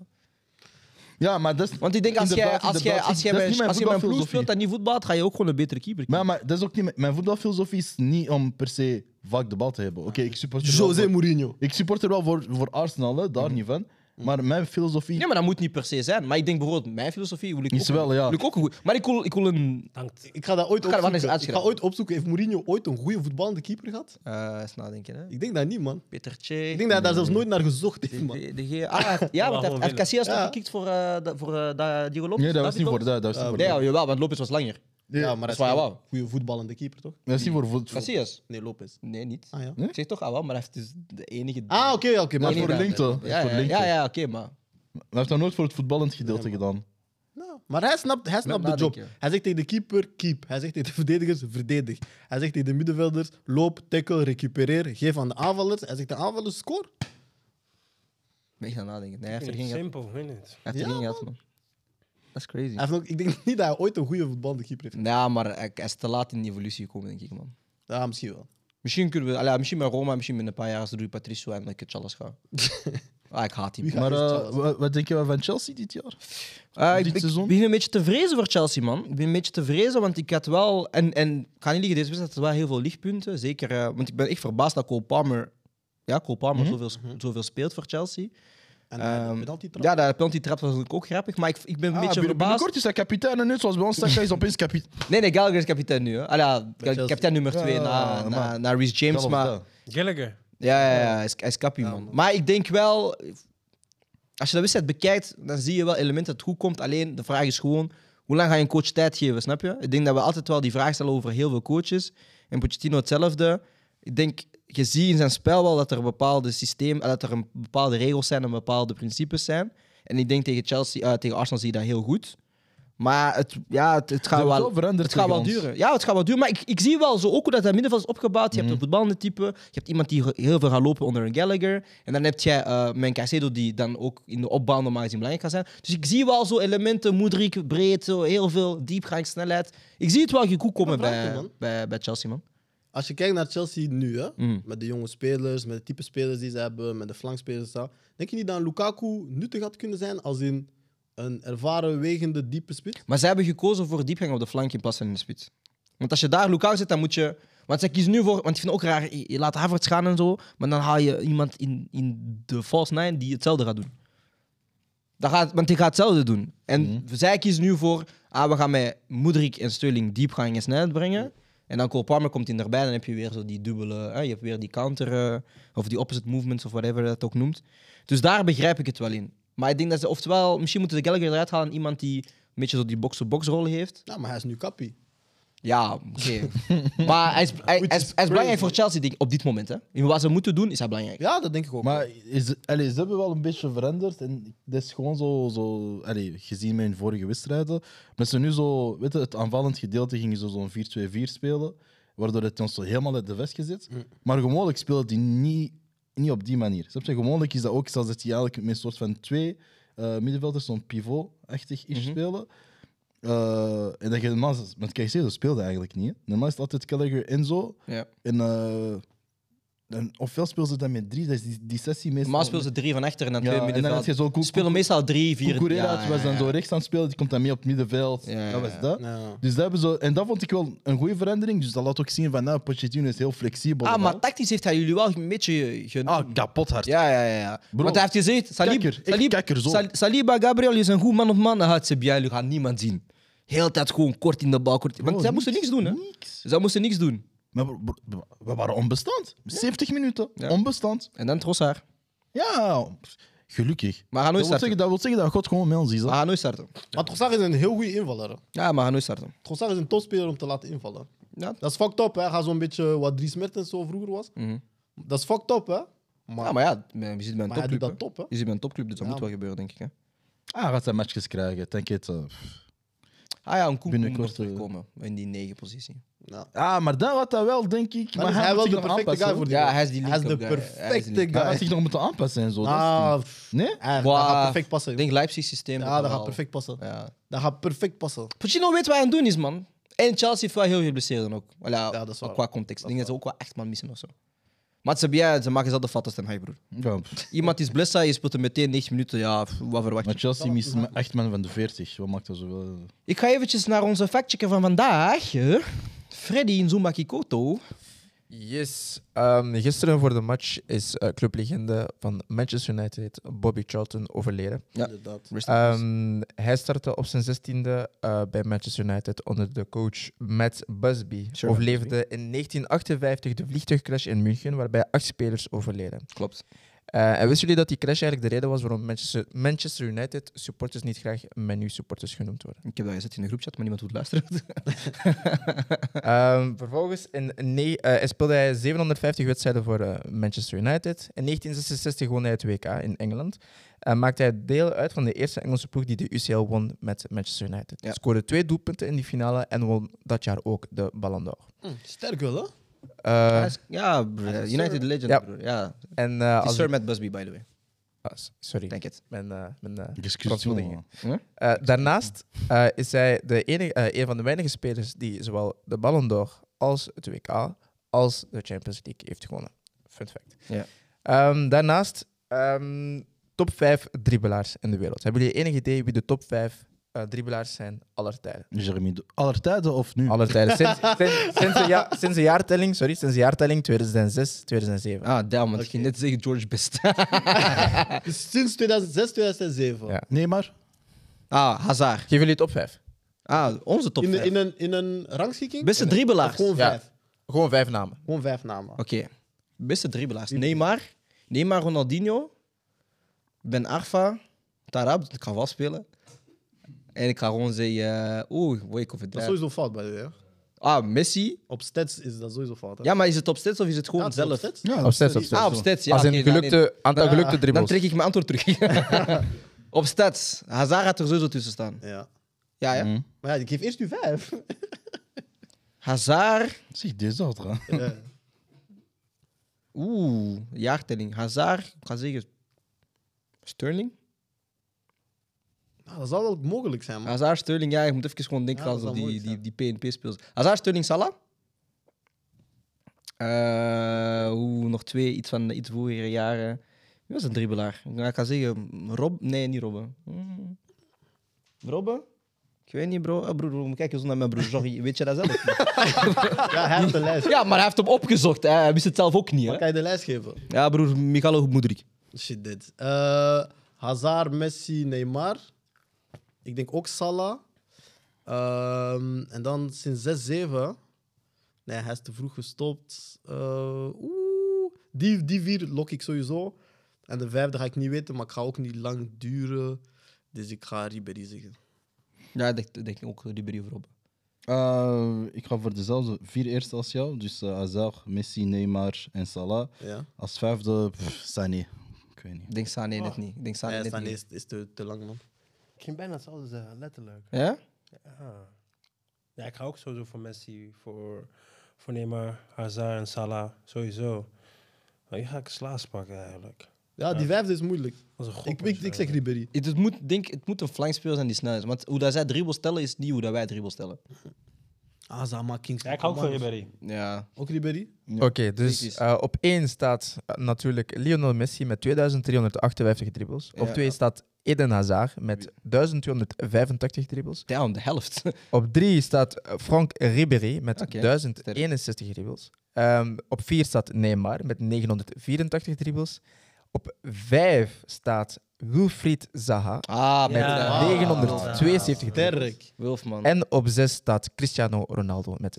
Ja, maar dat is... Want ik denk als jij Inderdaad, als jij inderdaad. als jij Dat is bij- niet mijn als je bij een ploeg voetbalfilosofie. speelt dat niet voetbalt, ga je ook gewoon een betere keeper. Maar, maar dat is ook niet... mijn- Mijn voetbalfilosofie is niet om per se vaak de bal te hebben. Oké, ik support er wel José voor- Mourinho. Ik support er wel voor, voor Arsenal, hè, daar niet van. Maar mijn filosofie Nee, maar dat moet niet per se zijn. Maar ik denk bijvoorbeeld, mijn filosofie wil ik is ook, wel, ja... wil ik ook een goed. Maar ik wil, ik wil een. Dankt. Ik ga dat ooit Ik ga er wel eens opzoeken. Ik ga uitschrijven. ooit opzoeken. Heeft Mourinho ooit een goede voetballende keeper gehad? eh eens nadenken, hè? Ik denk dat niet, man. Peter Che. Ik denk dat hij daar zelfs nooit naar gezocht heeft, man. De, de, de- ah, hij heeft- ja, want hij heeft- hij heeft Casillas toch Ja. gekikt voor, eh dat- voor eh, dat- Diego Lopez? Nee, dat was David niet voor Lopez? dat. Dat was niet voor Nee, dat. ja, jawel, want Lopez was langer. [LAUGHS] Ja, maar dat is waar, hij is wauw. een goede voetballende keeper, toch? Dat is niet voor voet- voor- Casillas? Nee, Lopez. Nee, niet. Ah, ja. Ik zeg toch ah, wel, maar hij heeft dus de enige... Ah, oké, oké. maar Nee, voor nee, linkte. ja, voor ja, linkte. ja, ja, oké, maar... Hij heeft dat nooit voor het voetballend gedeelte gedaan. Nou, maar hij snapt, hij snapt de job. nadenken. Hij zegt tegen de keeper, keep. Hij zegt tegen de verdedigers, verdedig. Hij zegt tegen de middenvelders, loop, tackle, recupereer. Geef aan de aanvallers. Hij zegt de aanvallers, score. Ben ik aan het nadenken. Nee, hij heeft er geen gehad. Simpel, weet niet. Hij heeft er Ja, geen gehad, man. Dat is crazy. Hij heeft ook, ik denk [LAUGHS] niet dat hij ooit een goede voetballende keeper heeft. Ja, maar hij hij is te laat in die evolutie gekomen, denk ik, man. Ja, misschien wel. Misschien kunnen we... allee, misschien met Roma, misschien binnen een paar jaar als Rui Patricio en eh, Ketchalas [LAUGHS] gaan. ah, ik haat hem. Wie Maar gaat eerst eh, Charles? wa- wat denk je wel van Chelsea dit jaar? Eh, ik, dit ik seizoen? begin een beetje te vrezen voor Chelsea, man. Ik ben een beetje te vrezen, want ik had wel... En, en ik ga niet liegen, deze wedstrijd had wel heel veel lichtpunten. Zeker, eh, want ik ben echt verbaasd dat Cole Palmer... Ja, Cole Palmer zoveel, zoveel speelt voor Chelsea. En hij Ehm, um, penalty trap. Ja, dat penalty trap was natuurlijk ook grappig, maar ik, ik ben een beetje Ah, binnen- verbaasd. binnenkort is hij kapitein en net zoals bij ons Saka is opeens kapitein. Nee, nee, Gallagher is kapitein nu. Hè. Allee, ja, ka- Chelsea. kapitein nummer 2 Ja, na, maar- na, na Reece James, Zelfs maar... dat. Gallagher. Ja, ja, ja, hij is, hij is kappie, man. Maar ik denk wel... Als je dat wedstrijd bekijkt, dan zie je wel elementen dat het goed komt. Alleen, de vraag is gewoon... Hoe lang ga je een coach tijd geven, snap je? Ik denk dat we altijd wel die vraag stellen over heel veel coaches. En Pochettino hetzelfde. Ik denk, je ziet in zijn spel wel dat er bepaalde systeem... eh, Dat er een bepaalde regels zijn en bepaalde principes zijn. En ik denk tegen, Chelsea, eh, tegen Arsenal zie je dat heel goed. Maar het, ja, het, het gaat hebben wel... het wel veranderd Het gaat wel tegen ons. duren. Ja, het gaat wel duren. Maar ik, ik zie wel zo ook hoe dat, dat middenveld is opgebouwd. Je hebt Mhm. een voetballende type. Je hebt iemand die heel veel gaat lopen onder een Gallagher. En dan heb jij eh mijn Caicedo die dan ook in de opbouw normaal gezien belangrijk gaat zijn. Dus ik zie wel zo elementen. Moedrik, breed, zo, heel veel diepgang, snelheid. Ik zie het wel goed komen Maar vraag je, bij, man. bij, bij Chelsea, man. Als je kijkt naar Chelsea nu, hè, Mm. met de jonge spelers, met de type spelers die ze hebben, met de flankspelers, en zo, denk je niet dat een Lukaku nuttig had kunnen zijn als in een ervaren, wegende, diepe spits? Maar zij hebben gekozen voor diepgang op de flank in plaats van in de spits. Want als je daar Lukaku zet, dan moet je... Want zij kiezen nu voor... Want ik vind het ook raar, je je laat Havertz gaan en zo, maar dan haal je iemand in, in de false nine die hetzelfde gaat doen. Dat gaat, want die gaat hetzelfde doen. En zij kiezen nu voor, ah, we gaan met Moedrik en Sterling diepgang en snelheid brengen. En dan Cole Palmer komt hij erbij, dan heb je weer zo die dubbele... hè, je hebt weer die counter, eh, of die opposite movements, of whatever je dat ook noemt. Dus daar begrijp ik het wel in. Maar ik denk dat ze, oftewel, misschien moeten ze Gallagher eruit halen aan iemand die een beetje zo die box-to-box rol heeft. Nou, maar hij is nu kappie. Ja, oké. maar hij is, hij, hij is, hij is belangrijk voor Chelsea denk ik, op dit moment. Hè. In wat ze moeten doen, is hij belangrijk. Ja, dat denk ik ook. Maar is, allee, ze hebben wel een beetje veranderd. En dat is gewoon zo, zo allee, gezien mijn vorige wedstrijden. Maar ze nu zo, weet je, het aanvallend gedeelte gingen ze zo'n 4-2-4 spelen. Waardoor het ons zo helemaal uit de vest gezet. Maar gewoonlijk speelt die niet, niet op die manier. Snap je? Gewoonlijk is dat ook zelfs dat die eigenlijk met een soort van twee eh, middenvelders, zo'n pivot-achtig is spelen. Eh, en dat je normaal met Caicedo speelde eigenlijk niet. hè. Normaal is het altijd Gallagher en zo. Ja. En, eh, dan, ofwel speelden ze dan met drie, dat is die, die sessie meestal. Maar speel ze drie van achter en dan Ja, twee en dan middenveld. had je zo Koek- spelen meestal drie, vier. Cucurella, ja, die was ja, dan ja. zo rechts aan het spelen, die komt dan mee op het middenveld. Ja, dat ja. was dat. Ja. Dus dat hebben ze, en dat vond ik wel een goede verandering. Dus dat laat ook zien van, nou, Pochettino is heel flexibel. Ah, en maar al. tactisch heeft hij jullie wel een beetje... Ge... Ah, kapot hard. Ja, ja, ja. ja. Bro, Want hij heeft gezegd, Salib, kakker, echt Salib, kakker, zo. Sal- Saliba, Gabriel is een goed man op man. Dan gaat Sebiali, jullie gaan niemand zien. Heel de tijd gewoon kort in de bal. Kort... Want zij moesten niks doen, hè. Zij moesten niks doen. Oh, Maar bro- bro- we waren onbestand. 70 minuten, Ja. onbestand. En dan Trossard. Ja, gelukkig. Maar hij gaat nooit Dat wil, starten. zeggen, dat wil zeggen dat God gewoon met ons is. hè. Maar hij gaat nooit starten. Maar Trossard is een heel goede invaller. hè. Ja, maar hij gaat nooit starten. Trossard is een topspeler om te laten invallen. Ja. Dat is fucked up, hè. Hij gaat zo'n beetje wat Dries Mertens zo vroeger was. Mhm. Dat is fucked up, hè. Maar, Ja, maar ja, eh, je zit bij een maar hij topclub. doet hè. dat top, hè. Je zit bij een topclub, dus dat Ja, moet wel gebeuren, denk ik. Hè. Ah, gaat zijn matchjes krijgen. Denk het. eh. Ah ja, een koek moet Binnenkort, eh, terugkomen in die negen positie. Ah, maar dan gaat dat wel, denk ik. Dan maar is dus hij wel moet de zich nog aanpassen, perfecte guy voor hoor. die Ja, rol. hij is die Hij is de link-up guy. Hij is die perfecte link-up Hij gaat guy. zich nog moeten aanpassen en zo. dat is het Ah, ding. nee? hij hij Wow. gaat perfect Ik passen. denk Leipzig systeem. Ja, dat gaat perfect passen. Ja. Dat gaat perfect passen. Pochettino weet wat hij aan het doen is, man. En Chelsea heeft wel heel veel blesseren ook. Voilà, dat is waar. Qua context. Ik denk dat ze ook wel echt man missen of zo. Maar ze, hebben- ja, ze maken zelf de fattest en hij, broer. Ja, pff. Iemand is blessa, je speelt hem meteen 9 minuten. Ja, pff, wat verwacht Maar je? Chelsea mist maar echt man van de 40. Wat maakt dat zoveel? Ik ga eventjes naar onze factchecker van vandaag. hè. Freddy Nzumba Kikoto. Yes. Ehm, gisteren voor de match is eh, clublegende van Manchester United, Bobby Charlton, overleden. Ja. Inderdaad. Rest in peace. Ehm, hij startte op zijn zestiende eh bij Manchester United onder de coach Matt Busby. Sure, overleefde in 1958 de vliegtuigcrash in München, waarbij acht spelers overleden. Klopt. Eh, en wisten jullie dat die crash eigenlijk de reden was waarom Manchester, Manchester United supporters niet graag menu supporters genoemd worden? Ik heb dat gezet in een groepchat, maar niemand wil luisteren. Ehm, vervolgens in ne- eh, hij speelde hij 750 wedstrijden voor eh, Manchester United. In 1966 won hij het WK in Engeland. Eh, maakte hij deel uit van de eerste Engelse ploeg die de UCL won met Manchester United. Ja. Scoorde twee doelpunten in die finale en won dat jaar ook de Ballon d'Or. Sterk wel, hè? Eh, [LAUGHS] Hij Ah, is- ja, broer, United Legend, Ja. broer. Ja. en, eh, Het is als Sir Matt Busby, by the way. ah, s- sorry, Denk het. mijn, eh, mijn eh, Excuses, verontschuldigingen. jongen. Eh, daarnaast eh, is hij de enige, eh, een van de weinige spelers die zowel de Ballon d'Or als het WK als de Champions League heeft gewonnen. Fun fact. Ja. Ehm, daarnaast, ehm, top 5 dribbelaars in de wereld. Hebben jullie enig idee wie de top 5 eh dribbelaars zijn aller tijden? Jeremy, Do- aller tijden of nu? Aller [LAUGHS] tijden. Sinds, sinds, sinds, de ja, sinds de jaartelling, sorry, sinds de jaartelling 2006, 2007. Ah, damn, want ik ging net zeggen George Best. Dus sinds 2006, 2007. Ja. Nee, maar. [LAUGHS] ah, Hazard. Geef jullie top 5. Ah, onze top In, de- vijf. in, een, in een rangschikking? Beste Of dribbelaars. gewoon Ja. vijf. Gewoon vijf namen. Gewoon vijf namen. Oké. Beste dribbelaars. Neymar. Neymar, Ronaldinho. Ben Arfa. Tarab. Ik ga wel spelen. En ik ga gewoon zeggen... eh, Oeh, weet ik of het Dat is daar- sowieso fout, bij de Ah, Messi. Op stats is dat sowieso fout. Hè? Ja, maar is het op stats of is het gewoon Ja, het is op zelf? stats. Ja, Op zes, op sorry. zes. Ah, op stats, ja, Als een oké, dan- gelukte, aantal gelukte Ah. Dan dribbles. trek ik mijn antwoord terug. [LAUGHS] op stats. Hazard had er sowieso tussen staan. Ja. Ja, ja. Maar ja, ik geef eerst nu vijf. [LAUGHS] Hazard. Zeg, dit is dat, hè? Ja. Oeh, jaartelling. Hazard. Ik ga zeggen... Sterling? Nou, dat zou wel mogelijk zijn, man. Hazard, Sterling, ja, je moet even gewoon denken Ja, aan dat zo zou die, moeilijk die, die PNP speels. Hazard, Sterling, Salah. Eh, Oeh, nog twee, iets van de iets vroegere jaren. Wie was een dribbelaar? Nou, ik ga zeggen, Rob... Nee, niet Robben. Hmm. Robben? Ik weet niet, bro. Ah, broer, broer, kijk eens naar mijn broer. Sorry, weet je dat zelf? niet? Ja, hij heeft de lijst. ja, maar hij heeft hem opgezocht. hè. Hij wist het zelf ook niet, Maar hè. kan je de lijst geven? Ja, broer, Michalo Moedrik. Shit, dit. Eh, Hazard, Messi, Neymar. Ik denk ook Salah. Ehm, en dan sinds 6-7. Nee, hij is te vroeg gestopt. Eh, Oeh. Die, die vier lok ik sowieso. En de vijfde ga ik niet weten, maar ik ga ook niet lang duren. Dus ik ga Ribéry zeggen. Ja, ik denk, denk ook Ribéry of Robben. [LAUGHS] Eh, ik ga voor dezelfde vier eerste als jou. Dus eh, Hazard, Messi, Neymar en Salah. Ja. Als vijfde, pff, Sané. Ik weet niet. Ik denk Sané net niet. Ik denk Sané Nee, net Sané niet. is, is te, te lang, man. Ik ging bijna hetzelfde zeggen, letterlijk. Ja? Ja. ja, ik ga ook sowieso voor Messi, voor, voor Neymar, Hazard en Salah, sowieso. Maar hier ga ik slaas pakken eigenlijk. Ja, die vijfde is moeilijk. Dat is een god. Ik, ik, ik zeg Ribéry. Het, het moet, denk, het moet een flankspeler zijn die snel is. Want hoe dat zij dribbels stellen, is niet hoe dat wij dribbels stellen. Ah, Zama, Kings. Ja, ik hou ook van Ribéry. Ja. Ook Ribéry? Oké, dus precies. eh, op één staat eh, natuurlijk Lionel Messi met 2358 dribbles. Op Ja. twee staat Eden Hazard met 1285 dribbles. Damn, de helft. Op drie staat eh, Frank Ribéry met Oké, 1061 dribbles. Ehm, op vier staat Neymar met 984 dribbles. Op vijf staat Wilfried Zaha Ah, met Ja. ah, 972 dribbles. Sterk. Wilfman. En op zes staat Cristiano Ronaldo met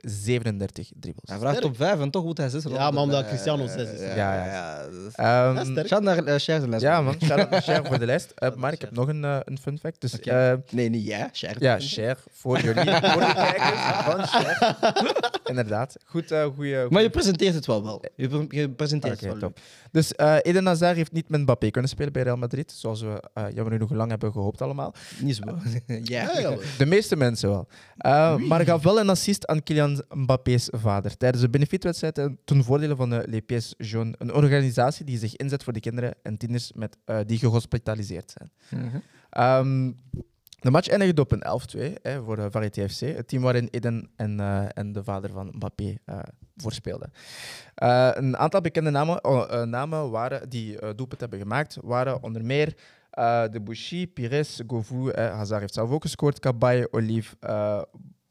937 dribbles. Hij vraagt op 5 en toch moet hij Eh, 6 Ja, maar omdat Cristiano zes is. ja, ja. dat is- Ehm, Ja, sterk. Shout naar eh, Sjaerd en Lesbo. Ja, man. [LAUGHS] Shout out naar Cher voor de lijst. Eh, maar ik heb nog een, eh, een fun fact. Dus eh, Nee, niet jij, Sjaerd. ja, Cher voor jullie. voor [LAUGHS] de kijkers van Cher. Inderdaad. Goed, eh goede. Maar je presenteert het wel wel. Je, pre- je presenteert Oké, het wel. top. Dus eh Eden Hazard heeft niet met Mbappé kunnen spelen bij Real Madrid, zoals we eh jammer genoeg lang hebben gehoopt allemaal. Niet zo. [LAUGHS] ja. Ja, ja, hoor. De meeste mensen wel. Eh, maar gaf wel een assist aan Kylian Mbappé's vader tijdens de benefietwedstrijd eh, ten voordele van de Le Pieds Jaune, een organisatie die zich inzet voor de kinderen en tieners met, eh, die gehospitaliseerd zijn. [LAUGHS] Ehm, de match eindigde op een 11-2 hè, voor eh, Varity FC, het team waarin Eden en, eh, en de vader van Mbappé eh voorspeelden. Eh, een aantal bekende namen, oh, eh, namen waren, die eh doelpunt hebben gemaakt waren onder meer eh, De Bouchy, Pires, Govou, eh, Hazard heeft zelf ook gescoord, Kabaye, Olive, eh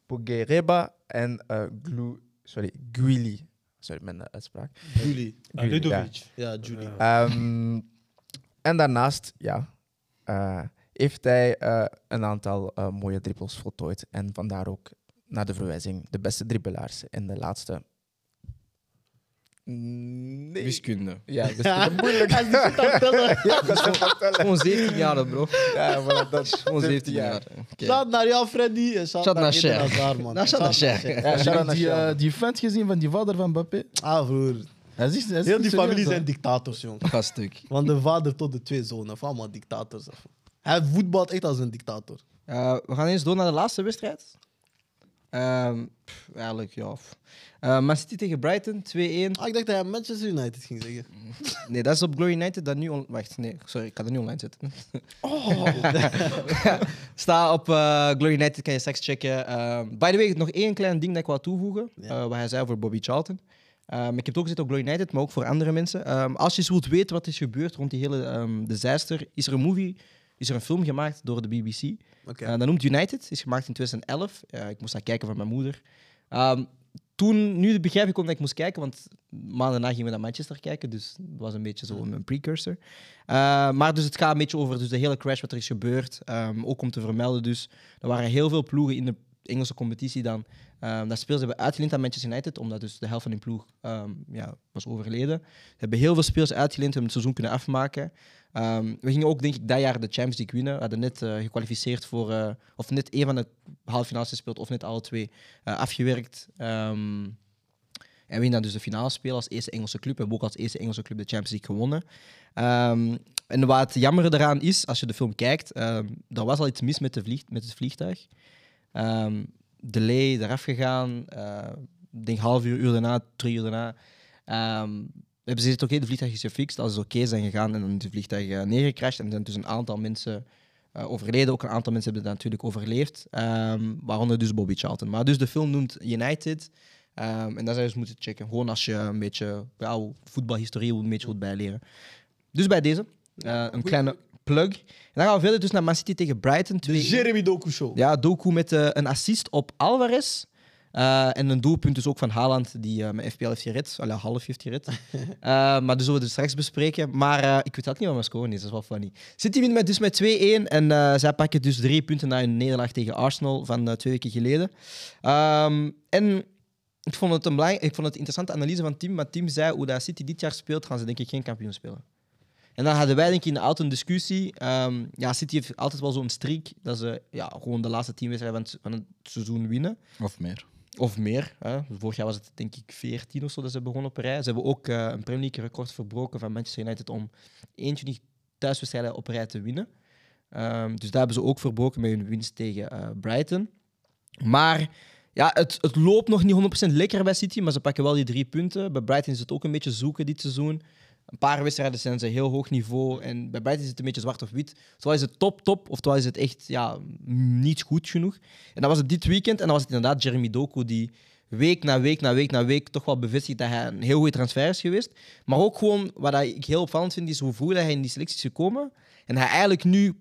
Boguereba en eh Glu, sorry, Guili. Sorry, mijn eh, uitspraak. Julie. Guili, ja. Ah, Ludovic. Ja, Julie. Ehm, en daarnaast, ja, eh, heeft hij eh, een aantal eh, mooie dribbels voltooid. En vandaar ook, naar de verwijzing, de beste dribbelaars in de laatste... Mm, Nee. Wiskunde. Ja, [LAUGHS] wiskunde. moeilijk. Ja, dat is goed. Gewoon 17 jaar, bro. Ja, voilà, [LAUGHS] dat Gewoon 17 jaar. Oké. Shout naar jou, Freddy. En shout, Shout naar naar Cher. Eden Hazard, man. Nou, shout naar Cher. Heb shout-out je naar die, Cher. eh, die vent gezien van die vader van Mbappé? Ah, broer. Hij is, hij is Heel niet die serieus, familie hè. zijn dictators, jong. Ga stuk. Van de vader tot de twee zonen. Of allemaal dictators. af. Hij voetbalt echt als een dictator. Eh, we gaan eens door naar de laatste wedstrijd. Ehm, pff, eigenlijk, ja. pff. Eh Man City tegen Brighton, 2-1. Ah, ik dacht dat hij Manchester United ging zeggen. Nee, dat is op Glory United. Dat nu on- Wacht, nee, sorry, ik kan dat nu online zetten. Sta op eh, Glory United, kan je straks checken. Ehm, by the way, nog één klein ding dat ik wou toevoegen. eh, wat hij zei voor Bobby Charlton. Ehm, ik heb het ook gezet op Glory United, maar ook voor andere mensen. Ehm, als je eens wilt weten wat is gebeurd rond die hele ehm disaster, is er een movie, is er een film gemaakt door de BBC. [LAUGHS] Oké. Eh, dat noemt United, is gemaakt in 2011. Eh, ik moest naar kijken van mijn moeder. Ehm, toen, nu begrijp ik omdat ik moest kijken, want maanden daarna gingen we naar Manchester kijken, dus dat was een beetje zo een precursor. Eh, maar dus het gaat een beetje over dus de hele crash wat er is gebeurd. Ehm, ook om te vermelden, dus er waren heel veel ploegen in de Engelse competitie dan. ehm dat speel ze hebben uitgeleend aan Manchester United, omdat dus de helft van die ploeg ehm, ja, was overleden. Ze hebben heel veel spelers uitgeleend, hebben het seizoen kunnen afmaken. Ehm, we gingen ook, denk ik, dat jaar de Champions League winnen. We hadden net eh, gekwalificeerd voor, eh, of net één van de halve finales gespeeld, of net alle twee eh, afgewerkt. Ehm, en we gingen dan dus de finale spelen als eerste Engelse club. We hebben ook als eerste Engelse club de Champions League gewonnen. Ehm, en wat het jammer daaraan is, als je de film kijkt, ehm er was al iets mis met, de vlieg, met het vliegtuig. Ehm delay eraf gegaan. eh, Ik denk half uur, uur daarna, drie uur daarna. ehm, hebben ze gezegd, oké, de vliegtuig is gefixt. Als ze oké zijn gegaan en dan is de vliegtuig eh, neergecrashed. En er zijn dus een aantal mensen eh, overleden. Ook een aantal mensen hebben het natuurlijk overleefd. ehm, waaronder dus Bobby Charlton. Maar dus de film noemt United. ehm, en dat zou je dus moeten checken. Gewoon als je een beetje ja, voetbalhistorie een beetje wilt bijleren. Dus bij deze, eh, een kleine plug. En dan gaan we verder dus naar Man City tegen Brighton. De 2-1. Jeremy Doku Show. Ja, Doku met eh, een assist op Alvarez. Eh, en een doelpunt dus ook van Haaland, die eh, met FPL heeft gered. Allee, half heeft gered. Eh, maar dus zullen we het straks bespreken. Maar eh, ik weet dat niet wat mijn score is, dat is wel funny. City wint met, dus met 2-1 en eh, zij pakken dus drie punten na hun nederlaag tegen Arsenal van eh, twee weken geleden. Ehm, en Ik vond het een belang- ik vond het een interessante analyse van Tim, maar Tim zei hoe dat City dit jaar speelt, gaan ze denk ik geen kampioen spelen. En dan hadden wij denk ik in de auto een discussie. ehm, ja, City heeft altijd wel zo'n streak dat ze ja, gewoon de laatste tien wedstrijden van het, van het seizoen winnen. Of meer. Of meer. Hè. Vorig jaar was het denk ik 14 of zo dat ze begonnen op een rij. Ze hebben ook eh, een Premier League record verbroken van Manchester United om 21 thuiswedstrijden op rij te winnen. Ehm, dus daar hebben ze ook verbroken met hun winst tegen eh, Brighton. Maar ja, het, het loopt nog niet 100% lekker bij City, maar ze pakken wel die drie punten. Bij Brighton is het ook een beetje zoeken dit seizoen. Een paar wedstrijden zijn ze heel hoog niveau en bij Brighton is het een beetje zwart of wit. Terwijl is het top, top, of terwijl is het echt ja, niet goed genoeg. En dat was het dit weekend en dan was het inderdaad Jeremy Doku die week na week na week na week toch wel bevestigt dat hij een heel goede transfer is geweest. Maar ook gewoon, wat ik heel opvallend vind, is hoe vroeg dat hij in die selectie is gekomen. En hij eigenlijk nu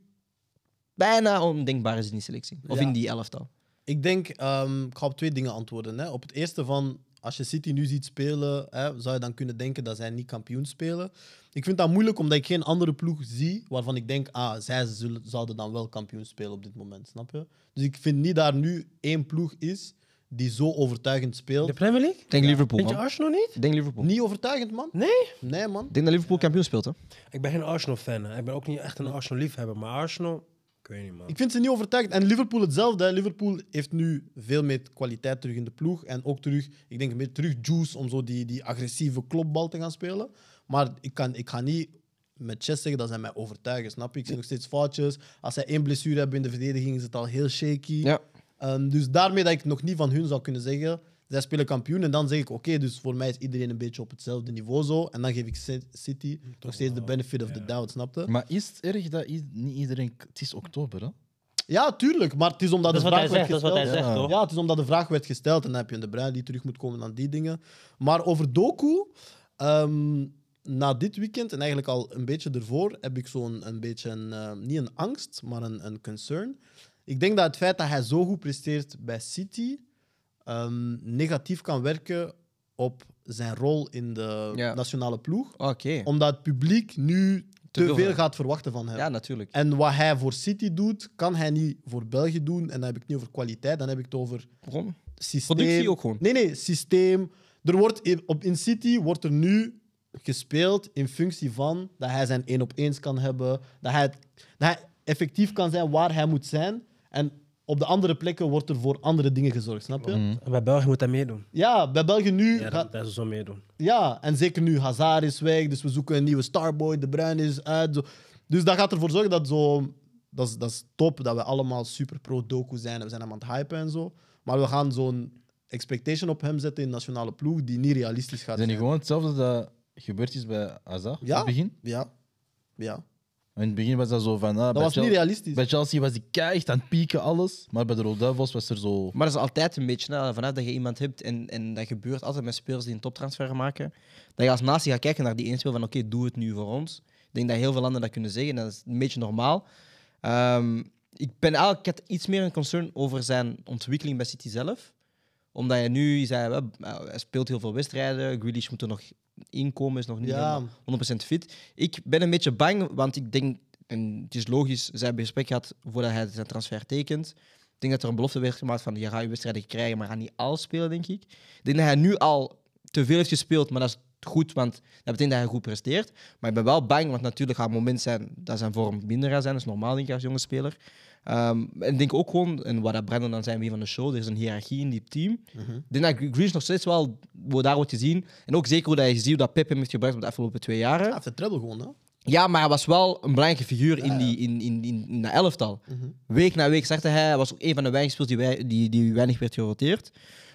bijna ondenkbaar is in die selectie. Of Ja. in die elftal. Ik denk, ehm, ik ga op twee dingen antwoorden. Hè. Op het eerste van, als je City nu ziet spelen, hè, zou je dan kunnen denken dat zij niet kampioen spelen. Ik vind dat moeilijk omdat ik geen andere ploeg zie waarvan ik denk, ah, zij zullen, zouden dan wel kampioen spelen op dit moment, snap je? Dus ik vind niet dat er nu één ploeg is die zo overtuigend speelt. De Premier League? Ik denk Liverpool, Vind je man. Arsenal niet? Ik denk Liverpool. Niet overtuigend, man? Nee? Nee, man. Ik denk dat Liverpool kampioen speelt, hè? Ik ben geen Arsenal-fan. hè. Ik ben ook niet echt een Arsenal-liefhebber. Maar Arsenal... Ik weet niet, man. Ik vind ze niet overtuigend. En Liverpool hetzelfde. hè. Liverpool heeft nu veel meer kwaliteit terug in de ploeg. En ook terug, ik denk meer terug juice om zo die, die agressieve klopbal te gaan spelen. Maar ik, kan, ik ga niet met chess zeggen dat zij mij overtuigen, snap je? Ik zie nog steeds foutjes. Als zij één blessure hebben in de verdediging, is het al heel shaky. Ja. Ehm, dus daarmee dat ik nog niet van hun zou kunnen zeggen, zij spelen kampioen. En dan zeg ik, oké, dus voor mij is iedereen een beetje op hetzelfde niveau zo. En dan geef ik Ci- City nog steeds de benefit of the doubt, snap je? Maar is het erg dat i- niet iedereen... Het is oktober, hè? Ja, tuurlijk, maar het is omdat Dat is de wat hij vraag zegt, werd dat is wat hij gesteld. zegt, toch? Ja, het is omdat de vraag werd gesteld en dan heb je de Bruin die terug moet komen aan die dingen. Maar over Doku, ehm, na dit weekend en eigenlijk al een beetje ervoor, heb ik zo'n een beetje, een, eh, niet een angst, maar een, een concern. Ik denk dat het feit dat hij zo goed presteert bij City ehm, negatief kan werken op zijn rol in de Ja. nationale ploeg. Oké. Omdat het publiek nu te, veel veel van- gaat verwachten van hem. Ja, natuurlijk. En wat hij voor City doet, kan hij niet voor België doen. En dan heb ik het niet over kwaliteit, dan heb ik het over Waarom? systeem. Productie ook gewoon. Nee, nee, systeem. Er wordt in, op, in City wordt er nu gespeeld in functie van dat hij zijn één op eens kan hebben. Dat hij, dat hij effectief kan zijn waar hij moet zijn. En op de andere plekken wordt er voor andere dingen gezorgd, snap je? Bij België moet hij meer doen. Ja, bij België nu... Ja, gaat- dat, dat is zo meer doen. ja, en zeker nu Hazard is weg, dus we zoeken een nieuwe Starboy, De Bruin is uit. Zo. Dus dat gaat ervoor zorgen dat zo... Dat is, dat is top, dat we allemaal super pro-doku zijn en we zijn hem aan het hypen en zo. Maar we gaan zo'n expectation op hem zetten in de nationale ploeg die niet realistisch Zijn gaat zijn. die gewoon hetzelfde dat gebeurd is bij Azar in Ja. het begin? Ja. Ja. In het begin was dat zo van... ah, bij Dat was niet Chel- realistisch. Bij Chelsea was die keihard aan het pieken, alles. Maar bij de Rode Duivels was er zo... Maar dat is altijd een beetje, hè, vanaf dat je iemand hebt, en, en dat gebeurt altijd met spelers die een toptransfer maken, dat je als natie gaat kijken naar die ene speler van oké, doe het nu voor ons. Ik denk dat heel veel landen dat kunnen zeggen, en dat is een beetje normaal. Ehm, ik, ben eigenlijk, ik had iets meer een concern over zijn ontwikkeling bij City zelf. Omdat hij nu, je zei, wel, hij speelt heel veel wedstrijden, Grealish moet er nog inkomen, is nog niet Ja. helemaal 100% fit. Ik ben een beetje bang, want ik denk, en het is logisch, zij hebben gesprek gehad voordat hij zijn transfer tekent. Ik denk dat er een belofte werd gemaakt van je gaat je wedstrijden krijgen, maar gaat niet al spelen, denk ik. Ik denk dat hij nu al te veel heeft gespeeld, maar dat is goed, want dat betekent dat hij goed presteert. Maar ik ben wel bang, want natuurlijk gaat het moment zijn dat zijn vorm minder gaat zijn. Dat is normaal, denk ik, als jonge speler. Ehm, en ik denk ook gewoon, en wat dat Brandon dan zei, wie van de show, er is een hiërarchie in die team. Ik denk dat Grealish nog steeds wel wo- daar wordt gezien. En ook zeker hoe dat je ziet hoe dat Pep hem heeft gebruikt op de afgelopen twee jaren. Hij heeft de treble gewoon, hè? Ja, maar hij was wel een belangrijke figuur in, die, in, in, in, in dat elftal. Week na week startte hij. Hij was ook een van de weinige spelers die, wij, die, die weinig werd geroteerd.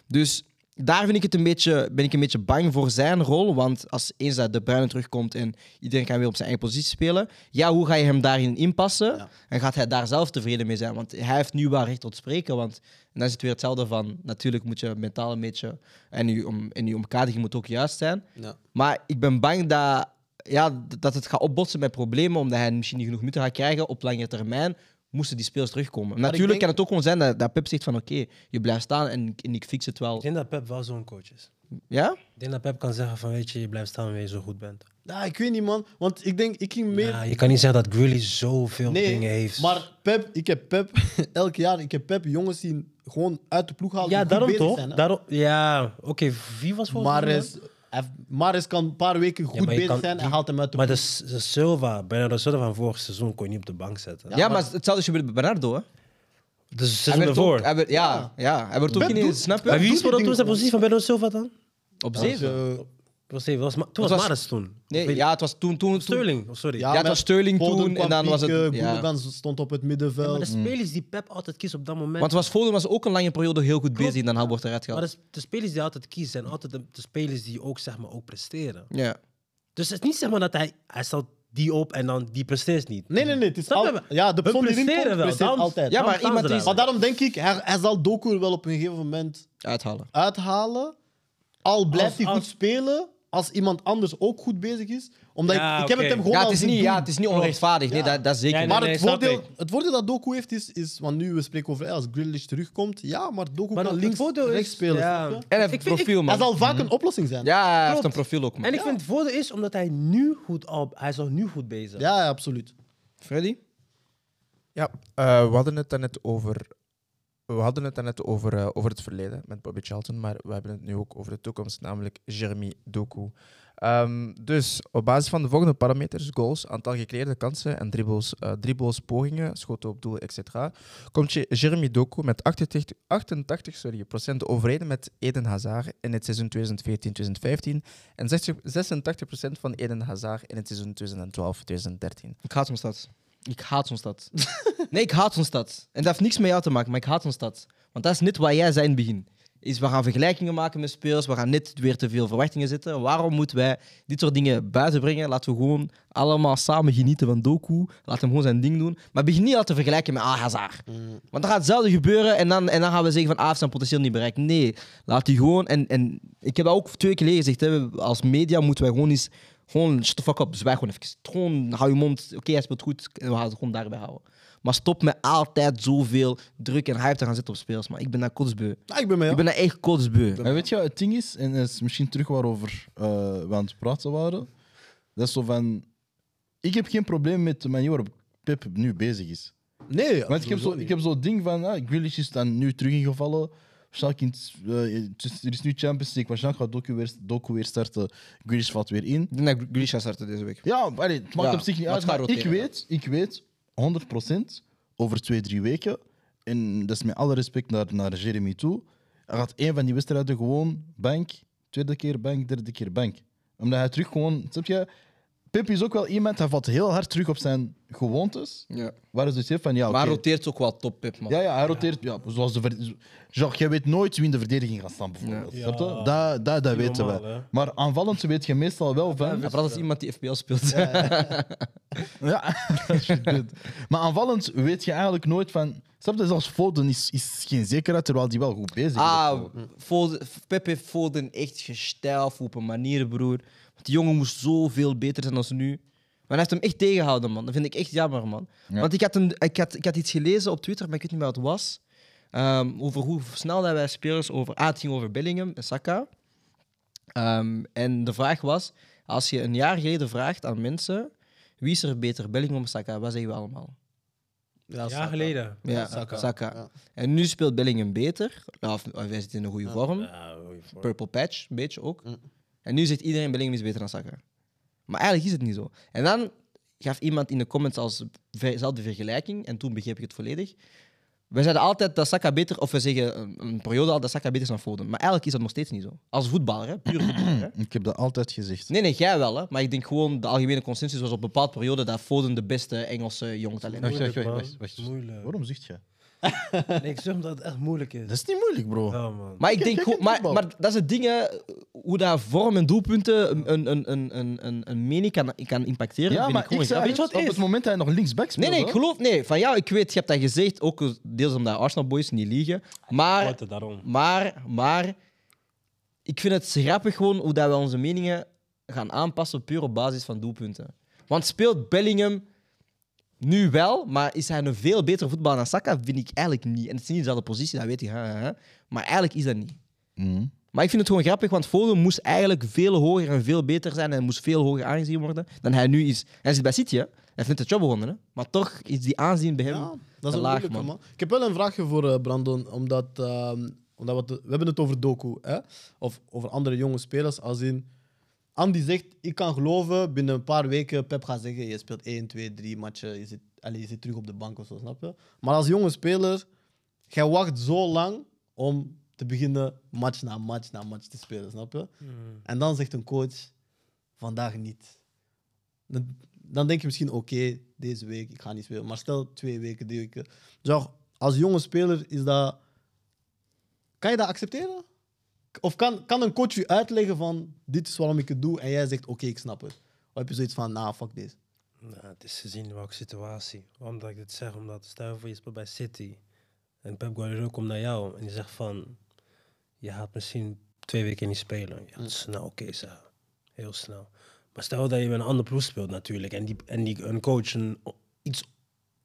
Dus daar vind ik het een beetje, ben ik een beetje bang voor zijn rol. Want als eens dat De Bruyne terugkomt en iedereen kan weer op zijn eigen positie spelen. Ja, hoe ga je hem daarin inpassen? En gaat hij daar zelf tevreden mee zijn? Want hij heeft nu wel recht tot spreken. Want en dan is het weer hetzelfde van... Natuurlijk moet je mentaal een beetje... En je, om, en je omkadering moet ook juist zijn. Ja. Maar ik ben bang dat, ja, d- dat het gaat opbotsen met problemen, omdat hij misschien niet genoeg minuten gaat krijgen op lange termijn. moesten die speels terugkomen. Natuurlijk denk- kan het ook gewoon zijn dat, dat Pep zegt van oké, je blijft staan en, ik- en ik fix het wel. Ik denk dat Pep wel zo'n coach is. Ja? Ik denk dat Pep kan zeggen van, weet je, je blijft staan wanneer je zo goed bent. Ja, ik weet niet, man. Want ik denk, ik ging meer... Ja, je kan niet zeggen dat Greeley zoveel nee, dingen heeft. maar Pep, ik heb Pep... [LAUGHS] elk jaar, ik heb Pep jongens zien gewoon uit de ploeg halen. die ja, goed daarom bezig toch? Zijn, hè. daarom, ja, oké, wie was volgens mij? Maris, hij heeft- Maris kan een paar weken goed maar je bezig kan- zijn en die- haalt hem uit de Maar ploeg. de, S- de Silva, Bernardo Silva van vorig seizoen kon je niet op de bank zetten. Ja, maar, hetzelfde is gebeurd bij Bernardo. Hè? Dus het Hij seizoen werd ook, ervoor. hij werd, ja, ja, hij werd ook Pep niet doet- snap je? Maar wie doet speelde die dingen toen zijn positie van Bernardo Silva dan? Op zeven. Dus, eh, Was hij, was, Ma- toen Het was, was- Maris toen. Nee, ja, het was toen... toen, toen Sterling, oh, sorry. Ja, het met was Sterling Foden toen en kwam dan was het- pieken, ja. Gundogan stond op het Ja, maar middenveld. de spelers die Pep altijd kiest op dat moment. want het was Foden was ook een lange periode heel goed bezig en dan wordt eruit maar gehaald. de, de spelers die altijd kiezen zijn altijd de, de spelers die ook, zeg maar, ook presteren. Ja. Dus het is niet zeg maar dat hij, hij stelt die op en dan die presteert niet. Nee, nee, nee. Het is Snap je? al, ja, de We persoon die erin komt, presteren wel, presteert daarom- altijd. Ja, Waarom maar staan iemand ze die... daar? Maar daarom denk ik, hij, hij zal Doku wel op een gegeven moment Uithalen. uithalen. Al blijft Als- hij goed als- spelen, als iemand anders ook goed bezig is. Omdat Ja, ik, ik heb oké. het hem gewoon Ja, al het is zien niet, doen. ja, het is niet onrechtvaardig. Nee, dat, dat zeker Ja, niet. nee, Maar het, snap voordeel, ik. het voordeel dat Doku heeft is, is, want nu we spreken over eh, als Grealish terugkomt, ja, maar Doku Maar kan het links voordeel is- rechts spelen. ja. Mhm. snap je? En hij heeft Ik een vind- ik- profiel, Hij man. zal vaak een oplossing zijn. Ja, Ja, hij heeft een Klopt. profiel ook, man. En ik vind het voordeel is omdat hij nu goed al, hij is al nu goed bezig. ja absoluut. Freddy? Ja, eh, we hadden het daarnet over. We hadden het daarnet over, eh, over het verleden met Bobby Charlton, maar we hebben het nu ook over de toekomst, namelijk Jeremy Doku. Ehm, dus op basis van de volgende parameters, goals, aantal gecreëerde kansen en dribbles, eh, dribbles pogingen, schoten op doel, etc., komt je Jeremy Doku met 88, 88 sorry, procent overeen met Eden Hazard in het seizoen 2014-2015 en 60, 86 procent van Eden Hazard in het seizoen 2012-2013. Ik haat zo'n stad. Ik haat zo'n [LAUGHS] stad. nee, ik haat zo'n stad. En dat heeft niks met jou te maken, maar ik haat zo'n stad. Want dat is net wat jij zei in het begin. Is we gaan vergelijkingen maken met spelers, we gaan net weer te veel verwachtingen zetten. Waarom moeten wij dit soort dingen buiten brengen? Laten we gewoon allemaal samen genieten van Doku. Laat hem gewoon zijn ding doen. Maar begin niet al te vergelijken met ah, Hazard. Want dan gaat hetzelfde gebeuren en dan, en dan gaan we zeggen van ah, hij heeft zijn potentieel niet bereikt. Nee, laat die gewoon. En, en ik heb dat ook twee keer gezegd. Hè. We- Als media moeten wij gewoon eens gewoon shut the fuck up, zwijg gewoon even. Gewoon hou je mond. Oké, hij speelt goed. En we gaan het gewoon daarbij houden. Maar stop met altijd zoveel druk en hype te gaan zetten op spelers. Maar ik ben daar kotsbeu. Ja, Ah, ik ben mee. Ik ben daar echt kotsbeu. Maar weet je wat het ding is? En dat is misschien terug waarover eh, we aan het praten waren. Dat is zo van... Ik heb geen probleem met de manier waarop Pep nu bezig is. Nee, ja, Want ik heb sowieso zo'n niet. ik heb zo ding van... Ah, Grealish is dan nu terug ingevallen. Waarschijnlijk in, eh, het is- er is nu Champions League. Waarschijnlijk gaat Doku weer, Doku weer starten. Grealish valt weer in. Ik denk dat Grisha startte deze week. Ja, allee, het maakt Ja, op zich niet maar uit. het gaat maar ik, roteren, weet, ik weet 100% over twee, drie weken. En dat is met alle respect naar, naar Jeremy toe. Hij gaat één van die wedstrijden gewoon bank, tweede keer bank, derde keer bank. Omdat hij terug gewoon. Snap je? Pep is ook wel iemand, hij valt heel hard terug op zijn gewoontes. Ja. Waar is dus heel van ja, Maar hij oké. roteert ook wel top, Pep, man. Ja, ja, hij roteert. Ja, zoals de verde- Jacques, jij weet nooit wie in de verdediging gaat staan, bijvoorbeeld. Ja. Snap je? Ja. Dat, dat, dat Niet weten we. normaal, hè? Maar aanvallend weet je meestal wel van. Hij praat als iemand die FPL speelt. Ja, [LAUGHS] alsjeblieft. maar aanvallend weet je eigenlijk nooit van. Snap je, zelfs Foden is, is geen zekerheid, terwijl die wel goed bezig is. Ah, Foden, Pep heeft Foden echt gestijlf op een manier, broer. Want die jongen moest zoveel beter zijn dan nu. Maar hij heeft hem echt tegengehouden, man. Dat vind ik echt jammer, man. Ja. Want ik had, een, ik, had, ik had iets gelezen op Twitter, maar ik weet niet meer wat het was. Ehm, over hoe snel dat wij spelers over... Ah, het ging over Bellingham en Saka. Ehm, en de vraag was, als je een jaar geleden vraagt aan mensen... Wie is er beter, Bellingham of Saka? Wat zeggen we allemaal? Ja, Een jaar geleden. Ja, Saka. Saka. Ja. En nu speelt Bellingham beter. Ja, Of, of hij zit in een goede vorm. Ja, goeie voor- Purple Patch, een beetje ook. En nu zegt iedereen Bellingham is beter dan Saka. Maar eigenlijk is het niet zo. En dan gaf iemand in de comments als dezelfde vergelijking, en toen begreep ik het volledig. We zeiden altijd dat Saka beter, of we zeggen een, een periode al dat Saka beter is dan Foden. Maar eigenlijk is dat nog steeds niet zo. Als voetballer, hè? puur voetballer. Hè? Ik heb dat altijd gezegd. Nee, nee, jij wel. Hè? Maar ik denk gewoon, de algemene consensus was op een bepaald periode dat Foden de beste Engelse jongtalent was. Wacht, wacht, wacht, man. wacht, wacht. Moeilijk. Waarom zegt je? Nee, ik zeg omdat het echt moeilijk is. Dat is niet moeilijk, bro. Ja, man. Maar ik Kijk, denk, kijk, gewoon- kijk, maar, voetbal. maar dat is het ding, hè, hoe dat vorm en doelpunten een, een, een, een, een, een mening kan, kan impacteren. Ja, vind maar ik ik gewoon zei grappig. het, op het moment dat hij nog linksback speelde... Nee, nee, ik geloof... Nee, van jou, ik weet, je hebt dat gezegd, ook deels omdat Arsenal boys niet liegen. Maar, Wat er daarom. maar, maar... Ik vind het grappig gewoon hoe dat we onze meningen gaan aanpassen puur op basis van doelpunten. Want speelt Bellingham Nu wel, maar is hij een veel betere voetballer dan Saka? Vind ik eigenlijk niet. En het is niet dezelfde positie, dat weet ik. hè, hè, hè. Maar eigenlijk is dat niet. Mhm. Maar ik vind het gewoon grappig, want Foden moest eigenlijk veel hoger en veel beter zijn. En moest veel hoger aangezien worden dan hij nu is. Hij zit bij City, hè? Hij heeft net de job gewonnen, hè? Maar toch is die aanzien bij hem. Ja, dat te is een laag, moeilijke, man. man. Ik heb wel een vraagje voor eh, Brandon, omdat, ehm, omdat we, het- we hebben het over Doku, hè? of over andere jonge spelers. Als in, Andy zegt, ik kan geloven, binnen een paar weken Pep gaat zeggen, je speelt 1, 2, 3 matchen, je zit, allez, je zit terug op de bank of zo, snap je? Maar als jonge speler, jij wacht zo lang om te beginnen match na match na match te spelen, snap je? Hmm. En dan zegt een coach, vandaag niet dan, dan denk je misschien, oké, deze week, ik ga niet spelen. Maar stel twee weken, drie weken. Zo, als jonge speler is dat... Kan je dat accepteren? Of kan, kan een coach je uitleggen van, dit is waarom ik het doe, en jij zegt, oké, ik snap het. Of heb je zoiets van, nah, fuck this. Nou, het is gezien in welke situatie. Waarom dat ik dit zeg? Omdat, stel je voor je speelt bij City. En Pep Guardiola komt naar jou en die zegt van... Je gaat misschien twee weken niet spelen. Ja, dat is snel, oké, zeggen. Heel snel. Maar stel dat je met een ander ploeg speelt natuurlijk. En, die, en die, een coach, een o- iets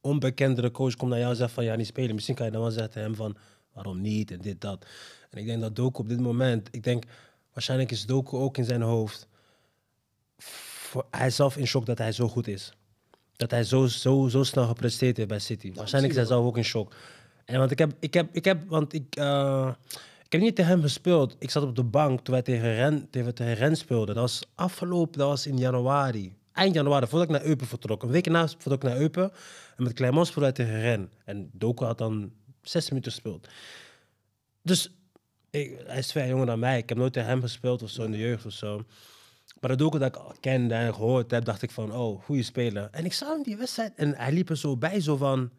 onbekendere coach, komt naar jou en zegt van... Ja, niet spelen. Misschien kan je dan wel zeggen tegen hem van... Waarom niet? En dit, dat. En ik denk dat Doku op dit moment... Ik denk, waarschijnlijk is Doku ook in zijn hoofd... voor- hij is zelf in shock dat hij zo goed is. Dat hij zo, zo, zo snel gepresteerd heeft bij City. Waarschijnlijk is hij zelf ook in shock. En want ik heb, ik heb, ik heb, want ik, eh, ik heb niet tegen hem gespeeld. Ik zat op de bank toen wij tegen Ren, tegen, tegen Ren speelden. Dat was afgelopen, dat was in januari. Eind januari, voordat ik naar Eupen vertrok. Een week na vertrok ik naar Eupen. En met Clermont speelden wij tegen Ren. En Doku had dan zes minuten gespeeld. Dus ik, hij is twee jaar jonger dan mij. Ik heb nooit tegen hem gespeeld of zo in de jeugd of zo. Maar dat doelpunt dat ik al kende en gehoord heb, dacht ik van, oh, goede speler. En ik zag hem die wedstrijd en hij liep er zo bij, zo van,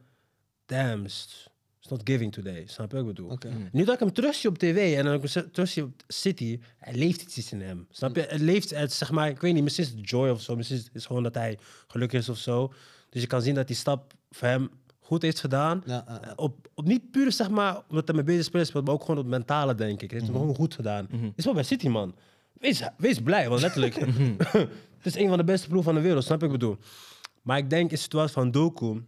damn, it's it's not giving today. Snap je wat ik bedoel? Mm. Nu dat ik hem terug zie op tv en dan ik hem z- terug zie op City, hij leeft iets in hem. Snap je? Het leeft, het, zeg maar, ik weet niet, misschien is het joy of zo, misschien is het gewoon dat hij gelukkig is of zo. Dus je kan zien dat die stap voor hem goed heeft gedaan. Ja, ja, ja. Op, op niet puur zeg maar omdat hij met bezig spelers speelt, maar ook gewoon op het mentale, denk ik. Hij heeft Mhm. hem gewoon goed gedaan. Is wel bij City, man. Wees, wees blij, want letterlijk. Mhm. [LAUGHS] het is een van de beste ploegen van de wereld, snap ik bedoel. Maar ik denk in de situatie van Doku,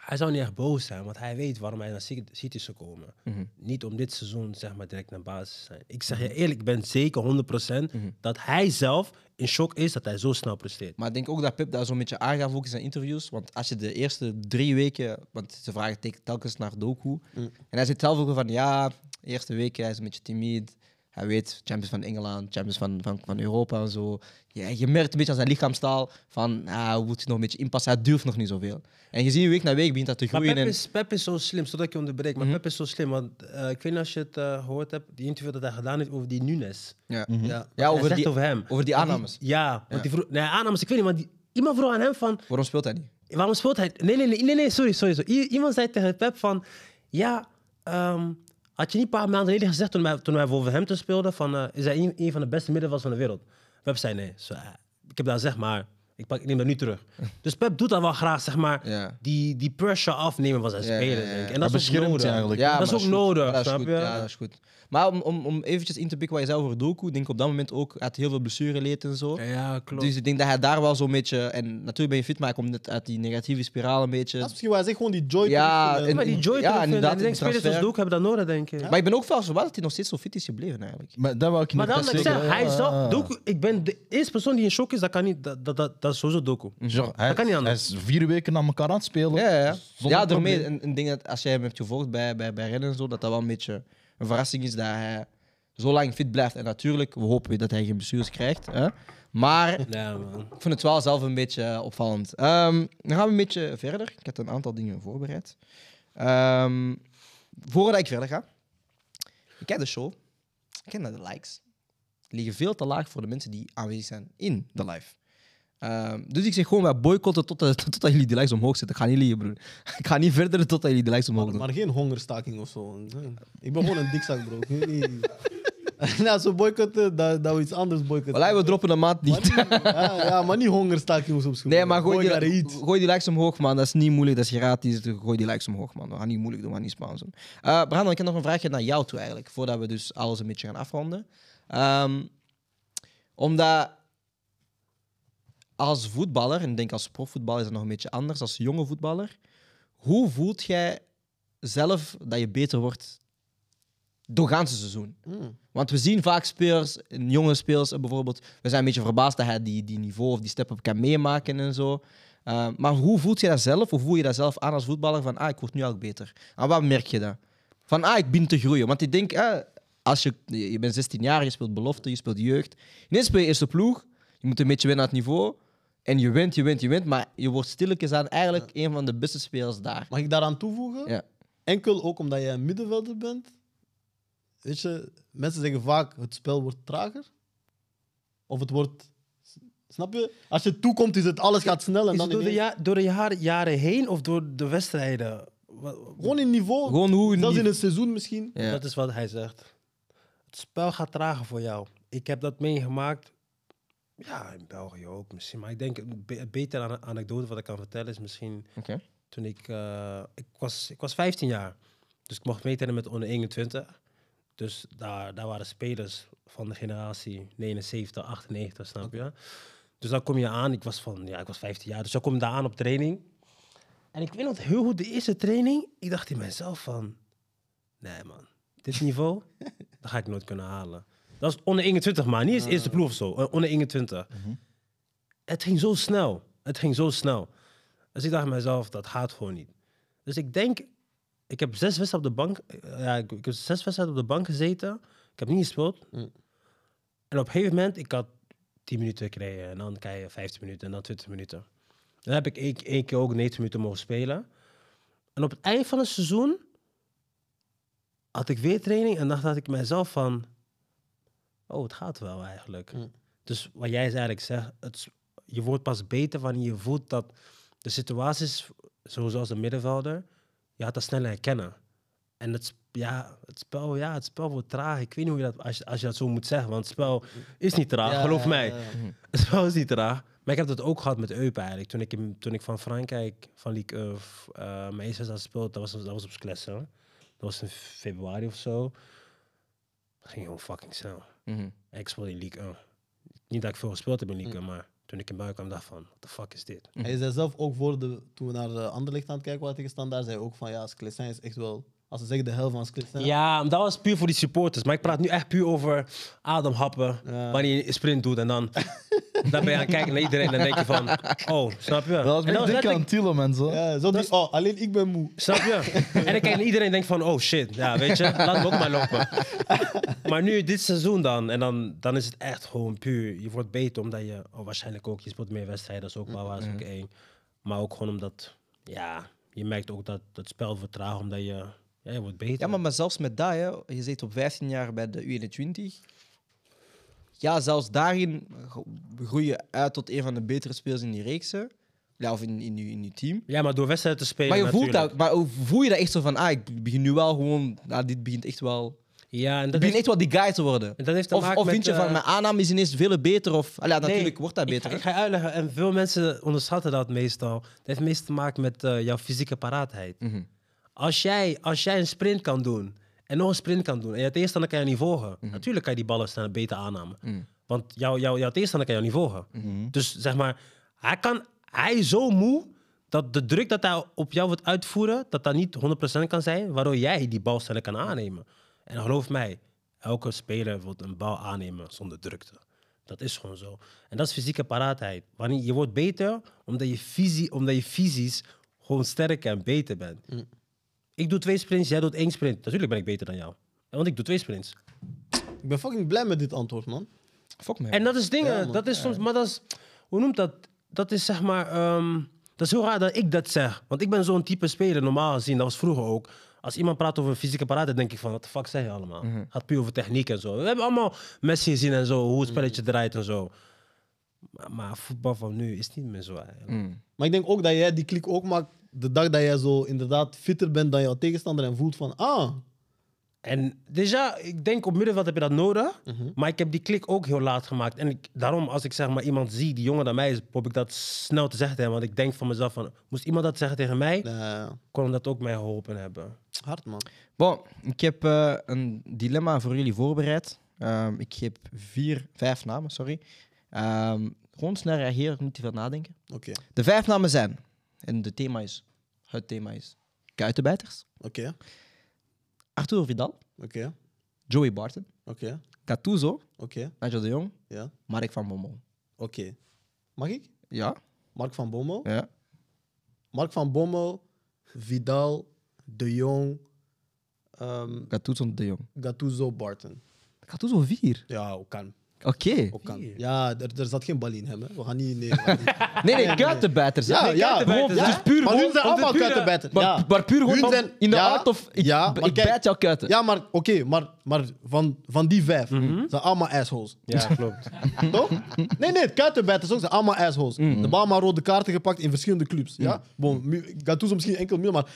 hij zou niet echt boos zijn, want hij weet waarom hij naar City- City zou komen. Mhm. Niet om dit seizoen zeg maar direct naar basis te zijn. Ik zeg je eerlijk, ik ben zeker 100% dat hij zelf in shock is dat hij zo snel presteert. Mhm. Maar ik denk ook dat Pep daar zo'n beetje aangaf ook in zijn interviews. Want als je de eerste drie weken... Want ze vragen tek- telkens naar Doku. Mm. En hij zit zelf ook van... Ja, de eerste weken hij is een beetje timid. Hij weet, Champions van Engeland, Champions van, van, van Europa en zo. Ja, je merkt een beetje aan zijn lichaamstaal van... Ah, hoe moet hij nog een beetje inpassen? Hij durft nog niet zoveel. En je ziet week na week begint dat te Maar groeien. Mhm. Pep En, is, Pep is zo slim, zodat ik je onderbreek. Maar Pep is zo slim, want eh, ik weet niet als je het eh, gehoord hebt, die interview dat hij gedaan heeft over die Nunes. ja. Ja. Mhm. Ja, hij over zegt die, over hem. over die aannames. Ja, want die vroeg, nee, aannames, ik weet niet, maar die, iemand vroeg aan hem van, Waarom speelt hij niet? Waarom speelt hij? Nee, nee, nee, nee, nee, sorry, sorry. sorry. I- iemand zei tegen Pep van... Ja, ehm, had je niet een paar maanden geleden gezegd toen wij, toen wij voor Wolverhampton speelden... Van, eh, is hij een, een van de beste middenvelders van de wereld? Pep zei nee. Zo, eh, ik heb dat gezegd, maar ik, pak, ik neem dat [LAUGHS] nu terug. Dus Pep doet dat wel graag, zeg maar. Ja. Die, die pressure afnemen van zijn Ja, ja, spelers. ja, ja. denk ik. En Hij dat is ook beschermt nodig. je eigenlijk. Ja, dat maar is ook goed. nodig, Ja, dat is snap goed. je? Ja, dat is goed. Maar om, om, om eventjes in te pikken wat je zei over Doku, denk ik op dat moment ook, hij had heel veel blessure leed en zo. Ja, klopt. Dus ik denk dat hij daar wel zo'n beetje, en natuurlijk ben je fit, maar hij komt net uit die negatieve spiraal een beetje. Dat is misschien waar hij zegt, gewoon die joy Ja, terugvinden. en- maar die joy Ja, terugvinden. inderdaad, ik denk die spelers als transfer. Doek hebben dat nodig, denk ik. Maar ik ben ook wel verbaasd dat hij nog steeds zo fit is gebleven eigenlijk. Maar dat wou ik Maar niet daarom per dat ik se- zeg, hij Ah. zelf, Doku, ik ben de eerste persoon die in shock is, dat kan niet, dat, dat, dat, dat is sowieso Doku. Zo, hij, kan niet anders. Hij is vier weken na elkaar aan het spelen. Ja, ja, ja. Zonder ja daarmee probleem. een, een ding dat als jij hem hebt gevolgd bij, bij, bij rennen en zo, dat dat wel een beetje een verrassing is dat hij zo lang fit blijft. En natuurlijk, we hopen weer dat hij geen blessures krijgt. Hè? Maar Ja, man. Ik vind het wel zelf een beetje eh, opvallend. Ehm, dan gaan we een beetje verder. Ik heb een aantal dingen voorbereid. Ehm, voordat ik verder ga. Ik kijk de show. Ik ken naar de likes. Die liggen veel te laag voor de mensen die aanwezig zijn in de live. Ehm, dus ik zeg gewoon, wij boycotten totdat, [LAUGHS] totdat jullie die likes omhoog zetten. Ik ga niet liegen, broer. [LAUGHS] Ik ga niet verder totdat jullie die likes omhoog Maar, doen. maar geen hongerstaking of zo. Ik ben gewoon een dikzak, bro. Ik weet niet. [LAUGHS] nou, zo boycotten, dat, dat we iets anders boycotten. Wallah, we droppen een maand niet. ja, ja, maar niet hongerstaking of zo. op school. Nee, maar Gooi gooi naar die, iets. gooi die likes omhoog, man. Dat is niet moeilijk, dat is gratis. Gooi die likes omhoog, man. We gaan niet moeilijk doen, we gaan niet sponsoren. Eh Brandon, ik heb nog een vraagje naar jou toe eigenlijk, voordat we dus alles een beetje gaan afronden. Ehm, omdat als voetballer, en ik denk als profvoetballer is dat nog een beetje anders, als jonge voetballer, hoe voelt jij zelf dat je beter wordt doorgaans het seizoen? Want we zien vaak spelers, en jonge spelers eh, bijvoorbeeld, we zijn een beetje verbaasd dat hij die, die niveau of die step-up kan meemaken en zo. Eh, maar hoe voelt je dat zelf? Hoe voel je dat zelf aan als voetballer? Van, ah, ik word nu al beter. En wat merk je dan? Van, ah, ik begin te groeien. Want ik denk, eh, als je, je je bent 16 jaar, je speelt belofte, je speelt jeugd. Ineens speel je eerste ploeg, je moet een beetje winnen aan het niveau. En je wint, je wint, je wint. Maar je wordt stilletjes aan eigenlijk een van de beste spelers daar. Mag ik daaraan toevoegen? Ja. Enkel ook omdat jij een middenvelder bent. Weet je, mensen zeggen vaak het spel wordt trager. Of het wordt... Snap je? Als je toekomt, is het alles gaat snel. En Is dan het door de, ineens- ja- door de jaren, jaren heen of door de wedstrijden? Wa- Gewoon in niveau. Gewoon hoe... zelfs niet- in een seizoen misschien. Ja. Dat is wat hij zegt. Het spel gaat trager voor jou. Ik heb dat meegemaakt. Ja, in België ook misschien. Maar ik denk, een be- een betere ane- anekdote wat ik kan vertellen is misschien... Oké. Toen ik... eh, ik, was, ik was 15 jaar. Dus ik mocht meetellen met onder 21. Dus daar, daar waren spelers van de generatie 79, 98, snap je? Dus dan kom je aan. Ik was, van, ja, ik was 15 jaar. Dus dan kom je daar aan op training. En ik weet nog heel goed, de eerste training, ik dacht in mezelf van... Nee man, dit niveau, dat ga ik nooit kunnen halen. Dat is onder 21, maar niet eens eerste ploeg of zo. eh, Onder 21. Het ging zo snel. Het ging zo snel. Dus ik dacht mezelf, dat gaat gewoon niet. Dus ik denk, ik heb zes wedstrijden op de bank... eh, Ja, ik, ik heb zes wedstrijden op de bank gezeten. Ik heb niet gespeeld. En op een gegeven moment, ik had 10 minuten gekregen. En dan krijg je 15 minuten en dan 20 minuten. Dan heb ik één, één keer ook 90 minuten mogen spelen. En op het eind van het seizoen had ik weer training en dacht dat ik mezelf van... Oh, het gaat wel eigenlijk. Dus wat jij eigenlijk zegt, het, is- je wordt pas beter wanneer je voelt dat de situaties, zo- zoals de middenvelder, je had dat sneller herkennen. En het, sp- ja, het, spel, ja, het spel wordt traag. Ik weet niet hoe je dat, als, je- als je dat zo moet zeggen, want het spel is niet traag, geloof mij. Het spel is niet traag. Maar ik heb dat ook gehad met Eupen eigenlijk. Toen ik, in- toen ik van Frankrijk, van Ligue 1, eh mijn eerste had gespeeld, dat was, dat was op Sklessen. Dat was in februari of zo. Dat ging gewoon fucking snel. En ik speelde in Ligue 1. Niet dat ik veel gespeeld heb in Ligue 1, maar toen ik in buiten kwam, dacht ik van, what the fuck is dit? Hij zei zelf ook voor de, toen we naar eh, Anderlecht aan het kijken waren tegen Standaard, zei hij ook van ja, Sclessin is echt wel... Als ze zeggen de helft van Sclessin... Ja, maar dat was puur voor die supporters. Maar ik praat nu echt puur over ademhappen. Wanneer je sprint doet en dan, dan ben je aan het kijken naar iedereen. En dan denk je van, oh, snap je? Dat is En dan dik letterlijk- aan Tillem en zo. Ja, zo die, oh, alleen ik ben moe. Snap je? En dan kijkt iedereen en denkt van, oh shit, ja, weet je, laat me ook maar lopen. Maar nu, dit seizoen dan, en dan, dan is het echt gewoon puur. Je wordt beter omdat je, oh, waarschijnlijk ook, je speelt meer wedstrijden, dat is ook wel waar, Mm-hmm. dat is ook één. Maar ook gewoon omdat, ja, je merkt ook dat het spel vertraagt omdat je, ja, je wordt beter. Ja, maar, maar zelfs met dat, hè, je zit op 15 jaar bij de U21. Ja, zelfs daarin gro- groei je uit tot een van de betere spelers in die reeksen. Ja, of in, in, je, in je team. Ja, maar door wedstrijden te spelen Maar je voelt, natuurlijk. dat, maar hoe voel je dat echt zo van, ah, ik begin nu wel gewoon, nou, dit begint echt wel, Ja, en ik dat begin heeft, echt wel die guy te worden. en dat heeft te Of, maken of met, vind je eh, van, mijn aanname is ineens veel beter, of, ah, ja, nee, natuurlijk wordt dat beter. hè. Ik, ga- ik ga je uitleggen, en veel mensen onderschatten dat meestal. Dat heeft meestal te maken met eh, jouw fysieke paraatheid. Mhm. Als, jij, als jij een sprint kan doen en nog een sprint kan doen en je tegenstander kan je niet volgen, Mhm. natuurlijk kan je die ballen sneller beter aannemen. Want jouw jouw jouw tegenstander kan je niet volgen. Mhm. Dus zeg maar, hij, kan, hij is zo moe dat de druk dat hij op jou wordt uitvoeren, dat dat niet 100% kan zijn, waardoor jij die bal sneller kan aannemen. En geloof mij, elke speler wil een bal aannemen zonder drukte. Dat is gewoon zo. En dat is fysieke paraatheid. Wanneer je wordt beter omdat je, visie, omdat je visies gewoon sterker en beter bent. Ik doe twee sprints, jij doet één sprint. Natuurlijk ben ik beter dan jou. Want ik doe twee sprints. Ik ben fucking blij met dit antwoord, man. Fuck me. En dat is dingen, Ja, man. dat is soms, maar dat is, hoe noemt dat? Dat is zeg maar, ehm, dat is heel raar dat ik dat zeg. Want ik ben zo'n type speler, normaal gezien, dat was vroeger ook. Als iemand praat over fysieke paraatheid, denk ik van, wat de fuck zeg je allemaal? Mhm. Gaat puur over techniek en zo. We hebben allemaal Messi gezien en zo, hoe het spelletje Mhm. draait en zo. Maar, maar voetbal van nu is niet meer zo eigenlijk. Maar ik denk ook dat jij die klik ook maakt de dag dat jij zo inderdaad fitter bent dan jouw tegenstander en voelt van, ah, En déjà, ik denk op middenveld heb je dat nodig. Maar ik heb die klik ook heel laat gemaakt. En ik, daarom, als ik zeg maar iemand zie die jonger dan mij is, probeer ik dat snel te zeggen tegen hem. Want ik denk van mezelf van, moest iemand dat zeggen tegen mij, eh, kon hem dat ook mij geholpen hebben. hard man. Bon, ik heb eh, een dilemma voor jullie voorbereid. Ehm, ik heb vier, vijf namen, sorry. Ehm, Gewoon snel reageren, niet te veel nadenken. Oké, De vijf namen zijn, en de thema is, het thema is, Kuitenbijters, oké, Arturo Vidal, oké, Joey Barton, oké, Gattuso, oké, Nigel de Jong, ja, Mark van Bommel. oké. Mag ik? Ja? Mark van Bommel. Ja. Mark van Bommel, Vidal, De Jong, ehm, Gattuso de Jong. Gattuso, Barton. Gattuso vier. Ja, ook kan. Oké. Ook kan. Ja, er, er zat geen bal in hem. Hè. We gaan niet... Nee, [LAUGHS] Nee, nee, Kuitenbijters. Ja, Nee, ja. Kuitenbijters. Ja. Dus puur maar gewoon- hun zijn allemaal kuitenbijten. Maar, Ja. maar puur gewoon Hun van, zijn- in de ja, aard of ik, ja, b- maar ik kijk- bijt jou kuiten. Ja, maar oké, maar, maar van, van die vijf zijn allemaal assholes. Ja, [LAUGHS] klopt. Toch? Nee, nee, kuitenbijters ook zijn allemaal assholes. De Bama rode kaarten gepakt in verschillende clubs. Ja? Bon, Mu- Gattuso misschien enkel meer, maar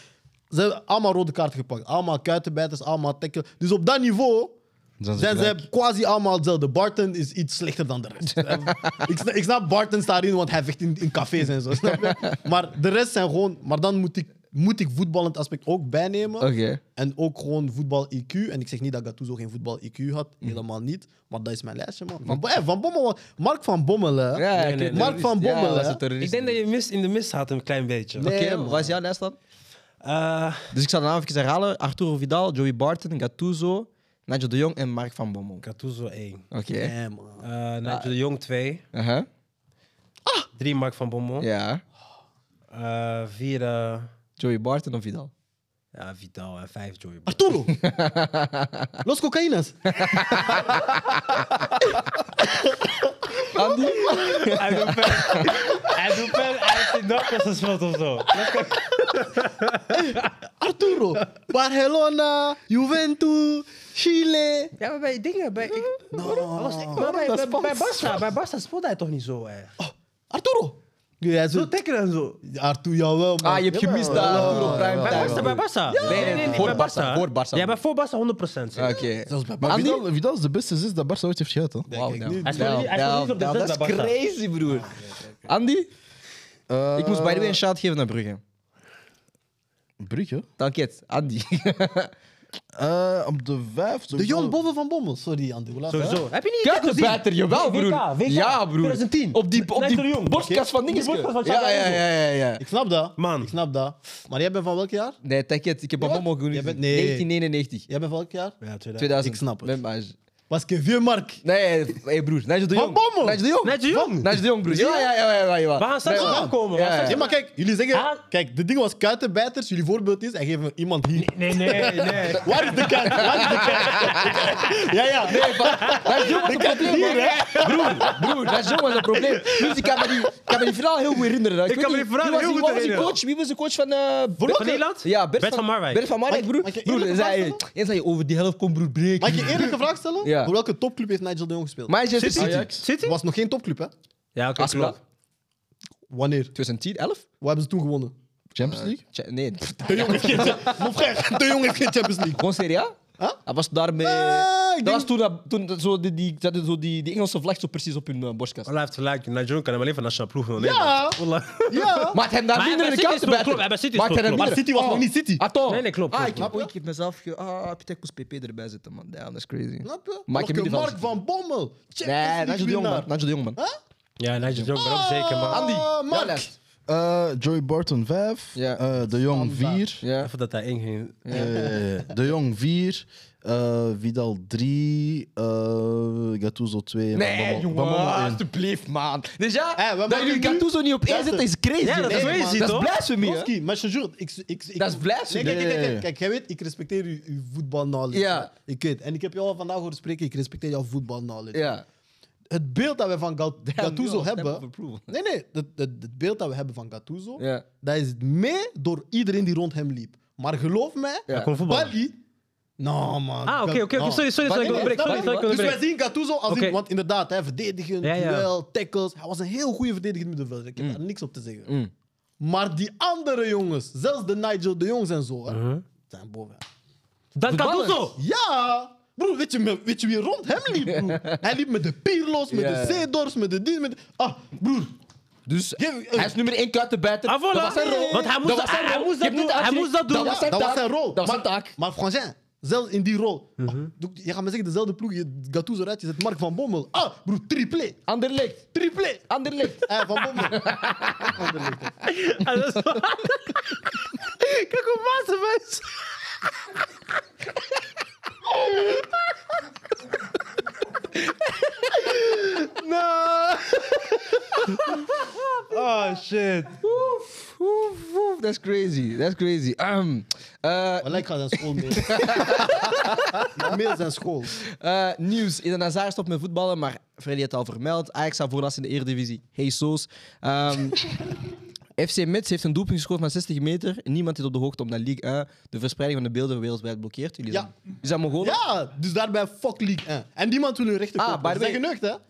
ze hebben allemaal rode kaarten gepakt. Allemaal kuitenbijters, allemaal tackle. Dus op dat niveau Zijn ze zijn gelijk. ze quasi allemaal hetzelfde. Barton is iets slechter dan de rest. Eh, ik, snap, ik snap Barton staat erin, want hij vecht in, in cafés en zo. Snap je? Maar de rest zijn gewoon... Maar dan moet ik, moet ik voetballend aspect ook bijnemen. Oké. En ook gewoon voetbal IQ. En ik zeg niet dat Gattuso geen voetbal IQ had. Mm. Helemaal niet. Maar dat is mijn lijstje, man. Van, Bo- eh, van Bommel... Mark van Bommel, hè. Ja, Nee, oké, nee, nee. Mark van Ja, Bommel, dat is hè. een terrorist. Ik denk dat je mis in de mis had een klein beetje. Nee, Oké, man. wat is jouw lijst dan? Eh, Dus ik zal de naam even herhalen. Arturo Vidal, Joey Barton, Gattuso, Nigel de Jong en Mark van Bommel. Oké. Gattuso 1. Nee, man. eh Nigel de Jong 2. Uh-huh. 3 Mark van Bommel. Ja. 4 Joey Barton of Vidal? ja, Vidal en 5 Joy. [LAUGHS] Arturo! Los cocaïnas. Andy? Hij doet pen. [LAUGHS] Hij doet pen. Hij [LAUGHS] heeft die nacht gespeeld of zo. Arturo! Barcelona, Juventus, Chile. Ja, maar bij dingen. Bij, ik, Hij was- maar bij, bij, bij Barca, bij Barca speelde hij toch niet zo, hè? Arturo! Ja, hij Oh, Zo zo... tikken en zo. Arturo, jawel, man. Ah, je hebt gemist daar. Arturo Prime Bij Barca, bij Barca. Nee, nee, voor Barca, voor Barca. Ja, bij voor Barca 100%. zeker. Oké. Maar Vidal, Vidal is de beste zes dat Barca ooit heeft gehad, hoor. Ja, nou. kijk, nu- Hij speelde niet- hij speelde niet op de Damn, zes damn, bij Dat is Barca. crazy, broer. Andy? Ik moest by the Eh. way een shout geven naar Brugge. Brugge. Dank je, Andy. Eh, op de vijf... De sowieso- Jong boven van Bommel. Sorry, Andy. Hoe laat is het? Sowieso. Heb je niet Kuiten beter, jawel, WK, broer. WK, ja, broer. 2010. Op die, op Nigel de die Jong. podcast van dinges. podcast van Ja, Xabi ja, Alonso. ja, ja, ja. Ik snap dat. Man. Ik snap dat. Maar jij bent van welk jaar? Nee, ticket. Ik heb een Bommel genoemd. Jij bent- nee. 1991. Jij bent van welk jaar? Ja, 2000. 2000. Ik snap het. Met Maj. Was ik vier Mark? Nee, hey broer. Nigel de Van Jong. Bommel. Nigel de Jong. Nigel de Jong. Nigel de Jong, broer. Ja, ja, ja. ja, ja, ja. We gaan straks Nee, aankomen. komen. Ja, Ja, maar kijk, jullie zeggen... Ah. Kijk, dit ding was kuitenbijters. Jullie voorbeeld is, hij geeft me iemand hier. Nee, nee, [LAUGHS] nee. Waar is de kant? Waar is de [LAUGHS] kant? ja, ja. Nee, Nigel de Jong was een probleem, hier, man. Broer, broer. Nigel de Jong was een probleem. Dus ik kan me die, ik kan me die verhaal heel goed herinneren. Ik, weet kan me die niet, verhaal wie was heel die- goed wat was die herinneren. coach? Wie was de coach van... eh, Bert- van Nederland? Ja, Bert Bert van Marwijk. Bert van Marwijk, Mag- broer. mag ik Broer, eerlijk zei, een vraag eens zei je over die helft kon, broer, Mag breken. ik je eerlijke vraag stellen? Ja. Voor welke topclub heeft Nigel de Jong gespeeld? Manchester City. Het was nog geen topclub, hè? Ja, oké, Aspla. klopt. Wanneer? 2010, 11? Wat hebben ze toen gewonnen? Champions League. Tja, Nee, De Jong heeft geen, Mon frère, [LAUGHS] de Jong heeft geen Champions League. gewoon Serie A. Huh? Hij was daarmee... Ah, ik Dat was toen, dat- toen dat zo die, die, dat zo die, die Engelse vlag zo precies op hun eh, borstkast. Allah heeft gelijk. Nigel de kan hem alleen van nationale ploeg Ja. van Nederland. Wallah. Ja. Maakt hem daar Maar minder bij de City kansen is het bij. goed, klopt. Bij City is het Maakt hem daar goed, klopt. Maar minder- City was Oh. nog niet City. Atto. Nee, nee, klopt, Ah, klopt, ik klopt. heb ik heb mezelf ge... Ah, Pieter moest PP erbij zetten, man. Damn, that's crazy. Snap je? Maak je Nog een middenveld. Mark van Bommel. Nee, Champions Nigel de Ah. League Jong, man. winnaar. Nigel de Jong, man. Ja, Nigel de Jong ben ook zeker, man. Andy, Ah, jouw Mark. lijst. Eh, Joey Barton 5. Ja. de Jong 4. Ja. Even dat hij inging. Eh, de Jong 4. eh, Vidal 3. eh Gattuso 2. Nee, jongen, alstublieft, man. Dus ja, Eh, Hé, wat dat maak jullie je nu? Gattuso niet op één Luister. zetten is crazy. Ja, dat is Nee, crazy, Dat is toch? blasphemy, hè? Roski, maar je jure, ik, ik, ik... Dat is blasphemy. Nee, kijk, kijk, kijk, Nee. kijk, kijk, jij weet, ik respecteer uw, uw voetbalknowledge. Ja. hè. Ik weet, en ik heb jou al vandaag horen spreken, ik respecteer jouw voetbalknowledge. Ja. Het beeld dat we van Gat- Gattuso hebben... Ja. Nee, nee, het, het, het beeld dat we hebben van Gattuso, Ja. dat is mee door iedereen die rond hem liep. Maar geloof mij, Ja. Kom voetbal. Bali... Nou, man. Ah, oké, Gat- oké, oké. nou. Sorry, sorry, sorry. Ik Wat- onderbreek. Sorry, sorry, ik Dus onderbreek. wij zien Gattuso als Oké. iemand, want inderdaad, hij verdedigend, Ja, ja. duel, tackles. Hij was een heel goede verdedigend middenvelder. Ik heb Mm. daar niks op te zeggen. Maar die andere jongens, zelfs de Nigel de Jongs en zo, hè, Uh-huh. zijn boven. Dan Gattuso! Ja! Broer, weet je, me- weet je wie rond hem liep? [LAUGHS] Broer? hij liep met de Pirlo's, met Ja. de Zeedors, met de dit, met de... Ah, broer. Dus Geef- hij is nummer één kuitenbijter. Ah, voilà. Dat was zijn rol. Want hij moest dat was zijn hij rol. Je moest dat hebt doen. niet Hij uitgelegd. moest dat doen. Dat was zijn Dat was taak. zijn rol. Dat was zijn maar, taak. Mhm. Maar Frangin, Zelfs in die rol. Ah, Doe- Je gaat me zeggen, dezelfde ploeg, je Gattuso eruit, je zet Mark van Bommel. Ah, broer, triplé. Anderlecht. Triplé. [LAUGHS] Anderlecht. Eh, van Bommel. Anderlecht. [LAUGHS] Kijk hoe wassen is. Oh, shit. Oef, oef, oef. That's crazy. That's crazy. Ehm, eh, Maar Oh, lijkt gaat zijn [LAUGHS] school mee. Maar meer zijn school. eh, nieuws. In de Nazar stopt met voetballen, maar Freddy had het al vermeld. Ajax staat voorlast in de Eredivisie. Jesus. Ehm [LAUGHS] FC Metz heeft een doelpunt gescoord van 60 meter. Niemand is op de hoogte om naar Ligue 1. De verspreiding van de beelden wereldwijd blokkeert. Jullie Ja. zijn, jullie zijn Mongolen? Ja, dus daarbij fuck League 1. En die man wil hun rechten Ah, kopen. by the Ze zijn way- geneukt,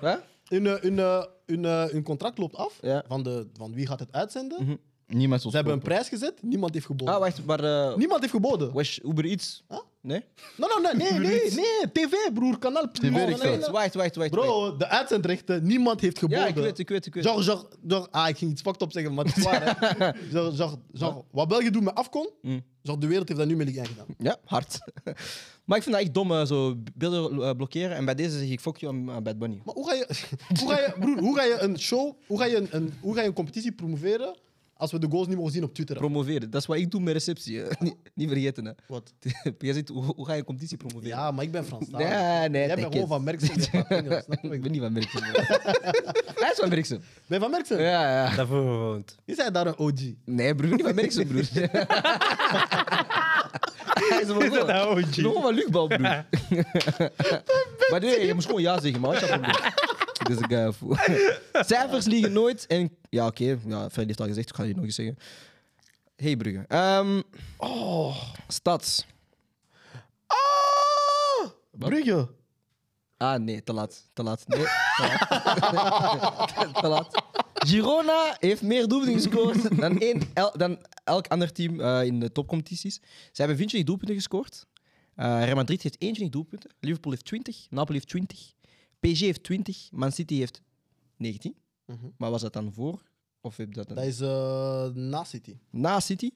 hè? Hè? Hun, eh, hun, eh, hun, eh, hun contract loopt af. Ja. Mhm. Van, de, van wie gaat het uitzenden? Niemand zal Ze hebben een kopen. prijs gezet. Niemand heeft geboden. Ah, wacht, maar... eh Niemand heeft geboden. was Uber iets? Huh? Nee? No, no, no, nee, nee, nee. TV, broer. Kanaal. TV Oh, nee, wacht, wacht, wacht, wacht. Bro, de uitzendrechten. Niemand heeft geboden. Ja, ik weet, ik weet, ik weet. Genre, genre, genre, ah, ik ging iets fucked op zeggen, maar het is waar. hè. genre, genre, genre, wat België doet met afkon, genre, de wereld heeft dat nu met Ligue 1 gedaan. Ja, hard. [LAUGHS] maar ik vind dat echt dom, eh, zo beelden eh, blokkeren. En bij deze zeg ik fuck you aan aan Bad Bunny. Maar hoe ga je, [LAUGHS] hoe ga je, broer, hoe ga je een show, hoe ga je een, een- hoe ga je een competitie promoveren als we de goals niet mogen zien op Twitter? Promoveren, dat is wat ik doe met receptie. hè. [LAUGHS] niet, niet vergeten, hè. [LAUGHS] Wat? Jij zegt, hoe, hoe ga je een competitie promoveren? Ja, maar ik ben Frans. Nee, nee, Jij denk bent gewoon het. van Merksem. je praat Engels, snap je wat Ik [LAUGHS] ben ik bedoel? niet van Merksem. Hij is van Merksem. Ben je van Merksem? Ja, ja. Daarvoor gewoond. Is hij daar een OG? Nee, broer, niet van Merksem, broer. [LAUGHS] Hij is een Mongool. nou Nog wel luchtbal, broer. [LAUGHS] maar nee, je moest gewoon ja zeggen, man. Wat is dat probleem? Dit is een guy fool. eh, Cijfers liegen nooit en... Ja, oké. Ja, Freddy heeft al gezegd. Ik ga je nog eens zeggen. Hey Brugge. Ehm oh, stads. Brugge. Ah, nee. Te laat. Te laat. Nee. Te laat. [LAUGHS] te laat. Girona heeft meer doelpunten gescoord dan, één, el- dan elk ander team eh, in de topcompetities. Ze hebben 24 doelpunten gescoord. Eh, Real Madrid heeft 21 doelpunten. Liverpool heeft 20. Napoli heeft 20. PSG heeft 20. Man City heeft 19. Maar was dat dan voor? Of heb je dat dan... Dat is eh na City. na City.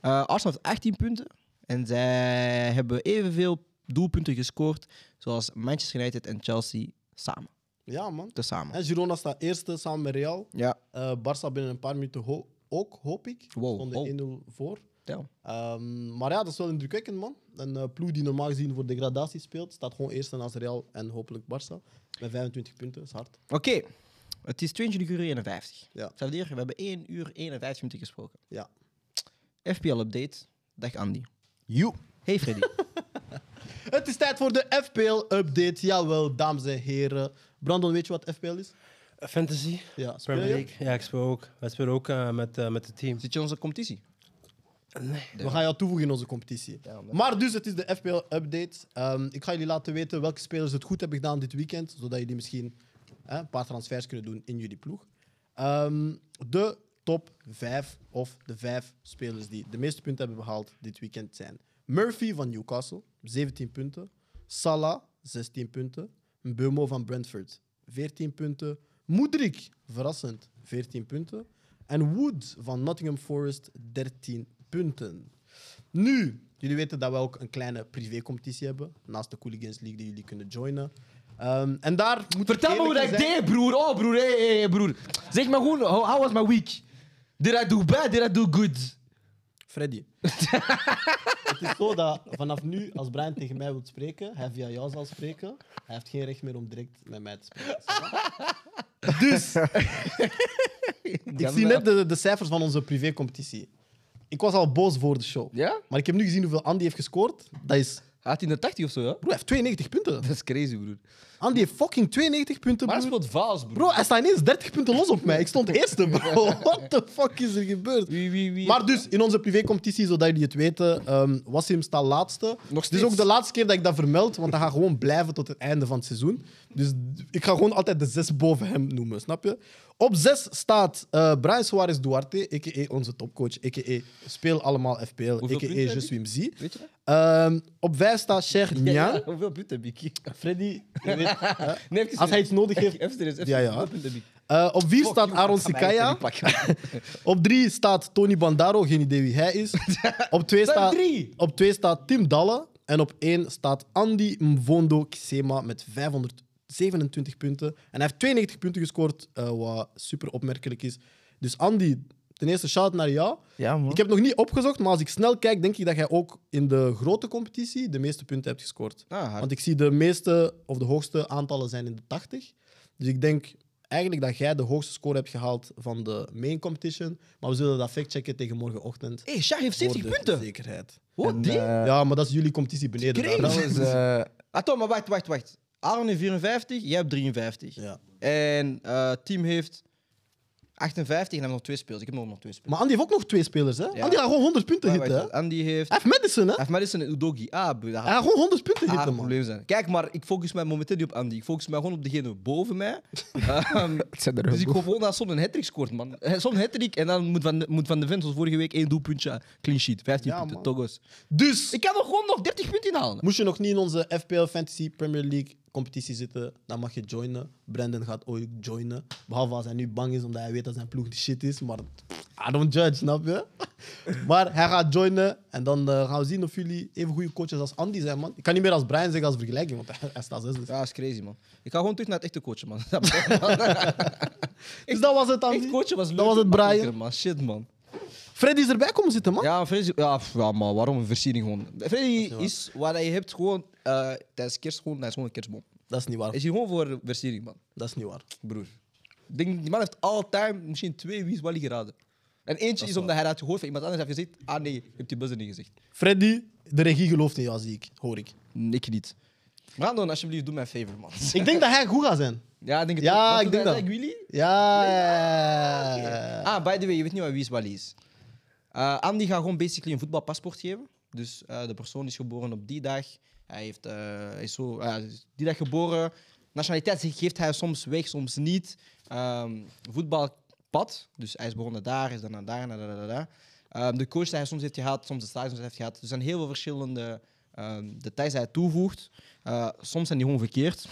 Eh, Arsenal heeft 18 punten. En zij hebben evenveel doelpunten gescoord zoals Manchester United en Chelsea samen. Ja, man. Tezamen. En Girona staat eerste samen met Real. Ja, Eh Barça binnen een paar minuten ho- ook, hoop ik. Wow, wow. Stonden 1-0 voor. tel. Ehm, maar ja, dat is wel indrukwekkend, man. Een eh, ploeg die normaal gezien voor degradatie speelt, staat gewoon eerst naast Real en hopelijk Barça. Met 25 punten, dat is hard. Oké, het is 22 uur 51. Ja. Xavier, we hebben 1 uur 51 minuten gesproken. Ja. FPL-update. Dag Andy. Joe. Hey Freddy. [LAUGHS] Het is tijd voor de FPL-update. Jawel, dames en heren. Brandon, weet je wat FPL is? Eh, Fantasy, Ja, speel Premier je? League. Ja, ik speel ook. Wij spelen ook eh, met, eh, met het team. Zit je in onze competitie? We gaan jou toevoegen in onze competitie. Maar dus, het is de FPL-update. Ehm, ik ga jullie laten weten welke spelers het goed hebben gedaan dit weekend. Zodat jullie misschien hè, een paar transfers kunnen doen in jullie ploeg. Ehm, de top 5 of de vijf spelers die de meeste punten hebben behaald dit weekend zijn Murphy van Newcastle, 17 punten. Salah, 16 punten. Beumo van Brentford, 14 punten. Moedrik, verrassend, 14 punten. En Wood van Nottingham Forest, 13 punten. Nu, jullie weten dat we ook een kleine privécompetitie hebben. Naast de Cooligans League die jullie kunnen joinen. Ehm, en daar moet Vertel me hoe dat ik deed, broer. Oh, broer. Hey, hey, hey, broer. Zeg maar gewoon, how, how was my week? Did I do bad? Did I do good? Freddy. [LAUGHS] het is zo dat vanaf nu, als Brian tegen mij wil spreken, hij via jou zal spreken. Hij heeft geen recht meer om direct met mij te spreken. dus, ik zie net de, de cijfers van onze privécompetitie. Ik was al boos voor de show. Ja? Maar ik heb nu gezien hoeveel Andy heeft gescoord. Dat is... Had hij de 80 of zo, ja? Bro, hij heeft 92 punten. [LAUGHS] Dat is crazy, broer. Andy heeft fucking 92 punten, Maar hij broer. speelt vals, broer. Bro, hij staat ineens 30 punten los op mij. Ik stond eerste, bro. What the fuck is er gebeurd? Wie, wie, wie? Maar dus, in onze privécompetitie, zodat jullie het weten, ehm Wassim staat laatste. Nog Dit steeds. is ook de laatste keer dat ik dat vermeld, want dat gaat gewoon blijven tot het einde van het seizoen. Dus d- ik ga gewoon altijd de zes boven hem noemen, snap je? Op zes staat eh Brian Suarez Duarte, a.k.a. onze topcoach, a.k.a. speel allemaal FPL, a.k.a. punten heb Je je? suis MZ. Weet je dat? Ehm, op vijf staat Cher Nian. Hoeveel punten heb ik? Freddy, je weet, hè? [LAUGHS] Nee, even als hij serieus. iets nodig heeft... Even serieus, even Ja, serieus. ja. Hoeveel punten heb ik? Eh, op vier Fuck staat you, Aaron ik ga mijn Sikaya. eigen punten pakken. Op drie [LAUGHS] staat Tony Bandaro, geen idee wie hij is. Op twee, Dat staat drie. op twee staat Tim Dalle. En op 1 staat Andy Mvondo Kisema met 527 punten. En hij heeft 92 punten gescoord, eh, wat super opmerkelijk is. Dus Andy, ten eerste shout naar jou. Ja, man. Ik heb nog niet opgezocht, maar als ik snel kijk, denk ik dat jij ook in de grote competitie de meeste punten hebt gescoord. Want ik zie de meeste of de hoogste aantallen zijn in de 80. Dus ik denk eigenlijk dat jij de hoogste score hebt gehaald van de main competition. Maar we zullen dat factchecken tegen morgenochtend. Hé, hey, Shah heeft Voor 70 de punten. Zekerheid. Hoe En, die? eh, Ja, maar dat is jullie competitie beneden. daar. trouwens, eh, Attends, Ah, maar wacht, wacht, wacht. Aaron heeft 54, jij hebt 53. Ja. En eh team heeft 58 en hebben nog twee speels. Ik heb nog nog twee speels. Maar Andy heeft ook nog twee spelers, hè? Andy gaat gewoon 100 punten Wacht, hitten, hè? Eh? wacht, Andy heeft... Hij heeft Madison, hè? Hij heeft Madison en Udogi. Ah, bu- dat gaat Hij gaat gewoon 100 punten ah, hitten, een man. probleem zijn. Kijk, maar ik focus mij momenteel niet op Andy. Ik focus mij gewoon op degene boven [LAUGHS] mij. Ehm, het zijn er dus ik heel hoop gewoon dat Son een hat scoort, man. Eh, Son een hat en dan moet Van, de- moet van de Ven, zoals vorige week, één doelpuntje. eh, Clean sheet, 15 Ja, punten, man. Togos. Dus Ik kan nog gewoon nog 30 punten inhalen. moest je nog niet in onze FPL Fantasy Premier League competitie zitten, dan mag je joinen. Brandon gaat ooit joinen. Behalve als hij nu bang is omdat hij weet dat zijn ploeg de shit is. Maar I don't judge, snap je? [LAUGHS] maar hij gaat joinen en dan eh, gaan we zien of jullie even goede coaches als Andy zijn, man. Ik kan niet meer als Brian zeggen als vergelijking, want [LAUGHS] hij, hij staat zesde. Ja, dat is crazy, man. Ik ga gewoon terug naar het echte coachen, man. [LAUGHS] Dus dat was het, Andy. Echt coachen was leuk. was het, Brian. makkelijker, Man. Shit, man. Freddy is erbij komen zitten, man. Ja, Freddy, ja, pff, ja, maar waarom een versiering gewoon? Freddy is wat je hebt gewoon eh, tijdens kerst gewoon, hij is gewoon een kerstboom. Dat is niet waar. Hij is hier gewoon voor versiering, man. Dat is niet waar. Broer. Ik denk, die man heeft all-time misschien twee Wies Wally geraden. En eentje is, omdat hij dat gehoord van iemand anders heeft gezegd. Ah nee, je hebt die buzzer niet gezegd. Freddy, de regie gelooft in jou, zie ik. Hoor ik. Ik niet. Brandon, alsjeblieft, doe mij een favor, man. Ik denk dat hij goed gaat zijn. Ja, ik denk het Ja, ook. Wat ik doet denk hij? dat. Zeg, Willy? Ja. Ah, by the way, je weet niet wat Wies Wally is. Eh, Andy gaat gewoon basically een voetbalpaspoort geven. Dus eh, de persoon is geboren op die dag. Hij, heeft, eh, hij is zo, ja, hij is die dag geboren. Nationaliteit geeft hij soms weg, soms niet. Ehm, voetbalpad, dus hij is begonnen daar, is dan naar daar, naar daar, naar daar. Ehm, de coach die hij soms heeft gehad, soms de stadions heeft gehad. Dus er zijn heel veel verschillende ehm, details die hij toevoegt. Eh, soms zijn die gewoon verkeerd.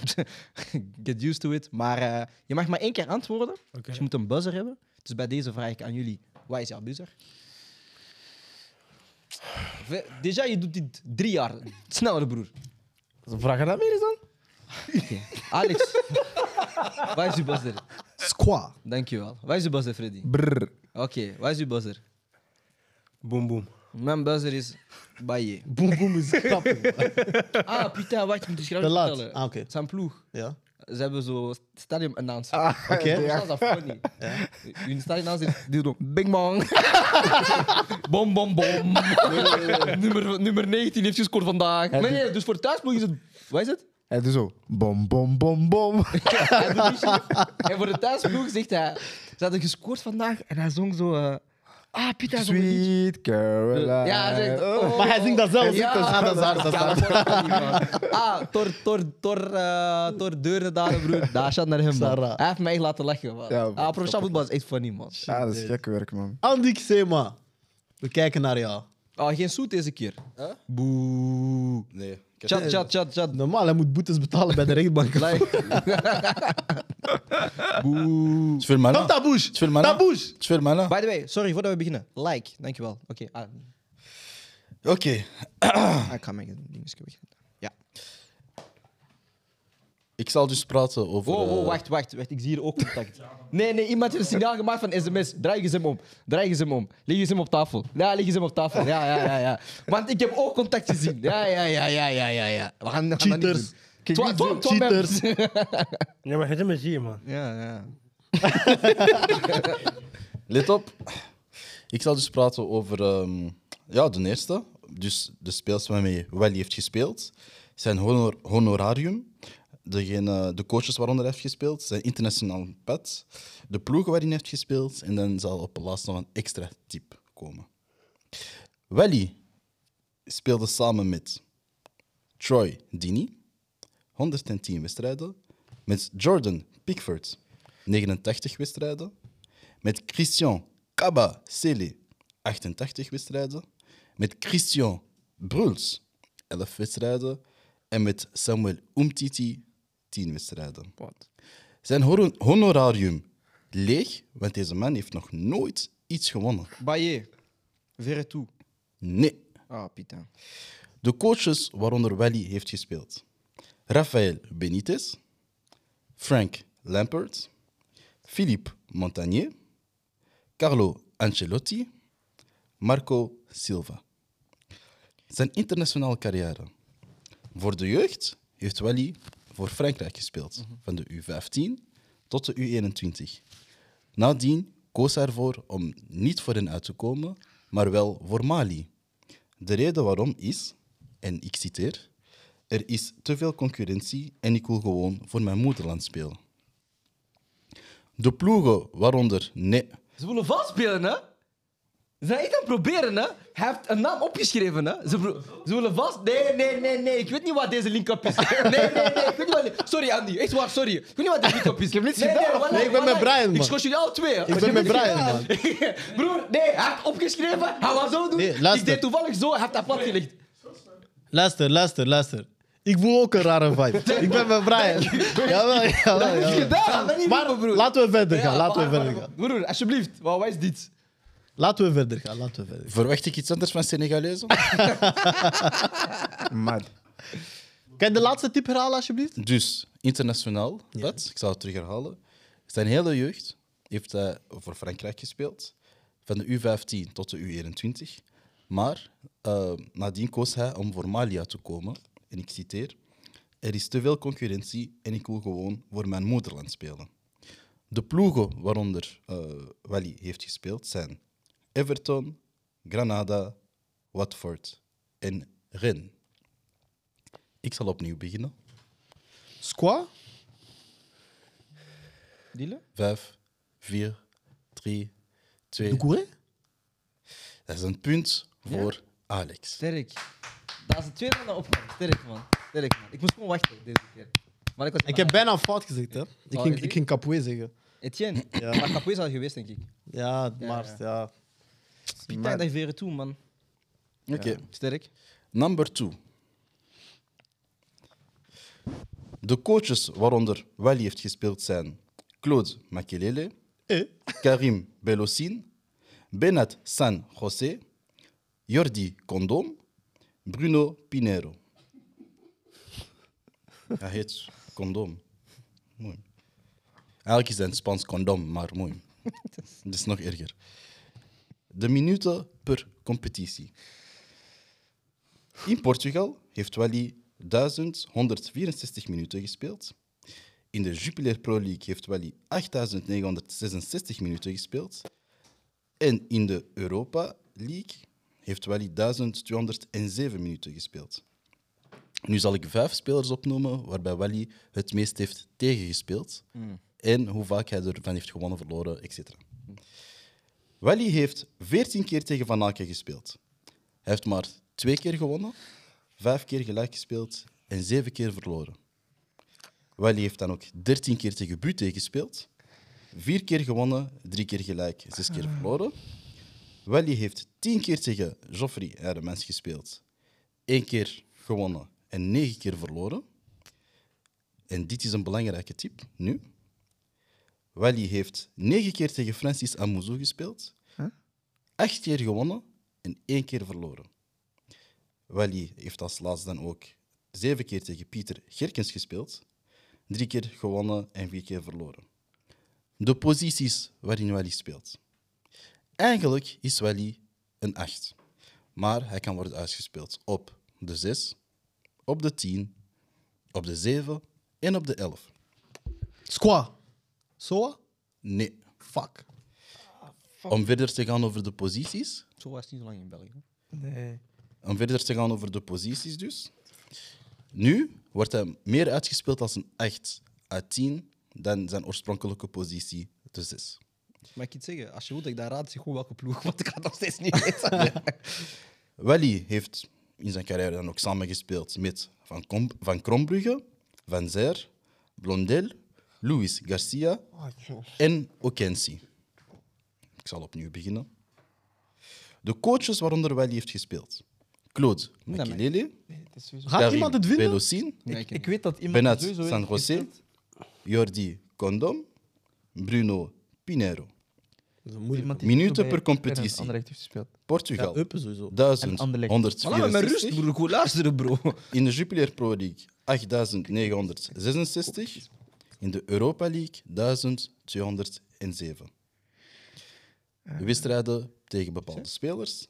[LAUGHS] Get used to it. Maar eh, je mag maar één keer antwoorden. Dus je moet een buzzer hebben. Dus bij deze vraag ik aan jullie, wat is jouw buzzer? Ve- Déjà, je doet dit drie jaar. Sneller, broer. Vraag je dat meer eens dan? Alex, waar is uw buzzer? Squa. Dankjewel. Waar is uw buzzer, Freddy? Brrr. Oké, waar is uw buzzer? Boom, boom. Mijn buzzer is Baye. Boom boom is grappig. Ah, Pieter, wacht, ik moet je Te schrijven. laat. Ah, oké. Zijn ploeg. Ja. Ze hebben zo stadium announced. Dus Oké. Dat is dat funny. Hun stadium announced nou, die doen bing bang. bom, bom, bom. nummer, nummer 19 heeft gescoord vandaag. Nee, nee, dus voor de thuisploeg is het... Wat is het? Hij doet zo. Bom, bom, bom, bom. Hij doet niet zo. en voor de thuisploeg zegt hij... Ze hadden gescoord vandaag en hij zong zo... eh, ah, Pieter, hij zong een liedje. Sweet Caroline. Ja, hij zegt... oh. Maar hij zingt dat zelf. Ja. Ah, dat is hard, dat is hard. Ah, tor, tor, tor, eh, tor deuren daar, [LAUGHS] broer. Daar staat naar hem, man. Sarah. Hij heeft mij echt laten lachen, man. Ja, ah, man, professioneel voetbal is echt funny, man. Ja, Ah, dat is gek werk, man. Andy Xema. We kijken naar jou. Ah, geen zoet deze keer. Nee. Ik heb- Chat, chat, chat, chat. Normaal, hij moet boetes betalen bij de rechtbank. Het is veel mannen. Taboes. Het is veel mannen. Taboes. Het is veel mannen. By the way, sorry, voordat we beginnen. Like, dankjewel. Oké, ah, Oké. ik ga mijn dingetje weg. Ik zal dus praten over... Oh, oh, eh, wacht, wacht, wacht. Ik zie hier ook contact. Nee, nee, iemand heeft een signaal gemaakt van sms. Draai eens hem om. Draai eens hem om. Leg eens hem op tafel. Ja, leg eens hem op tafel. Ja, ja, ja, ja. Want ik heb ook contact gezien. Ja, ja, ja, ja, ja, ja. ja. We gaan, we gaan dat niet Cheaters. doen. Twa- twa- twa- Cheaters. members. Ja, maar het is met hier, man. Ja, ja. Let op. Ik zal dus praten over ehm, ja, de eerste. Dus de speels waarmee Wally heeft gespeeld. Zijn honor- honorarium. Degene, de coaches waaronder hij heeft gespeeld. Zijn internationaal pet. De ploeg waarin hij heeft gespeeld. En dan zal op het laatst nog een extra tip komen. Wally speelde samen met Troy Dini. 110 wedstrijden. Met Jordan Pickford. 89 wedstrijden. Met Christian Kaba Sele 88 wedstrijden. Met Christian Bruls 11 wedstrijden. En met Samuel Umtiti 10 wedstrijden. Zijn horo- honorarium leeg, want deze man heeft nog nooit iets gewonnen. Baye. Verre toe. Nee. Ah, Pieter. De coaches waaronder Wally heeft gespeeld. Rafael Benitez, Frank Lampert, Philippe Montagnier, Carlo Ancelotti, Marco Silva. Zijn internationale carrière. Voor de jeugd heeft Wally voor Frankrijk gespeeld, van de U15 tot de U21. Nadien koos hij ervoor om niet voor hen uit te komen, maar wel voor Mali. De reden waarom is, en ik citeer, er is te veel concurrentie en ik wil gewoon voor mijn moederland spelen. De ploegen waaronder Ne- Ze willen valspelen, hè? Ze zijn echt aan het proberen, hè? Hij heeft een naam opgeschreven, hè? Ze, pro- ze willen vast. Nee, nee, nee, nee. Ik weet niet wat deze link-up is. [LAUGHS] Nee, nee, nee. Ik weet niet wat... Sorry, Andy. Echt waar, sorry. Ik weet niet wat deze link-up is. Ik heb niets nee, gedaan. Nee, ik ben met Brian, Ik man. schors jullie alle twee. hè. Ik ben met Brian, man. [LAUGHS] Broer, nee. Hij heeft opgeschreven. Hij was zo doen. Nee, ik luister. deed toevallig zo. Hij heeft dat plat gelegd. Luister, luister, luister. Ik voel ook een rare vibe. Ik ben met Brian. [LAUGHS] Jawel, jawel, Dat is jawel. gedaan. Dat is niet Maar roepen, broer. laten we verder gaan, Ja, laten we wacht, verder wacht, gaan. wacht. Broer, alsjeblieft. Wat wat is dit? Laten we verder gaan, laten we verder gaan. Verwacht ik iets anders van Senegalezen? Maar Kan je de laatste tip herhalen, alsjeblieft? Dus internationaal, dat, ik zal het terug herhalen. Zijn hele jeugd heeft hij voor Frankrijk gespeeld, van de U15 tot de U21. Maar eh, nadien koos hij om voor Mali uit te komen. En ik citeer: Er is te veel concurrentie en ik wil gewoon voor mijn moederland spelen. De ploegen waaronder eh Wally heeft gespeeld zijn Everton, Granada, Watford en Rennes. Ik zal opnieuw beginnen. Squa? 5, 4, 3, 2. Doucouré? Dat is een punt voor Alex. Sterk. Dat is de tweede man dat opkwam. Sterk, man. Sterk, man. Ik moest gewoon wachten deze keer. Maar ik was Ik heb bijna fout gezegd, hè. Ik Wat ging, is ik ging Capoe zeggen. Etienne. Maar Capoe is al geweest, denk ik. Ja, maar ja. ja. Piet tijd naar Veren toe, man. Oké, Sterk. number 2. De coaches waaronder Wally heeft gespeeld zijn Claude Makelele, Karim Belossin, Benat San José, Jordi Condom, Bruno Pinero. Hij heet Condom. Mooi. Eigenlijk is het een Spaans condom, maar mooi. Dat is nog erger. De minuten per competitie. In Portugal heeft Wally 1164 minuten gespeeld. In de Jupiler Pro League heeft Wally 8966 minuten gespeeld. En in de Europa League heeft Wally 1207 minuten gespeeld. Nu zal ik vijf spelers opnoemen waarbij Wally het meest heeft tegengespeeld. En hoe vaak hij ervan heeft gewonnen, verloren, etc. Wally heeft 14 keer tegen Van Aken gespeeld. Hij heeft maar twee keer gewonnen, vijf keer gelijk gespeeld en zeven keer verloren. Wally heeft dan ook 13 keer tegen Buté gespeeld, vier keer gewonnen, drie keer gelijk, zes keer verloren. Wally heeft 10 keer tegen Joffrey Hermans gespeeld, één keer gewonnen en negen keer verloren. En dit is een belangrijke tip nu. Wally heeft 9 keer tegen Francis Amouzou gespeeld, acht keer gewonnen en één keer verloren. Wally heeft als laatst dan ook zeven keer tegen Pieter Gerkens gespeeld, drie keer gewonnen en vier keer verloren. De posities waarin Wally speelt. Eigenlijk is Wally een 8, maar hij kan worden uitgespeeld op de 6, op de 10, op de 7 en op de 11. Squa? Soa? Nee. Fuck. Om verder te gaan over de posities, Zo was het niet zo lang in België. nee. om verder te gaan over de posities dus. Nu wordt hij meer uitgespeeld als een 8 uit 10 dan zijn oorspronkelijke positie, de 6. Maar ik kan het zeggen, als je wilt dat ik daar raad, zeg gewoon welke ploeg, [LAUGHS] want ik ga het nog steeds niet [LAUGHS] weten. Wally heeft in zijn carrière dan ook samengespeeld met Van, Kom van Krombrugge, Van Zer, Blondel, Luis Garcia Ah, en Okensi. Ik zal opnieuw beginnen. De coaches waaronder Wally heeft gespeeld. Claude Makelele, Gaat iemand het winnen? Belossin, Ik, ik weet dat iemand Benat sowieso San heeft José, gespeeld. Jordi Condom, Bruno Pinero. Dat is moeilijk. Iemand die Minuten bij per Inter en competitie. Anderlecht heeft gespeeld. Portugal, Ja, Eupen sowieso. 1000, En Anderlecht. Maar laat me met rust, 164. broer. Goed luisteren, [LAUGHS] bro. In de Jupiler Pro League 8966. In de Europa League 1207. Wedstrijden tegen bepaalde spelers.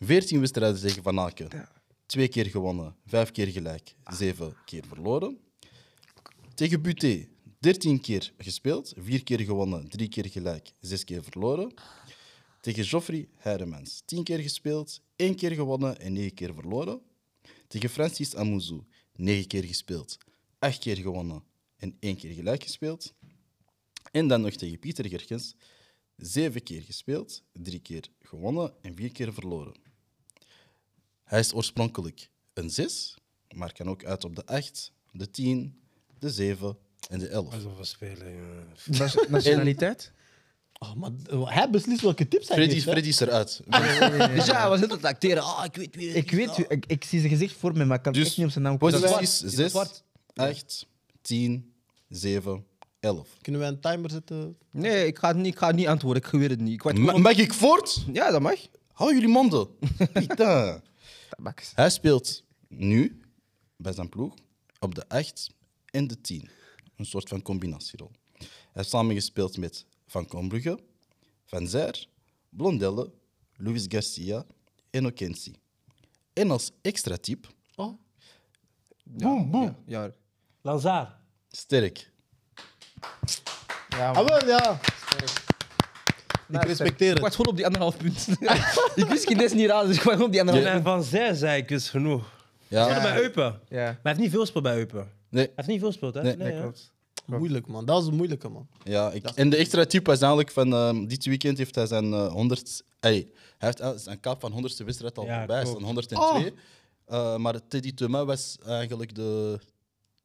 14 wedstrijden tegen Van Aken. Twee keer gewonnen, vijf keer gelijk, zeven keer verloren. Tegen Buté 13 keer gespeeld, vier keer gewonnen, drie keer gelijk, zes keer verloren. Tegen Joffrey Heiremans 10 keer gespeeld, één keer gewonnen en negen keer verloren. Tegen Francis Amuzu, 9 keer gespeeld, 8 keer gewonnen en 1 keer gelijk gespeeld. En dan nog tegen Pieter Gerkens, 7 keer gespeeld, 3 keer gewonnen en 4 keer verloren. Hij is oorspronkelijk een 6, maar kan ook uit op de 8, de 10, de 7 en de 11. Alsof we spelen, jongen. Nas- Nationaliteit? Oh, maar eh, hij beslist welke tips hij Freddy, geeft, hè? Freddy is eruit. Dus ja, hij was net aan het acteren. Ah, ik weet wie. Ik weet, ik, ik zie zijn gezicht voor me, maar ik kan Dus echt niet op zijn naam komen. Posities dat 6, 8, 10, 7, 11. Kunnen wij een timer zetten? Nee, ik ga, het niet, ik ga het niet antwoorden. Ik weet het niet. Ik weet Ma- Mag ik voort? Ja, dat mag. Hou jullie monden. [LAUGHS] Putain. Tabaks. Hij speelt nu bij zijn ploeg op de 8 en de 10. Een soort van combinatierol. Hij heeft samengespeeld met Van Kombrugge, Van Zijr, Blondelle, Luis Garcia en Okensi. En als extra type, Ja. Lanzaar. sterk. Ja, Ah, man. wel, ja. Ik Nou, respecteer Ik het. was gewoon op die anderhalf punt. [LAUGHS] ik wist geen des niet raden, dus ik was gewoon op die anderhalf En van zij zei ik, is genoeg. Ja, Speelde bij Eupen. Maar Ja, hij heeft niet veel gespeeld bij Eupen. Hij nee, heeft niet veel gespeeld, hè? Nee, dat hè? klopt. Moeilijk, man. Dat was een moeilijke, man. ja ik- en de extra type was eigenlijk van ehm, dit weekend heeft hij zijn eh, 100. Hey, hij heeft al- zijn kap van 100ste wedstrijd al Ja, voorbij, hij is klopt. Oh! aan 102. Eh, maar Teddy Thomas was eigenlijk de,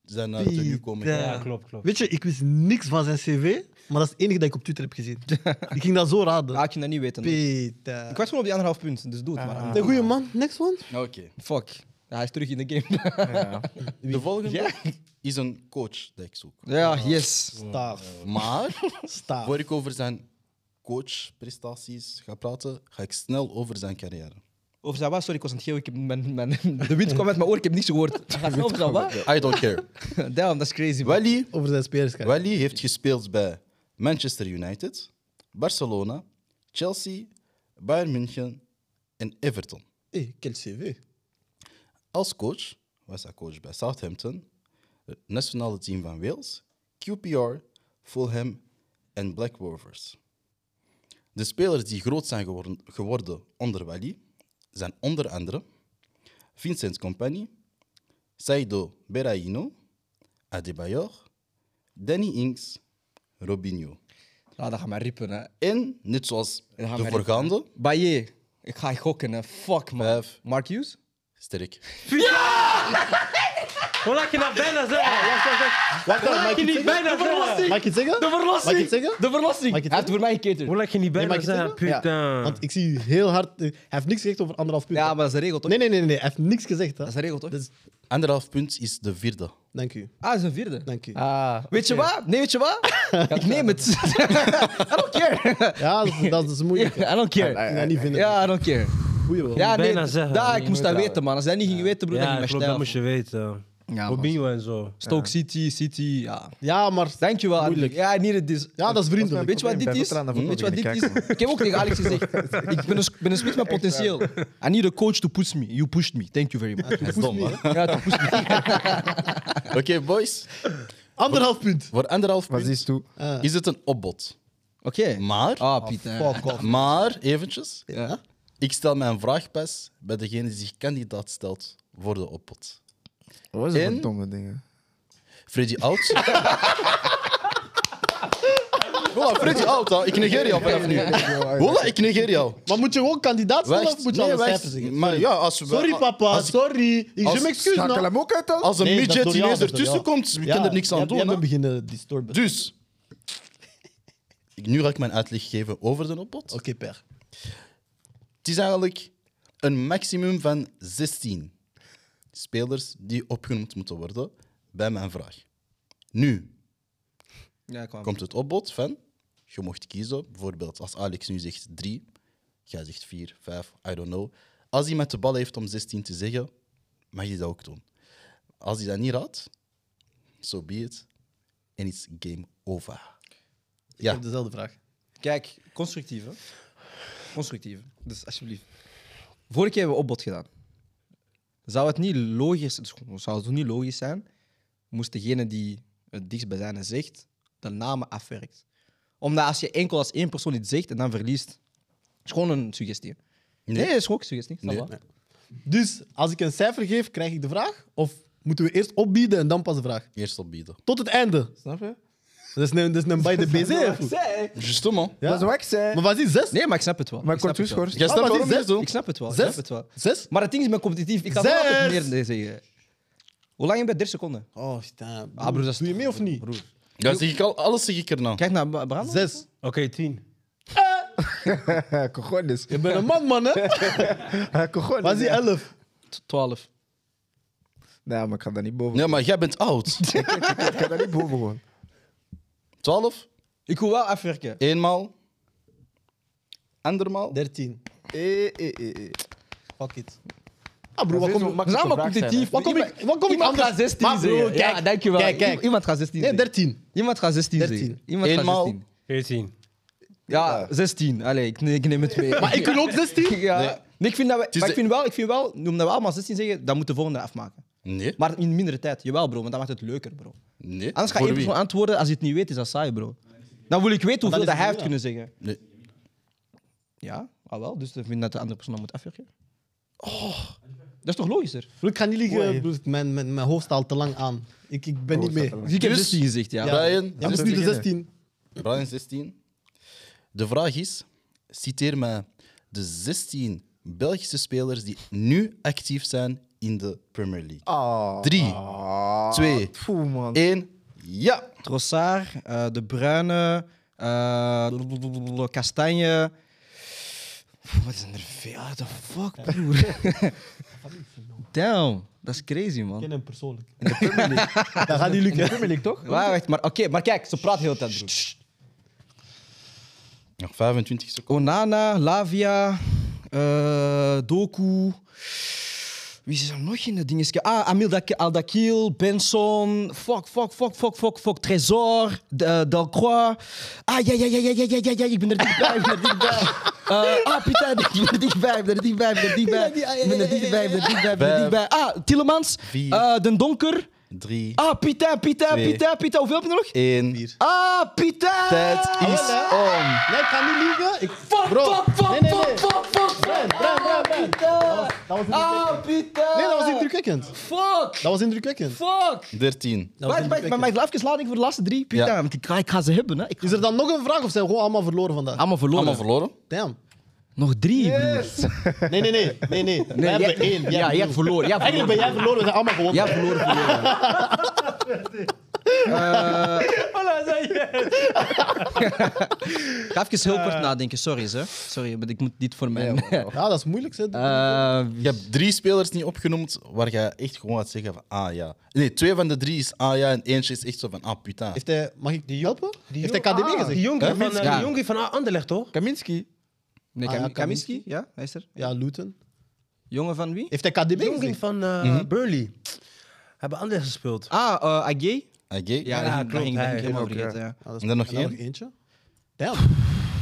zijn eh, tenue komen. Ja, klopt, klopt. Weet je, ik wist niks van zijn cv, maar dat is het enige dat ik op Twitter heb gezien. ik ging dat zo raden. Laat je dat niet weten. Peter. Ik was gewoon op die anderhalf punt, dus doe het maar. Een goede man. Next one. Nou, Oké. Fuck. Ja, hij is terug in de game. Ja. De volgende [LAUGHS] is een coach dat ik zoek. [LAUGHS] ja, yes. Staaf. [LAUGHS] Maar Staaf. voor ik over zijn coachprestaties ga praten, ga ik snel over zijn carrière. Over Zawa, sorry, ik was aan het geven. Ik heb mijn, mijn, [LAUGHS] de wind kwam uit mijn oor, ik heb niks gehoord. [LAUGHS] Hij gaat snel over Zawa. I don't [LAUGHS] care. Damn, dat is crazy. man. Wally, Over zijn spelerskant. Wally heeft gespeeld bij Manchester United, Barcelona, Chelsea, Bayern München en Everton. Hé, hey, quel cv. Als coach was hij coach bij Southampton, het nationale team van Wales, QPR, Fulham en Black Rovers. De spelers die groot zijn geworden, geworden onder Wally zijn onder andere Vincent Company, Saido Beraino, Adebayor, Danny Inks, Robinho. Ja, Ah, dat gaat mij rippen, hè. En, net zoals gaan de we- voorgaande, Baye, ik ga gokken, hè. Fuck, man. Vijf. Mark Hughes? sterk. Hoe laat je nou bijna zeggen? Wacht, wacht, wacht. Wacht, Hoe mag laat ik je iets niet zeggen? bijna zeggen? Mag ik iets zeggen? De verlossing! Mag ik iets zeggen? De verlossing! Mag ik het Hij heeft voor mij gekeken. Hoe laat je niet Nee, mag bijna ik zeggen? het zeggen? Putain. Want ik zie u heel hard... eh, Hij heeft niks gezegd over anderhalf punt. Ja, maar dat is een regel, toch? Nee, nee, nee, nee. Hij heeft niks gezegd. Hè. Dat is een regel, toch? Dat is- Anderhalf punt is de [LAUGHS] vierde. Dank u. Ah, dat is een vierde. Dank u. Ah, Weet je wat? Nee, weet je [LAUGHS] wat? ik neem het. I don't care. Ja, dat is, dat is [LAUGHS] moeilijk. [LAUGHS] I don't care. Ik ga niet vinden. Ja, I don't care. Goeie wel. Ja, nee, bijna zeggen, daar, je ik moest dat weten, man. Als jij niet ging weten, broer, ja, dan ging klopt, ik dat mijn moest je weten. Ja, man. Robinho en zo. Stoke City, City, ja. Ja, maar... Dankjewel, Moeilijk. Moeilijk. Ja, niet het is. Ja, dat is vriendelijk. Weet je wat Ik ben dit is? vertrouwd naar Weet je wat voetbal dit is? beginnen Ik heb ook tegen Alex [LAUGHS] gezegd, ik ben een, ben een spits met potentieel. I need a coach to push me. You pushed me. Thank you very much. Dat is dom, hè? Ja, to push me. Oké, boys. Anderhalf punt. Voor anderhalf wat punt is toe? is het een opbod. Oké. Maar, Ah, Pieter. Fuck off. maar eventjes, Ja. ik stel mijn vraag pas bij degene die zich kandidaat stelt voor de opbod. Wat is dat En- voor domme dingen? Freddy [LAUGHS] Oud. Voilà, Freddy Oud, hè. ik negeer jou [LAUGHS] vanaf nu. Voilà, ik negeer jou. Maar moet je gewoon kandidaat stellen Wacht, of moet je nee, alle wacht. cijfers zeggen? Maar ja, als we, Sorry papa, als- sorry. Ik als- je m'excuse Schakel nou. hem ook uit dan? Als een Nee, dat is midget door jou, ineens dat is door ertussen jou. komt, we kunnen er niks aan jij- doen. Jij hè. bent beginnen distorben. Oké, Dus, ik- nu ga ik mijn uitleg geven over de opbod. per. Het is eigenlijk een maximum van 16 spelers die opgenoemd moeten worden bij mijn vraag. Nu Ja, kwam. komt het opbod van je mocht kiezen, bijvoorbeeld als Alex nu zegt drie, jij zegt vier, vijf, I don't know. Als hij met de bal heeft om 16 te zeggen, mag je dat ook doen. Als hij dat niet raadt, so be it. En it's game over. Ik Ja. heb dezelfde vraag. Kijk, constructief, hè? Constructief. Dus alsjeblieft. Vorige keer hebben we opbod gedaan. Zou het niet logisch, dus zou het niet logisch zijn, moest degene die het dichtstbijzijnde zegt, de namen afwerkt. Omdat als je enkel als één persoon iets zegt en dan verliest, is gewoon een suggestie. Nee, is ook een suggestie. Nee. Dus als ik een cijfer geef, krijg ik de vraag? Of moeten we eerst opbieden en dan pas de vraag? Eerst opbieden. Tot het einde. Snap je? Dat is een, dat is een [LAUGHS] bij de BZ. of hoe? Justement. Ja. Dat is wat ik zei. Maar was die zes? nee, maar ik snap het wel. Maar ik snap kort het wel. toeschort. Jij Ah, snapt maar waarom die je het zes- doet? Ik snap het wel. Ik Zes? snap het wel. Zes? Maar het ding is, met competitief. Ik kan wel Zes! altijd meer nee zeggen. Hoe lang heb je? 30 seconden. Oh, staan. Ah, broer, dat is Doe je mee of niet? Ja, zeg ik al, alles zeg ik nou. erna. Kijk naar Bra- Brandon. Zes. Oké, tien. Cojones. Je bent een man, man, [LAUGHS] hè? Cojones. Was die ja. elf? 12. Nee, maar ik kan daar niet boven. Ja, maar jij bent oud. Ik kan daar niet boven gewoon. 12, Ik wil wel afwerken. eenmaal, andermaal. Dertien. Eh, eh, eh, eh. Fuck it. Ah, broer, Dat wat is kom zo je... makkelijk We zijn allemaal te vragen competitief. Wat kom ik... Wat kom ik Iemand anders- gaat 16 Maar broer, zeggen. kijk. ja, dankjewel. Kijk, kijk. Iemand gaat 16 Nee, zeggen. dertien. Iemand gaat 16 13. zeggen. Iemand Eenmaal. gaat 16. Veertien. Ja, 16. Allee, ik, ne- ik neem het mee. [LAUGHS] Maar ik kan ook [LAUGHS] 16. Ja. Nee. ik vind dat we, is maar ik de- vind wel, ik vind wel, omdat we allemaal 16 zeggen, dan moet de volgende afmaken. Nee, Maar in mindere tijd. Jawel, bro, want dat maakt het leuker, bro. nee. Anders ga Voor één wie? persoon antwoorden als je het niet weet, is dat saai, bro. Dan wil ik weten hoeveel dat, is het hij heeft niet, kunnen zeggen. Nee. Ja, ah wel. Dus ik vind dat de andere persoon dan moet afwerken. Oh, dat is toch logischer? Broer, ik ga niet liegen, broer. Mijn, mijn, mijn hoofd staat te lang aan. Ik, ik ben niet mee. Dus ik heb 16 gezegd, ja. Ja. Brian, Ja, dus nu de 16. Brian 16. De vraag is, citeer mij de 16 Belgische spelers die nu actief zijn in de Premier League. Ah. 3, 2, Poeh, man. 1. Ja! Trossard, eh, De Bruyne, eh, blablabla, Kastanje. Pff, Wat zijn er veel? What the fuck, broer? Damn, dat is crazy, man. ken hem persoonlijk. Dat gaat niet lukken. Premier League, toch? Waar, wacht, maar, oké, maar kijk, ze praat heel de tijd. broer. Nog 25 seconden. Onana, Lavia, eh, Doku. Wie is er nog in dat dingetje? Ah, Amil Dak- Aldakil, Benson. Fuck, fuck, fuck, fuck, fuck, fuck. Trésor, D- Delcroix. Ah, ja, ja, ja, ja, ja, ja, ja, ja, ik ben er dichtbij, ik ben er dichtbij. Eh, ah, Pita, ik ben er dichtbij, ik ben er dichtbij, ik ben er dichtbij. Ik ben er dichtbij, ik ben er dichtbij, ik ben er dichtbij. Ah, Tillemans, Vier. eh, Den Donker. 3, Ah, Pita, Pita, Twee. Pita, Pita. Hoeveel heb je nog? 1. Ah, Pita! Tijd is om. Nee, ik ga niet liegen. Ik... Fuck, Bro. fuck, fuck, Nee, nee, nee. fuck, fuck, fuck, Bren, Bren, Bren, Bren. Pieter. Dat was Ah, Pieter. Nee, dat was indrukwekkend. Fuck, Dat was indrukwekkend. fuck. 13. Maar maar- maar mijn afgeslading voor de laatste drie, Pieter. Ja. Want ik ga, ik ga ze hebben, hè. Ik ga Is er dan nog een vraag of zijn we gewoon allemaal verloren vandaag? Ah, allemaal verloren. Allemaal verloren. Damn. Nog drie, broer. Nee, nee, nee. nee, nee. We Nee, hebben jij- één. Jij Ja, hebt jij hebt verloren. Jij hebt Eigenlijk verloren. ben jij verloren, we zijn allemaal gewonnen. Jij hebt verloren, verloren. [LAUGHS] Eh, Ik ga [LAUGHS] even heel kort nadenken. Sorry, hè. Sorry, maar ik moet dit voor mij... Eh. Ja, dat is moeilijk. Hè. [LAUGHS] Eh, Je hebt drie spelers niet opgenoemd waar je echt gewoon gaat zeggen van ah ja. Nee, twee van de drie is ah ja en eentje is echt zo van ah putain. Heeft hij, mag ik die helpen? Heeft hij jong- KDB Ah, gezegd? Die jongen van, eh, Ja. die jongen van Anderlecht, toch? Kaminski. Nee, Ah, Kam- ja, Kaminski? Ja, hij is er. Ja, Luton. Jongen van wie? Heeft hij KDB Die jongen gezegd? van eh, Mhm. Burnley. Hebben Anderlecht gespeeld. Ah, eh Agye? Oké. Ja, dat Ja, ging- dat klopt, ging dat hij. ging ik helemaal Ook, ja. vergeten, ja. Ah, dat is- En dan nog en één? eentje? Damn.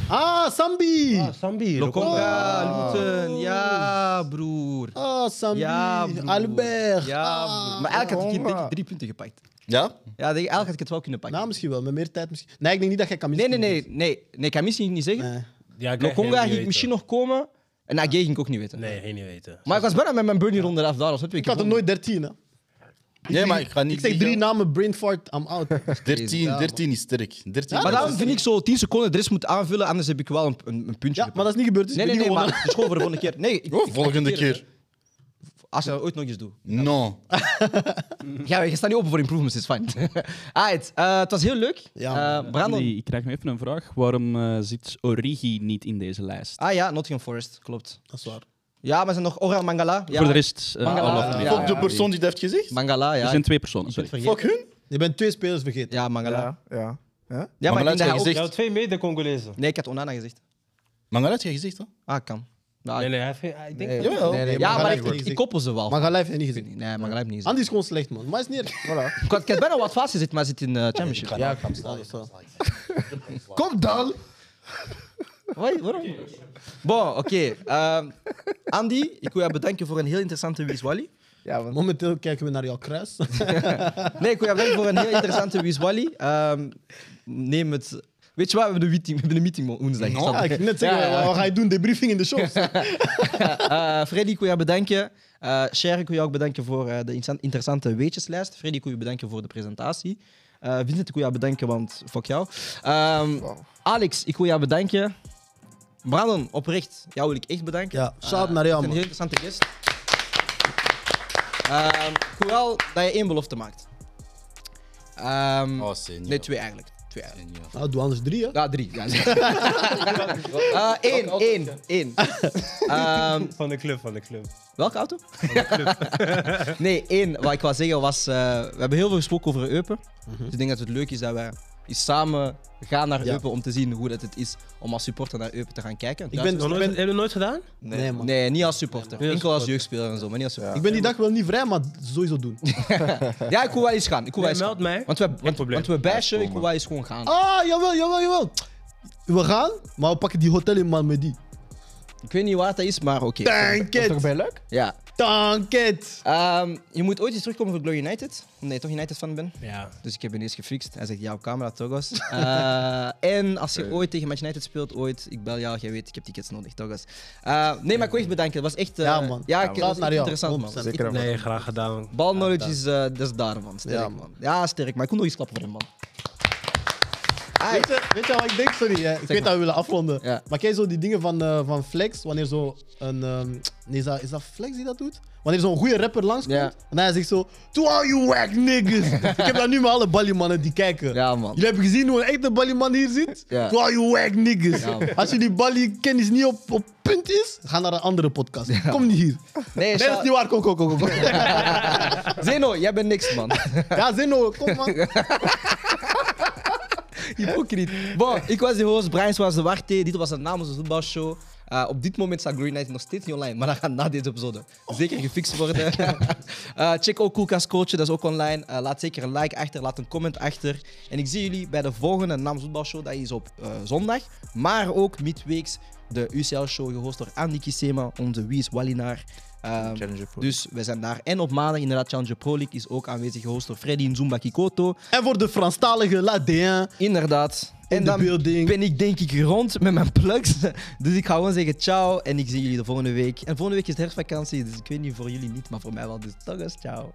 Ah, Sambi! Ah, Sambi. Lokonga, Luton, ja, broer. Ah, Sambi. Ja, broer. Albert. Ja, Ah. broer. Maar eigenlijk had ik hier, denk ik drie punten gepakt. Ja? Ja, denk ik, eigenlijk had ik het wel kunnen pakken. Nou, misschien wel. Met meer tijd misschien. Nee, ik denk niet dat jij Kaminski... Nee, nee, nee. Nee, nee Kamis ging ik niet zeggen. Nee. Ja, ik krijg Lokonga geen ging idee ik misschien nog komen. En AG ging ik ook niet weten. weten. Nee, geen niet weten. Maar ik was bijna met mijn Bernie ronde eraf daar. Ik had er nooit 13, hè. Nee, maar ik ga niet. Ik zeg drie liegen. namen, brain fart, [LAUGHS] I'm out. 13, 13 is sterk. 13 Maar is daarom vind ik zo 10 seconden de rest moet aanvullen, anders heb ik wel een, een, een puntje. Ja, maar dat is niet gebeurd, dus Nee, ik nee, ben nee, niet maar gewonnen. het is gewoon voor de volgende keer. Nee, ik- Oh, volgende keer. als je dat ooit nog eens doet. No. Ja, je staat niet open voor improvements, is fijn. [LAUGHS] Alright, eh, het was heel leuk. Ja. Eh, Brandon. Andy, ik krijg nog even een vraag. Waarom eh, zit Origi niet in deze lijst? Ah ja, Nottingham Forest, klopt. Dat is waar. Ja, maar er zijn nog Oral Mangala. Ja. Voor de rest, eh, Mangala, alle ja. afleveringen. Fuck de persoon die dat heeft gezegd. Mangala, ja. Er zijn twee personen, Ik ben sorry. het vergeten. Fuck hun. Je bent twee spelers vergeten. Ja, Mangala. Ja, ja. Ja, maar, ik Mangala denk had jij dat hij gezegd. Ja, twee mede-Congolezen. ook- Nee, ik had Onana gezegd. Mangala had jij gezegd, hè? Ah, kan. Nou, Nee, nee, hij heeft- hij- ik denk... Nee, Jawel. nee, ja, nee, maar Mangala ik, heeft ik, niet ik koppel ze wel. Maar ga live niet gezien. Nee, maar gelijk niet. Andy is gewoon slecht, man. Maar is niet [LAUGHS] erg. Ik had, ik had bijna wat vast gezet, maar zit in eh championship. Ja, ik kan Ja, zo. Kom dan! Wai, waarom? Bon, oké. ehm, Andy, ik wil jou bedanken voor een heel interessante Wiswali. Ja, want Momenteel kijken we naar jouw kruis. Nee, ik wil jou bedanken voor een heel interessante Wiswali. Ehm, neem het... Weet je wat, we hebben een meeting, we hebben een meeting op woensdag. No. Snap [LAUGHS] Ja, je? ik ging net zeggen, wat ga je doen? Debriefing in de shop. Eh, Freddy, ik wil jou bedanken. Eh Cher, ik wil jou ook bedanken voor eh, de insta- interessante weetjeslijst. Freddy, ik wil je bedanken voor de presentatie. Eh Vincent, ik wil jou bedanken, want fuck jou. Ehm, Alex, ik wil jou bedanken. Brandon, oprecht, jou wil ik echt bedanken. Ja, shout Eh, naar jou, je bent man. Een heel interessante gast. Ehm, ik wil wel dat je één belofte maakt. Ehm, Oh, senior. nee, twee eigenlijk. Twee eigenlijk. Senior. Nou, doe anders drie, hè. Ja, drie. Ja. [LAUGHS] Eh, één, één, één. [LAUGHS] Ehm, Van de club, van de club. Welke auto? [LAUGHS] nee, één. Wat ik wou zeggen was... eh, we hebben heel veel gesproken over Eupen. Mhm. Dus ik denk dat het leuk is dat wij eens samen gaan naar Ja. Eupen om te zien hoe dat het is om als supporter naar Eupen te gaan kijken. Ik Ja, ben, Nog ik nooit, heb ben, je dat nooit gedaan? nee, man. Nee, niet als supporter. Nee, als Enkel als supporter. jeugdspeler en zo, maar niet als supporter. Ik ben die dag wel niet vrij, maar sowieso doen. Ja, ik wil wel eens gaan. Ik wil wel Nee, eens meld gaan. mij. Want we, want, probleem. want we bashen, ik wil wel eens gewoon Oh. gaan. Ah, jawel, jawel, jawel. We gaan, maar we pakken die hotel in Malmedy. Ik weet niet waar dat is, maar oké. Dank is toch it, bij leuk? Ja. dank it. Ehm, je moet ooit eens terugkomen voor Glory United. Omdat je toch United-fan bent. Ja. Dus ik heb ineens gefixt. Hij zegt, jouw camera, Togos. Eh, en als je ooit tegen Match United speelt, ooit, ik bel jou, jij weet, ik heb tickets nodig, Togos. Eh, nee, maar ik wil echt bedanken. Het was echt... eh, Ja, man. Ja, Ja, ik, man. het was Naar echt jou. interessant, man. Honderd Het was echt- Nee, graag gedaan. Bal knowledge is, eh, dat is daar, man. Sterk, Ja, man. man. Ja, sterk. Maar ik kon nog iets klappen voor hem, man. Weet je, weet je wat ik denk? Sorry, hè. ik weet dat we willen afronden. Ja. Maar kijk zo die dingen van, eh, van Flex, wanneer zo een... ehm, nee, is dat, is dat Flex die dat doet? Wanneer zo'n goede rapper langskomt Ja. en hij zegt zo... To all you whack [LAUGHS] niggas. ik heb dat nu met alle balliemannen die kijken. Ja, man. Jullie hebben gezien hoe een echte ballieman hier zit? Ja. To all you whack niggas. Ja, man. Als jullie balliekennis niet op, op punt is, ga naar een andere podcast. Kom niet hier. Nee, Nee, dat is niet Sha- waar. Kom, kom, kom. [LAUGHS] kom, kom. Zeno, jij bent niks, man. ja, Zeno, kom man. [LAUGHS] Hypocriet. Bon, ik was de host, Brian was de Warte. Dit was het namens de voetbalshow. Eh, op dit moment staat Green Knight nog steeds niet online, maar dat gaat na deze episode zeker gefixt worden. Oh. [LAUGHS] Eh, check ook Koelkast Coach, dat is ook online. Eh, laat zeker een like achter, laat een comment achter. En ik zie jullie bij de volgende namens voetbalshow, dat is op eh, zondag. Maar ook midweeks de UCL-show, gehost door Andy Kisema, onze Wies Wallinaar. Ehm, Challenger Pro. dus we zijn daar. En op maandag inderdaad, Challenger Pro League is ook aanwezig, gehost door Freddy Nzumba Kikoto. En voor de Franstalige Ladin. Inderdaad. In en de dan building. ben ik denk ik rond met mijn plugs. [LAUGHS] Dus ik ga gewoon zeggen ciao en ik zie jullie de volgende week. En volgende week is de herfstvakantie, dus ik weet niet voor jullie niet, maar voor mij wel. Dus toch eens ciao.